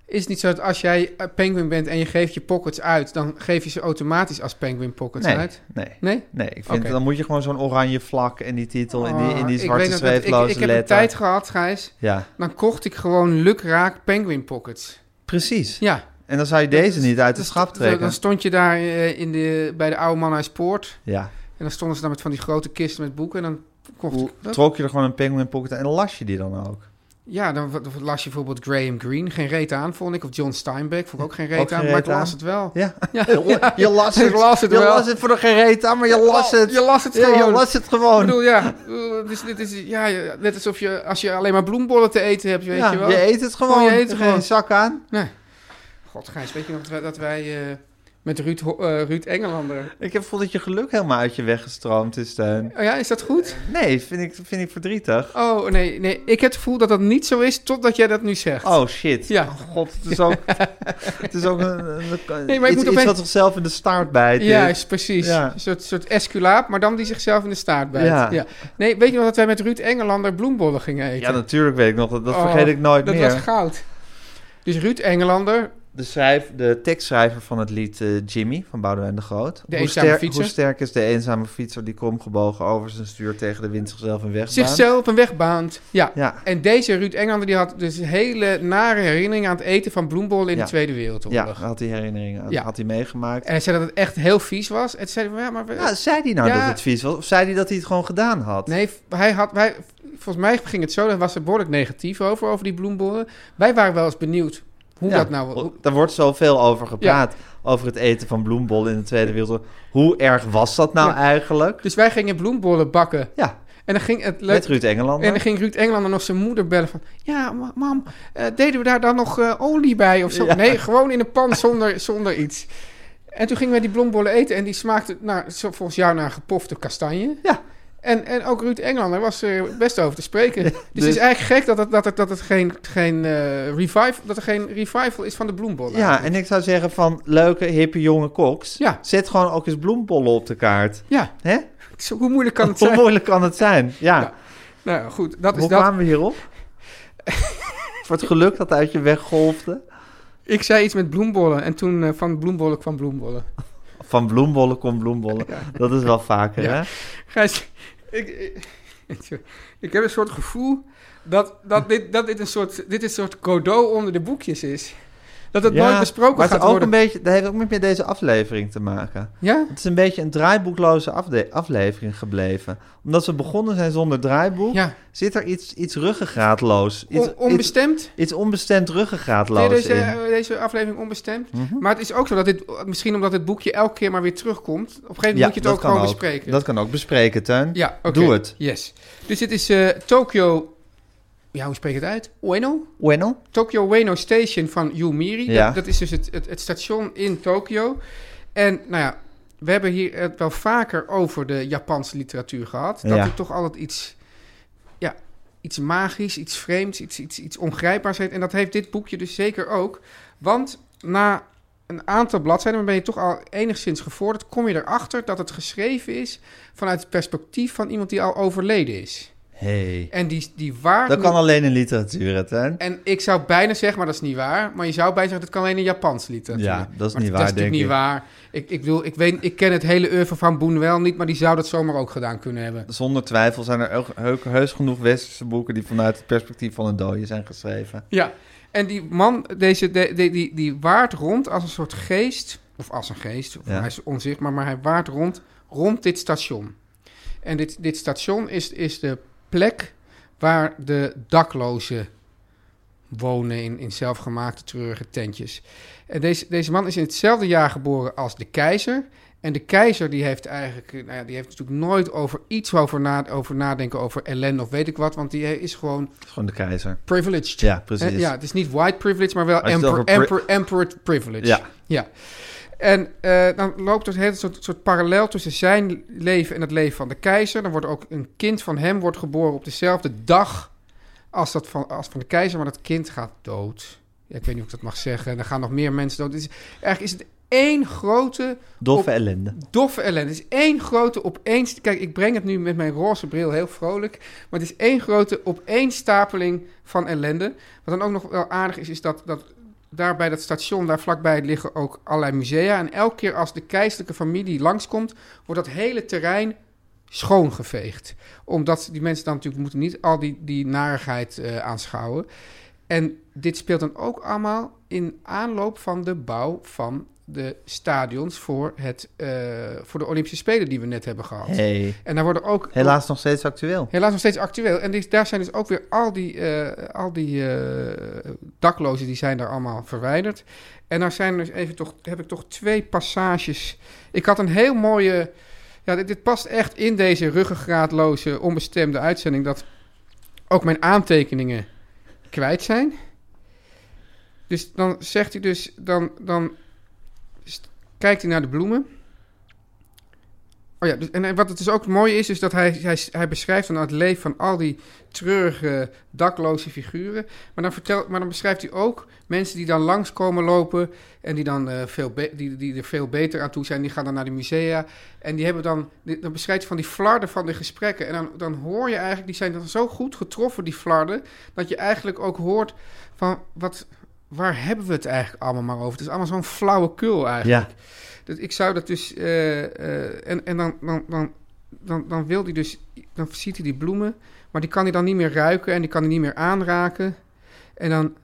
Speaker 4: Is het niet zo dat als jij eh, penguin bent en je geeft je pockets uit, dan geef je ze automatisch als penguin pockets
Speaker 3: Nee,
Speaker 4: uit?
Speaker 3: nee.
Speaker 4: Nee?
Speaker 3: Nee, ik vind
Speaker 4: Oké.
Speaker 3: dan moet je gewoon zo'n oranje vlak en die titel en die, en
Speaker 4: Ah,
Speaker 3: die
Speaker 4: ik
Speaker 3: zwarte
Speaker 4: weet nog dat ik-
Speaker 3: zweefloze
Speaker 4: Ik, ik heb een
Speaker 3: letter.
Speaker 4: tijd gehad, Gijs,
Speaker 3: Ja,
Speaker 4: dan kocht ik gewoon lukraak penguin pockets.
Speaker 3: precies.
Speaker 4: Ja.
Speaker 3: En dan zou je deze niet uit de schap
Speaker 4: Dan,
Speaker 3: trekken.
Speaker 4: dan stond je daar eh, in de, bij de oude Mannhuispoort
Speaker 3: Ja,
Speaker 4: en dan stonden ze daar met van die grote kisten met boeken en dan kocht ik... dat.
Speaker 3: trok je er gewoon een penguin pocket en las je die dan ook.
Speaker 4: Ja, dan w- w- las je bijvoorbeeld Graham Greene, geen reet aan vond ik, of John Steinbeck, vond ik ook geen reet
Speaker 3: Ook geen
Speaker 4: aan, maar ik
Speaker 3: reet aan.
Speaker 4: las het wel.
Speaker 3: Ja,
Speaker 4: Ja.
Speaker 3: je las
Speaker 4: [LAUGHS] Ik
Speaker 3: het.
Speaker 4: las het
Speaker 3: je
Speaker 4: wel.
Speaker 3: las het voor de gereed aan, maar je las het.
Speaker 4: Oh, Je las het
Speaker 3: Ja,
Speaker 4: gewoon.
Speaker 3: je las het
Speaker 4: Ik
Speaker 3: gewoon.
Speaker 4: bedoel, ja, ik bedoel, het is, het is, ja, ja, net alsof je, als je alleen maar bloembollen te eten hebt, weet
Speaker 3: Ja,
Speaker 4: je wel.
Speaker 3: je eet het gewoon.
Speaker 4: Gewoon, je eet
Speaker 3: Er
Speaker 4: het
Speaker 3: geen
Speaker 4: gewoon.
Speaker 3: zak aan.
Speaker 4: God, Gijs, weet je nog dat wij, dat wij eh, met Ruud, Ho- eh, Ruud Engelander...
Speaker 3: Ik heb gevoel dat je geluk helemaal uit je weggestroomd is, Steun.
Speaker 4: Oh ja, is dat goed?
Speaker 3: Nee, vind ik, vind ik verdrietig.
Speaker 4: Oh, nee, nee, ik heb het gevoel dat dat niet zo is, totdat jij dat nu zegt.
Speaker 3: Oh shit.
Speaker 4: Ja.
Speaker 3: God, het is
Speaker 4: [LAUGHS]
Speaker 3: ook, het is ook een, een-
Speaker 4: Nee, maar
Speaker 3: iets,
Speaker 4: ik moet
Speaker 3: iets
Speaker 4: opeens-
Speaker 3: wat zichzelf in de staart bijt.
Speaker 4: Juist, precies.
Speaker 3: Ja.
Speaker 4: Een soort, soort esculaap, maar dan die zichzelf in de staart bijt.
Speaker 3: Ja.
Speaker 4: Ja. Nee, weet je nog dat wij met Ruud Engelander bloembollen gingen eten?
Speaker 3: ja, natuurlijk weet ik nog. Dat, dat
Speaker 4: Oh,
Speaker 3: vergeet ik nooit
Speaker 4: dat
Speaker 3: meer.
Speaker 4: was goud. Dus Ruud Engelander,
Speaker 3: De, schrijf, de tekstschrijver van het lied eh, Jimmy van Boudewijn de Groot.
Speaker 4: De
Speaker 3: hoe,
Speaker 4: eenzame
Speaker 3: sterk,
Speaker 4: fietser.
Speaker 3: hoe sterk is de eenzame fietser die kromgebogen over zijn stuur tegen de wind zichzelf een weg
Speaker 4: zichzelf een weg baant. Ja.
Speaker 3: Ja,
Speaker 4: En deze Ruud Engelander die had dus hele nare herinneringen aan het eten van bloembollen in
Speaker 3: Ja.
Speaker 4: de Tweede
Speaker 3: ja,
Speaker 4: Wereldoorlog.
Speaker 3: had hij herinneringen aan.
Speaker 4: Ja.
Speaker 3: Had hij meegemaakt.
Speaker 4: En hij zei dat het echt heel vies was. En toen zei hij, ja, maar... we-
Speaker 3: Ja, zei hij nou
Speaker 4: Ja.
Speaker 3: dat het vies was? Of zei hij dat hij het gewoon gedaan had?
Speaker 4: Nee, v- hij had, wij, volgens mij ging het zo, daar was er behoorlijk negatief over, over die bloembollen. Wij waren wel eens benieuwd hoe
Speaker 3: Ja,
Speaker 4: dat nou... hoe-
Speaker 3: Daar wordt zoveel over gepraat. Over het eten van bloembollen in de Tweede Wereldoorlog. Hoe erg was dat nou
Speaker 4: Ja.
Speaker 3: eigenlijk?
Speaker 4: Dus wij gingen bloembollen bakken.
Speaker 3: Ja,
Speaker 4: En dan ging het leuk.
Speaker 3: met Ruud Engelander.
Speaker 4: En dan ging Ruud Engelander nog zijn moeder bellen van... Ja, ma- mam, eh, deden we daar dan nog eh, olie bij of zo?
Speaker 3: Ja.
Speaker 4: Nee, gewoon in een pan zonder, zonder iets. En toen gingen wij die blombollen eten en die smaakte nou, zo volgens jou naar gepofte kastanje.
Speaker 3: Ja.
Speaker 4: En, en ook Ruud Engelander was er best over te
Speaker 3: [LAUGHS]
Speaker 4: spreken. dus,
Speaker 3: dus-
Speaker 4: het is eigenlijk gek dat, het, dat, het, dat, het geen, geen, eh, revival, dat er geen revival is van de bloembollen.
Speaker 3: Ja, en ik zou zeggen van leuke, hippe, jonge koks.
Speaker 4: Ja.
Speaker 3: Zet gewoon ook eens bloembollen op de kaart.
Speaker 4: ja.
Speaker 3: Hè?
Speaker 4: Zo, hoe moeilijk kan het
Speaker 3: Hoe [LAUGHS]
Speaker 4: zijn?
Speaker 3: moeilijk kan het zijn? Ja.
Speaker 4: Ja, Nou goed, dat
Speaker 3: Hoe
Speaker 4: is dat.
Speaker 3: kwamen we hierop? Voor het geluk dat uit je weg golfde.
Speaker 4: Ik zei iets met bloembollen en toen eh, van bloembollen
Speaker 3: [LAUGHS]
Speaker 4: kwam bloembollen.
Speaker 3: Van bloembollen komt bloembollen. Dat is wel vaker,
Speaker 4: Ja.
Speaker 3: hè?
Speaker 4: Gijs, ik, ik, sorry. ik [LAUGHS] heb een soort gevoel dat, dat, dit, dat dit, een soort, dit een soort Godot onder de boekjes is. Dat het nooit besproken
Speaker 3: maar het
Speaker 4: gaat
Speaker 3: is ook
Speaker 4: worden.
Speaker 3: Een beetje, dat heeft ook met deze aflevering te maken.
Speaker 4: Ja?
Speaker 3: Het is een beetje een draaiboekloze afde- aflevering gebleven. Omdat we begonnen zijn zonder draaiboek,
Speaker 4: Ja.
Speaker 3: zit er iets, iets ruggengraatloos. Iets,
Speaker 4: On- onbestemd? eh,
Speaker 3: iets, iets onbestemd
Speaker 4: Nee,
Speaker 3: ruggengraatloos
Speaker 4: deze,
Speaker 3: in. Mhm.
Speaker 4: deze aflevering onbestemd. Maar het is ook zo dat dit, misschien omdat het boekje elke keer maar weer terugkomt, op een gegeven moment moet je het ook
Speaker 3: kan
Speaker 4: gewoon bespreken.
Speaker 3: Dat kan ook bespreken, Teun.
Speaker 4: ja, oké.
Speaker 3: Doe het.
Speaker 4: Yes. Dus dit is eh Tokyo. Ja, hoe spreek je het uit? Ueno?
Speaker 3: Bueno?
Speaker 4: Tokyo Ueno Station van Yumiri.
Speaker 3: Ja.
Speaker 4: Dat, dat is dus het, het, het station in Tokio. En nou ja, we hebben hier het wel vaker over de Japanse literatuur gehad. Dat
Speaker 3: Ja.
Speaker 4: er toch altijd iets, ja, iets magisch, iets vreemds, iets, iets, iets ongrijpbaars heeft. En dat heeft dit boekje dus zeker ook. Want na een aantal bladzijden, maar ben je toch al enigszins gevorderd, kom je erachter dat het geschreven is vanuit het perspectief van iemand die al overleden is.
Speaker 3: Hey.
Speaker 4: En die, die waar
Speaker 3: Dat kan alleen in literatuur, hè, Teun.
Speaker 4: en ik zou bijna zeggen, maar dat is niet waar. Maar je zou bijna zeggen, dat kan alleen in Japans literatuur.
Speaker 3: Ja, dat is
Speaker 4: Maar
Speaker 3: niet
Speaker 4: Dat
Speaker 3: waar,
Speaker 4: is natuurlijk
Speaker 3: denk
Speaker 4: niet waar. Ik, ik bedoel, ik, weet, ik ken het hele oeuvre van Boen wel niet, maar die zou dat zomaar ook gedaan kunnen hebben.
Speaker 3: Zonder twijfel zijn er ook heuk- heus genoeg westerse boeken die vanuit het perspectief van een dode zijn geschreven.
Speaker 4: Ja. En die man, deze, de- de- die, die waart rond als een soort geest, of als een geest, of
Speaker 3: Ja.
Speaker 4: hij is onzichtbaar, maar hij waart rond, rond dit station. En dit, dit station is, is de plek waar de daklozen wonen in, in zelfgemaakte treurige tentjes. En deze, deze man is in hetzelfde jaar geboren als de keizer. En de keizer die heeft eigenlijk, eh, nou ja, die heeft natuurlijk nooit over iets over, na, over nadenken over ellende of weet ik wat, want die is gewoon
Speaker 3: Dat is gewoon de keizer.
Speaker 4: privileged.
Speaker 3: Ja, precies.
Speaker 4: Eh, Ja, het is niet white privilege, maar wel
Speaker 3: Als je het
Speaker 4: emperor,
Speaker 3: over pri-
Speaker 4: emperor, emperor privilege.
Speaker 3: Ja.
Speaker 4: ja. En eh, dan loopt er een hele soort, soort parallel tussen zijn leven en het leven van de keizer. Dan wordt ook een kind van hem wordt geboren op dezelfde dag als dat van, als van de keizer, maar dat kind gaat dood. Ja, ik weet niet of ik dat mag zeggen. En er gaan nog meer mensen dood. Het is, eigenlijk is het één grote
Speaker 3: Doffe
Speaker 4: Op-
Speaker 3: ellende.
Speaker 4: doffe ellende. Het is één grote opeens... Kijk, ik breng het nu met mijn roze bril heel vrolijk. Maar het is één grote opeenstapeling van ellende. Wat dan ook nog wel aardig is, is dat, dat daar bij dat station, daar vlakbij liggen ook allerlei musea. En elke keer als de keizerlijke familie langskomt, wordt dat hele terrein schoongeveegd. Omdat die mensen dan natuurlijk moeten niet al die, die narigheid eh, aanschouwen. En dit speelt dan ook allemaal in aanloop van de bouw van de stadions voor, het, eh, voor de Olympische Spelen die we net hebben gehad.
Speaker 3: Hey.
Speaker 4: En daar worden ook...
Speaker 3: Helaas nog steeds actueel.
Speaker 4: Helaas nog steeds actueel. En die- daar zijn dus ook weer al die, eh, al die eh, daklozen, die zijn daar allemaal verwijderd. En daar zijn dus even toch, heb ik toch twee passages. Ik had een heel mooie... Ja, dit, dit past echt in deze ruggengraatloze, onbestemde uitzending... dat ook mijn aantekeningen kwijt zijn. Dus dan zegt hij dus... Dan, dan st- kijkt hij naar de bloemen... Oh ja, dus- en en wat het dus ook mooi is, is dat hij, hij, hij beschrijft dan het leven van al die treurige, dakloze figuren. Maar dan, vertelt, maar dan beschrijft hij ook mensen die dan langskomen lopen en die, dan, eh, veel be- die, die er veel beter aan toe zijn. Die gaan dan naar de musea en die hebben dan, die- dan beschrijft hij van die flarden van de gesprekken. En dan, dan hoor je eigenlijk, die zijn dan zo goed getroffen, die flarden, dat je eigenlijk ook hoort van wat, waar hebben we het eigenlijk allemaal maar over? Het is allemaal zo'n flauwekul eigenlijk.
Speaker 3: Ja.
Speaker 4: Dat, ik zou dat dus. eh, eh, en en dan, dan, dan, dan, dan wil hij dus. Dan ziet hij die bloemen. Maar die kan hij dan niet meer ruiken en die kan hij niet meer aanraken. En dan.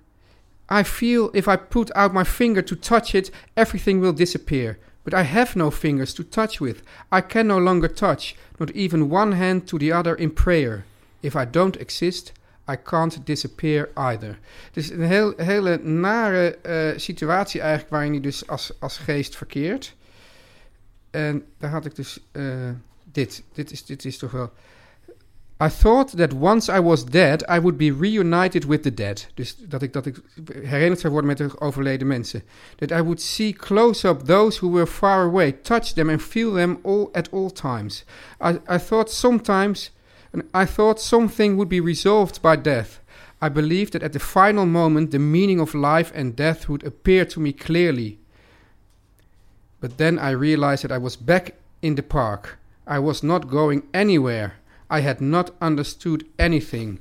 Speaker 4: I feel if I put out my finger to touch it, everything will disappear. But I have no fingers to touch with. I can no longer touch, not even one hand to the other in prayer. If I don't exist, I can't disappear either. Dus een heel, hele nare eh, situatie eigenlijk waarin hij dus als, als geest verkeert. En daar had ik dus eh, dit. Dit is, dit is toch wel... I thought that once I was dead, I would be reunited with the dead. Dus dat ik, dat ik herinnerd zou worden met de overleden mensen. That I would see close up those who were far away, touch them and feel them all at all times. I, I thought sometimes, and I thought something would be resolved by death. I believed that at the final moment the meaning of life and death would appear to me clearly. But then I realized that I was back in the park. I was not going anywhere. I had not understood anything.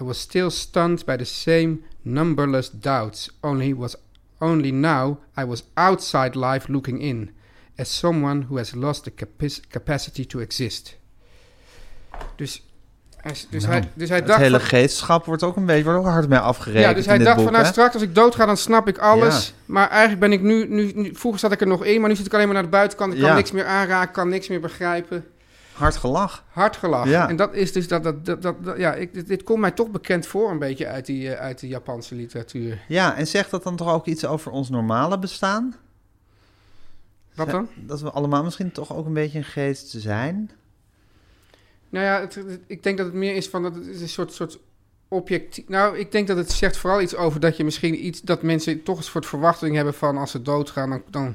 Speaker 4: I was still stunned by the same numberless doubts, only was only now I was outside life looking in, as someone who has lost the capac- capacity to exist. Dus, hij- dus, hij, dus hij
Speaker 3: Het
Speaker 4: dacht...
Speaker 3: hele
Speaker 4: van-
Speaker 3: geestschap wordt ook een beetje wordt ook hard mee afgerekend.
Speaker 4: ja, dus hij
Speaker 3: in dit
Speaker 4: dacht
Speaker 3: boek,
Speaker 4: van nou
Speaker 3: hè?
Speaker 4: straks als ik doodga dan snap ik alles.
Speaker 3: Ja.
Speaker 4: Maar eigenlijk ben ik nu, nu, nu- vroeger zat ik er nog in, maar nu zit ik alleen maar naar de buitenkant. Ik kan
Speaker 3: Ja.
Speaker 4: niks meer aanraken, kan niks meer begrijpen.
Speaker 3: Hard gelach.
Speaker 4: Hard gelachen.
Speaker 3: Ja.
Speaker 4: En dat is dus dat, dat, dat, dat, dat- ja, ik, dit, dit komt mij toch bekend voor een beetje uit die, eh, uit de Japanse literatuur.
Speaker 3: Ja, en zegt dat dan toch ook iets over ons normale bestaan?
Speaker 4: Wat dan?
Speaker 3: Dat we allemaal misschien toch ook een beetje een geest zijn?
Speaker 4: Nou ja, het- het- ik denk dat het meer is van dat het is een soort, soort objectief. Nou, ik denk dat het zegt vooral iets over dat je misschien iets dat mensen toch een soort verwachting hebben van als ze doodgaan, dan, dan,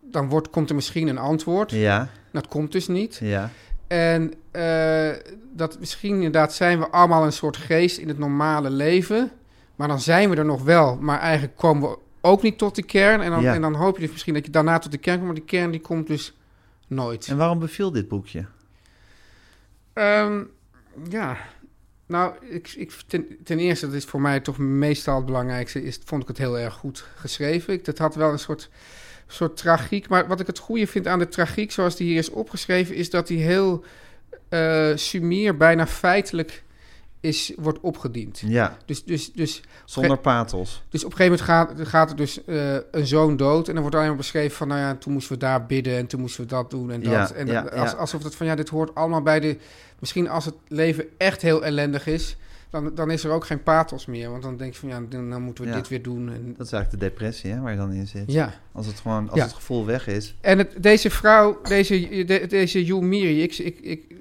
Speaker 4: dan wordt, komt er misschien een antwoord.
Speaker 3: Ja,
Speaker 4: Dat komt dus niet.
Speaker 3: ja.
Speaker 4: En eh, dat misschien inderdaad zijn we allemaal een soort geest in het normale leven. Maar dan zijn we er nog wel. Maar eigenlijk komen we ook niet tot de kern. En dan,
Speaker 3: Ja.
Speaker 4: en dan hoop je dus misschien dat je daarna tot de kern komt. Maar die kern die komt dus nooit.
Speaker 3: En waarom beviel dit boekje?
Speaker 4: Ehm, ja. Nou, ik, ik, ten, ten eerste, dat is voor mij toch meestal het belangrijkste, is, vond ik het heel erg goed geschreven. Ik, dat had wel een soort, soort tragiek. Maar wat ik het goede vind aan de tragiek, zoals die hier is opgeschreven, is dat die heel eh sumier, bijna feitelijk is, wordt opgediend.
Speaker 3: Ja,
Speaker 4: Dus, dus, dus
Speaker 3: zonder patels.
Speaker 4: dus op een gegeven moment gaat, gaat er dus eh, een zoon dood. En dan wordt alleen maar beschreven van, nou ja, toen moesten we daar bidden en toen moesten we dat doen en dat.
Speaker 3: Ja,
Speaker 4: en
Speaker 3: ja,
Speaker 4: als,
Speaker 3: ja.
Speaker 4: alsof dat van, ja, dit hoort allemaal bij de... Misschien als het leven echt heel ellendig is, dan, dan is er ook geen pathos meer. Want dan denk je van, ja, dan, dan moeten we
Speaker 3: Ja.
Speaker 4: dit weer doen. En,
Speaker 3: Dat is eigenlijk de depressie hè, waar je dan in zit.
Speaker 4: ja.
Speaker 3: Als het gewoon, als
Speaker 4: Ja.
Speaker 3: het gevoel weg is.
Speaker 4: En het, deze vrouw, deze, de- deze Yumiri, ik, ik, ik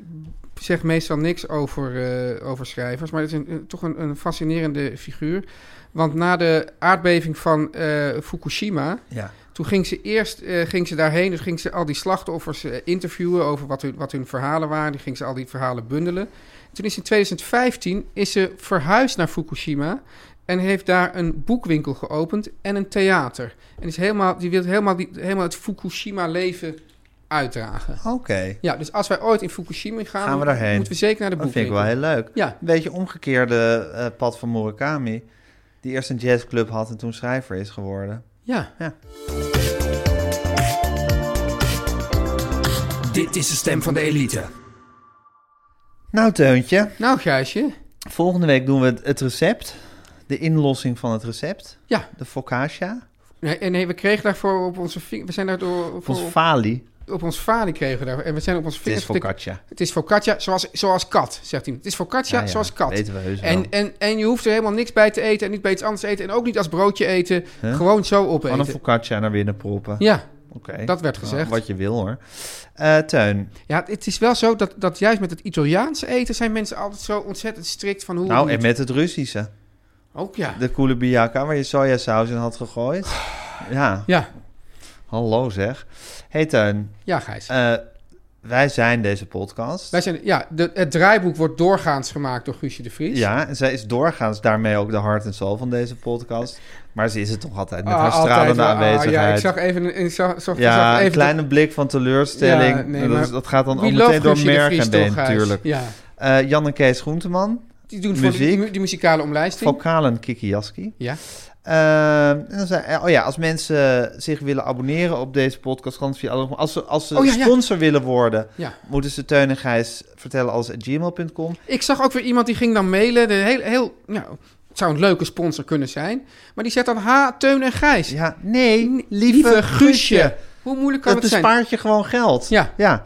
Speaker 4: zeg meestal niks over, eh, over schrijvers, maar het is een, een- toch een, een fascinerende figuur. Want na de aardbeving van eh, Fukushima,
Speaker 3: Ja.
Speaker 4: toen ging ze eerst eh, ging ze daarheen, dus ging ze al die slachtoffers eh, interviewen over wat hun, wat hun verhalen waren. Die ging ze al die verhalen bundelen. Toen is in 2015 is ze verhuisd naar Fukushima en heeft daar een boekwinkel geopend en een theater. En is helemaal, die wil helemaal, die, helemaal het Fukushima-leven uitdragen.
Speaker 3: Oké,
Speaker 4: Ja, dus als wij ooit in Fukushima gaan,
Speaker 3: Gaan we daarheen.
Speaker 4: moeten we zeker naar de
Speaker 3: dat vind ik
Speaker 4: boekwinkel.
Speaker 3: wel heel leuk.
Speaker 4: Ja.
Speaker 3: Een beetje omgekeerde eh, pad van Murakami. die eerst een jazzclub had en toen schrijver is geworden.
Speaker 4: Ja.
Speaker 5: Dit is de stem van de elite.
Speaker 3: Nou, Teuntje,
Speaker 4: Nou, Gijsje.
Speaker 3: volgende week doen we het, het recept. De inlossing van het recept.
Speaker 4: Ja.
Speaker 3: De focaccia.
Speaker 4: Nee, en nee, we kregen daarvoor op onze ving- We zijn daardoor...
Speaker 3: Of ons
Speaker 4: voor-
Speaker 3: fali.
Speaker 4: op ons valie kregen we daar. En we zijn op onze
Speaker 3: Het
Speaker 4: vingers...
Speaker 3: is focaccia.
Speaker 4: Het is focaccia zoals, zoals kat, zegt hij. Het is focaccia
Speaker 3: Ja, ja,
Speaker 4: zoals kat.
Speaker 3: weten we heus wel.
Speaker 4: en, en, en je hoeft er helemaal niks bij te eten en niet bij iets anders eten. En ook niet als broodje eten. Gewoon zo
Speaker 3: Van een
Speaker 4: opeten.
Speaker 3: focaccia naar binnen proppen.
Speaker 4: Ja,
Speaker 3: Oké.
Speaker 4: dat werd
Speaker 3: Nou,
Speaker 4: gezegd.
Speaker 3: wat je wil hoor. Eh Teun,
Speaker 4: Ja, het is wel zo dat, dat juist met het Italiaanse eten zijn mensen altijd zo ontzettend strikt van hoe...
Speaker 3: nou
Speaker 4: niet.
Speaker 3: en met het Russische.
Speaker 4: Ook ja.
Speaker 3: De koele biaka waar je sojasaus in had
Speaker 4: [SIGHS]
Speaker 3: gegooid. Ja,
Speaker 4: Ja,
Speaker 3: hallo zeg. Hey Teun,
Speaker 4: ja Gijs.
Speaker 3: eh, wij zijn deze podcast.
Speaker 4: Wij zijn, ja, de, het draaiboek wordt doorgaans gemaakt door Guusje de Vries.
Speaker 3: Ja, en zij is doorgaans daarmee ook de hart en ziel van deze podcast. Maar ze is het toch altijd met
Speaker 4: Ah,
Speaker 3: haar
Speaker 4: altijd
Speaker 3: stralende
Speaker 4: wel. Ah,
Speaker 3: aanwezigheid.
Speaker 4: ja, ik zag even... een- Ik zag, zag,
Speaker 3: Ja,
Speaker 4: zag
Speaker 3: een
Speaker 4: even
Speaker 3: kleine blik van teleurstelling.
Speaker 4: Ja, nee,
Speaker 3: En
Speaker 4: maar
Speaker 3: dat, dat gaat dan
Speaker 4: We
Speaker 3: ook
Speaker 4: love
Speaker 3: meteen door
Speaker 4: Guusje de
Speaker 3: merk
Speaker 4: Vries,
Speaker 3: en been,
Speaker 4: toch, Gijs?
Speaker 3: natuurlijk.
Speaker 4: Ja.
Speaker 3: Eh, Jan en Kees Groenteman,
Speaker 4: Die doen voor
Speaker 3: Muziek.
Speaker 4: de, mu- die muzikale omlijsting.
Speaker 3: vocalen Kiki Jaski.
Speaker 4: Ja.
Speaker 3: Eh, en dan zei, oh ja, als mensen zich willen abonneren op deze podcast, kan het via alle- als ze, als ze
Speaker 4: Oh ja, ja.
Speaker 3: sponsor willen worden,
Speaker 4: Ja.
Speaker 3: moeten ze Teun en Gijs vertellen als gmail.com.
Speaker 4: Ik zag ook weer iemand die ging dan mailen. De heel, heel, nou, het zou een leuke sponsor kunnen zijn. Maar die zet dan H, Teun en Gijs.
Speaker 3: Ja, nee,
Speaker 4: N-
Speaker 3: lieve,
Speaker 4: Guusje. Hoe moeilijk kan
Speaker 3: dat
Speaker 4: het zijn?
Speaker 3: bespaart je gewoon geld.
Speaker 4: Ja.
Speaker 3: ja.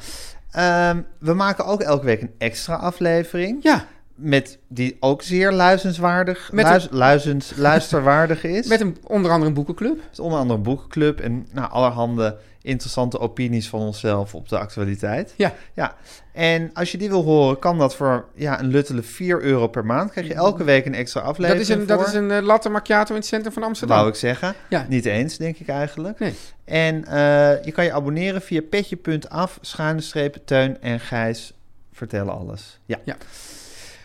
Speaker 3: Ehm, we maken ook elke week een extra aflevering.
Speaker 4: Ja,
Speaker 3: Met, die ook zeer luisterenswaardig,
Speaker 4: Met
Speaker 3: luis-
Speaker 4: [LAUGHS]
Speaker 3: luisterens- luisterwaardig is.
Speaker 4: met een, onder andere een boekenclub.
Speaker 3: Met onder andere een boekenclub en nou, allerhande interessante opinies van onszelf op de actualiteit.
Speaker 4: Ja.
Speaker 3: ja. En als je die wil horen, kan dat voor ja, een luttele 4 euro per maand. Krijg je elke week een extra
Speaker 4: Mm-hmm. Dat
Speaker 3: aflevering
Speaker 4: is een, dat
Speaker 3: voor.
Speaker 4: is een eh, latte macchiato in het centrum van Amsterdam.
Speaker 3: Wou ik zeggen.
Speaker 4: Ja.
Speaker 3: Niet eens, denk ik eigenlijk.
Speaker 4: Nee.
Speaker 3: En eh, je kan je abonneren via petje.af, schuine streep, Teun en Gijs vertellen alles. Ja.
Speaker 4: Ja.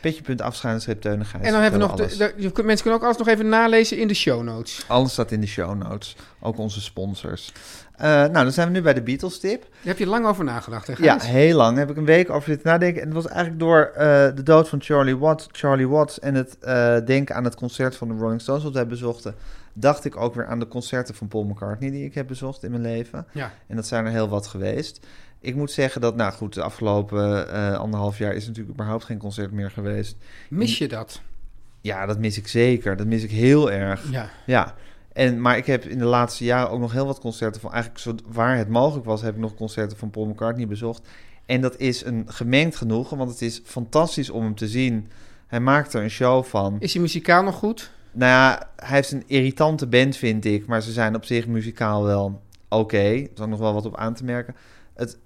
Speaker 3: Petje.af, schuine streep, Teun en Gijs
Speaker 4: en dan hebben we nog... De,
Speaker 3: vertellen alles.
Speaker 4: de- je kunt- mensen kunnen ook alles nog even nalezen in de show notes.
Speaker 3: Alles staat in de show notes. Ook onze sponsors. Eh, nou, dan zijn we nu bij de Beatles tip.
Speaker 4: Daar heb je lang over nagedacht, hè,
Speaker 3: Ja,
Speaker 4: Gijs?
Speaker 3: heel lang. Daar heb ik een week over zitten nadenken. En dat was eigenlijk door eh, de dood van Charlie Watts, Charlie Watts en het eh, denken aan het concert van de Rolling Stones wat wij bezochten. Dacht ik ook weer aan de concerten van Paul McCartney die ik heb bezocht in mijn leven.
Speaker 4: Ja.
Speaker 3: En dat zijn er heel wat geweest. Ik moet zeggen dat, nou goed, de afgelopen eh, anderhalf jaar is natuurlijk überhaupt geen concert meer geweest.
Speaker 4: Mis je dat?
Speaker 3: Ja, dat mis ik zeker. Dat mis ik heel erg.
Speaker 4: Ja.
Speaker 3: Ja, en, maar ik heb in de laatste jaren ook nog heel wat concerten van... Eigenlijk zo, waar het mogelijk was, heb ik nog concerten van Paul McCartney bezocht. En dat is een gemengd genoegen, want het is fantastisch om hem te zien. Hij maakt er een show van.
Speaker 4: Is je muzikaal nog goed?
Speaker 3: Nou ja, hij heeft een irritante band, vind ik. Maar ze zijn op zich muzikaal wel oké. Er is ook nog wel wat op aan te merken. Het,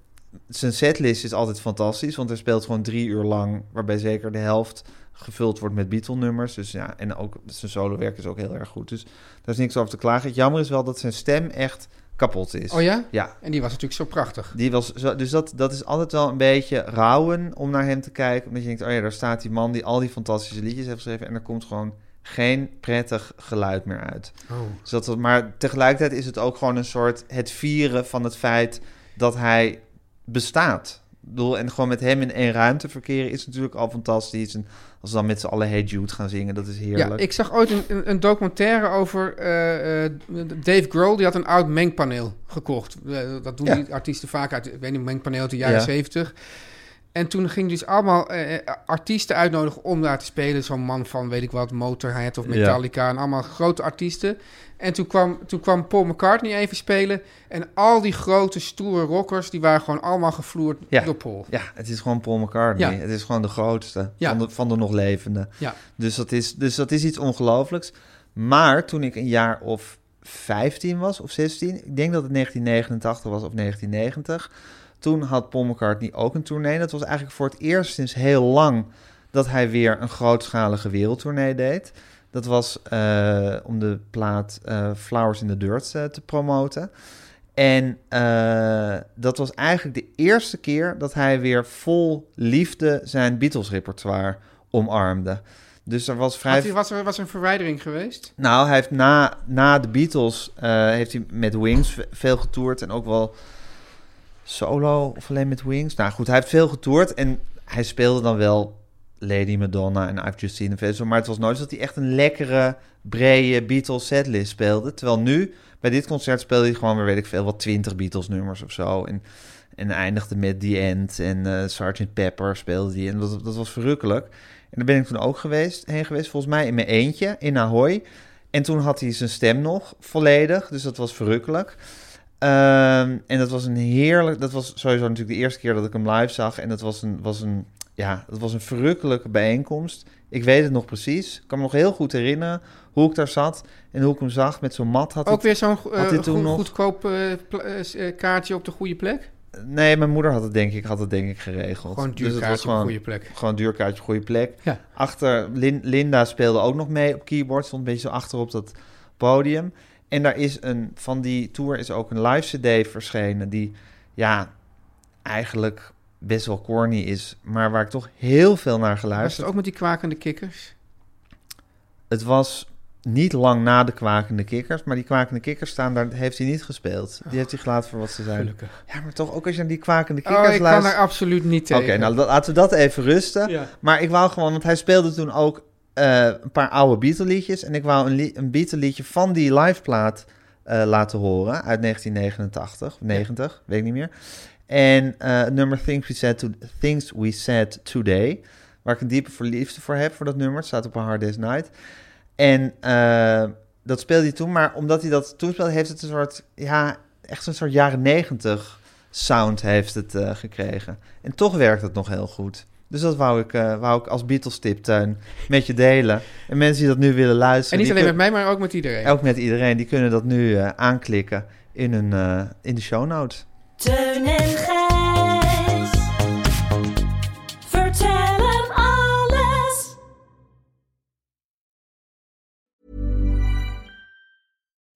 Speaker 3: zijn setlist is altijd fantastisch, want hij speelt gewoon drie uur lang... waarbij zeker de helft gevuld wordt met Beatle-nummers. Dus ja, en ook zijn solo-werk is ook heel erg goed. Dus daar is niks over te klagen. Het jammer is wel dat zijn stem echt kapot is.
Speaker 4: Oh ja?
Speaker 3: Ja,
Speaker 4: En die was natuurlijk zo prachtig.
Speaker 3: die was zo, dus dat, dat is altijd wel een beetje rouwen om naar hem te kijken. Omdat je denkt, oh ja, daar staat die man die al die fantastische liedjes heeft geschreven... en er komt gewoon geen prettig geluid meer uit. Dus dat, maar tegelijkertijd is het ook gewoon een soort het vieren van het feit dat hij bestaat. Ik bedoel, en gewoon met hem in één ruimte verkeren is natuurlijk al fantastisch. En als ze dan met z'n allen Hey Jude gaan zingen, dat is heerlijk.
Speaker 4: Ja, ik zag ooit een, een, een documentaire over eh, eh, Dave Grohl. Die had een oud mengpaneel gekocht. Eh, dat doen
Speaker 3: Ja.
Speaker 4: die artiesten vaak uit, ik weet niet, mengpaneel uit de jaren
Speaker 3: Ja.
Speaker 4: zeventig. En toen ging dus allemaal eh, eh, artiesten uitnodigen om daar te spelen. Zo'n man van, weet ik wat, Motorhead of
Speaker 3: Ja.
Speaker 4: Metallica en allemaal grote artiesten. En toen kwam, toen kwam Paul McCartney even spelen. En al die grote, stoere rockers, die waren gewoon allemaal gevloerd
Speaker 3: Ja.
Speaker 4: door Paul.
Speaker 3: Ja, het is gewoon Paul McCartney.
Speaker 4: Ja.
Speaker 3: Het is gewoon de grootste
Speaker 4: Ja.
Speaker 3: van, de, van de nog levende.
Speaker 4: Ja.
Speaker 3: Dus, dat is, dus dat is iets ongelooflijks. Maar toen ik een jaar of 15 was, of 16, ik denk dat het 1989 was of 1990, toen had Paul McCartney ook een tournee. Dat was eigenlijk voor het eerst sinds heel lang dat hij weer een grootschalige wereldtournee deed. Dat was eh, om de plaat eh, Flowers in the Dirt eh, te promoten. En eh, dat was eigenlijk de eerste keer dat hij weer vol liefde zijn Beatles-repertoire omarmde. Dus er was vrij...
Speaker 4: Had hij- was, er, was er een verwijdering geweest?
Speaker 3: Nou, hij heeft na, na de Beatles eh, heeft hij met Wings ve- veel getoerd en ook wel solo of alleen met Wings. Nou goed, hij heeft veel getoerd en hij speelde dan wel Lady Madonna en I've Just Seen a Festival. Maar het was nooit dat hij echt een lekkere, brede Beatles setlist speelde. Terwijl nu, bij dit concert speelde hij gewoon weer, weet ik veel, wat 20 Beatles nummers of zo. En, en eindigde met The End en eh Sgt. Pepper speelde die. En dat, dat was verrukkelijk. En daar ben ik toen ook geweest, heen geweest, volgens mij in mijn eentje, in Ahoy. En toen had hij zijn stem nog volledig, dus dat was verrukkelijk. Ehm, en dat was een heerlijk. Dat was sowieso natuurlijk de eerste keer dat ik hem live zag. En dat was een, was een, ja, dat was een verrukkelijke bijeenkomst. Ik weet het nog precies. Ik kan me nog heel goed herinneren hoe ik daar zat en hoe ik hem zag met zo'n mat. Had hij
Speaker 4: Ook weer zo'n eh,
Speaker 3: had hij toen
Speaker 4: goed-
Speaker 3: nog-
Speaker 4: goedkoop eh, pla- eh, kaartje op de goede plek?
Speaker 3: Nee, mijn moeder had het denk ik, had het denk ik geregeld.
Speaker 4: Gewoon een duur
Speaker 3: Dus het was
Speaker 4: kaartje op
Speaker 3: gewoon-
Speaker 4: de goede plek.
Speaker 3: Gewoon een duurkaartje op goede plek.
Speaker 4: Ja.
Speaker 3: Achter, Lin- Linda speelde ook nog mee op keyboard. Stond een beetje zo achter op dat podium. En daar is een, van die tour is ook een live cd verschenen... die, ja, eigenlijk best wel corny is... maar waar ik toch heel veel naar
Speaker 4: Was
Speaker 3: geluisterd
Speaker 4: het ook met die kwakende kikkers?
Speaker 3: het was niet lang na de kwakende kikkers, maar die kwakende kikkers staan daar, heeft hij niet gespeeld. Die heeft hij gelaten voor wat ze zijn.
Speaker 4: Gelukkig.
Speaker 3: Ja, maar toch ook als je naar die kwakende
Speaker 4: Oh,
Speaker 3: kikkers
Speaker 4: ik kan
Speaker 3: luistert.
Speaker 4: daar absoluut niet
Speaker 3: Oké,
Speaker 4: tegen.
Speaker 3: nou dat- laten we dat even rusten.
Speaker 4: Ja.
Speaker 3: Maar ik wou gewoon, want hij speelde toen ook eh, een paar oude Beatle-liedjes. En ik wou een, li- een Beatle-liedje van die liveplaat eh laten horen uit 1989 of 90, weet ik niet meer. En eh, het nummer Things We, Said to, Things We Said Today, waar ik een diepe verliefde voor heb voor dat nummer. Het staat op een Hard Day's Night. En eh, dat speelde hij toen, maar omdat hij dat toen speelde, heeft het een soort, ja, echt zo'n soort jaren 90 sound heeft het eh, gekregen. En toch werkt het nog heel goed. Dus dat wou ik, eh, wou ik als Beatles-tiptuin met je delen. En mensen die dat nu willen
Speaker 4: En
Speaker 3: luisteren...
Speaker 4: niet
Speaker 3: die
Speaker 4: alleen met
Speaker 3: kun-
Speaker 4: mij, maar ook met iedereen.
Speaker 3: ook met iedereen, die kunnen dat nu eh, aanklikken in, hun, eh, in de show notes.
Speaker 6: Teun en Gijs. Vertel hem alles.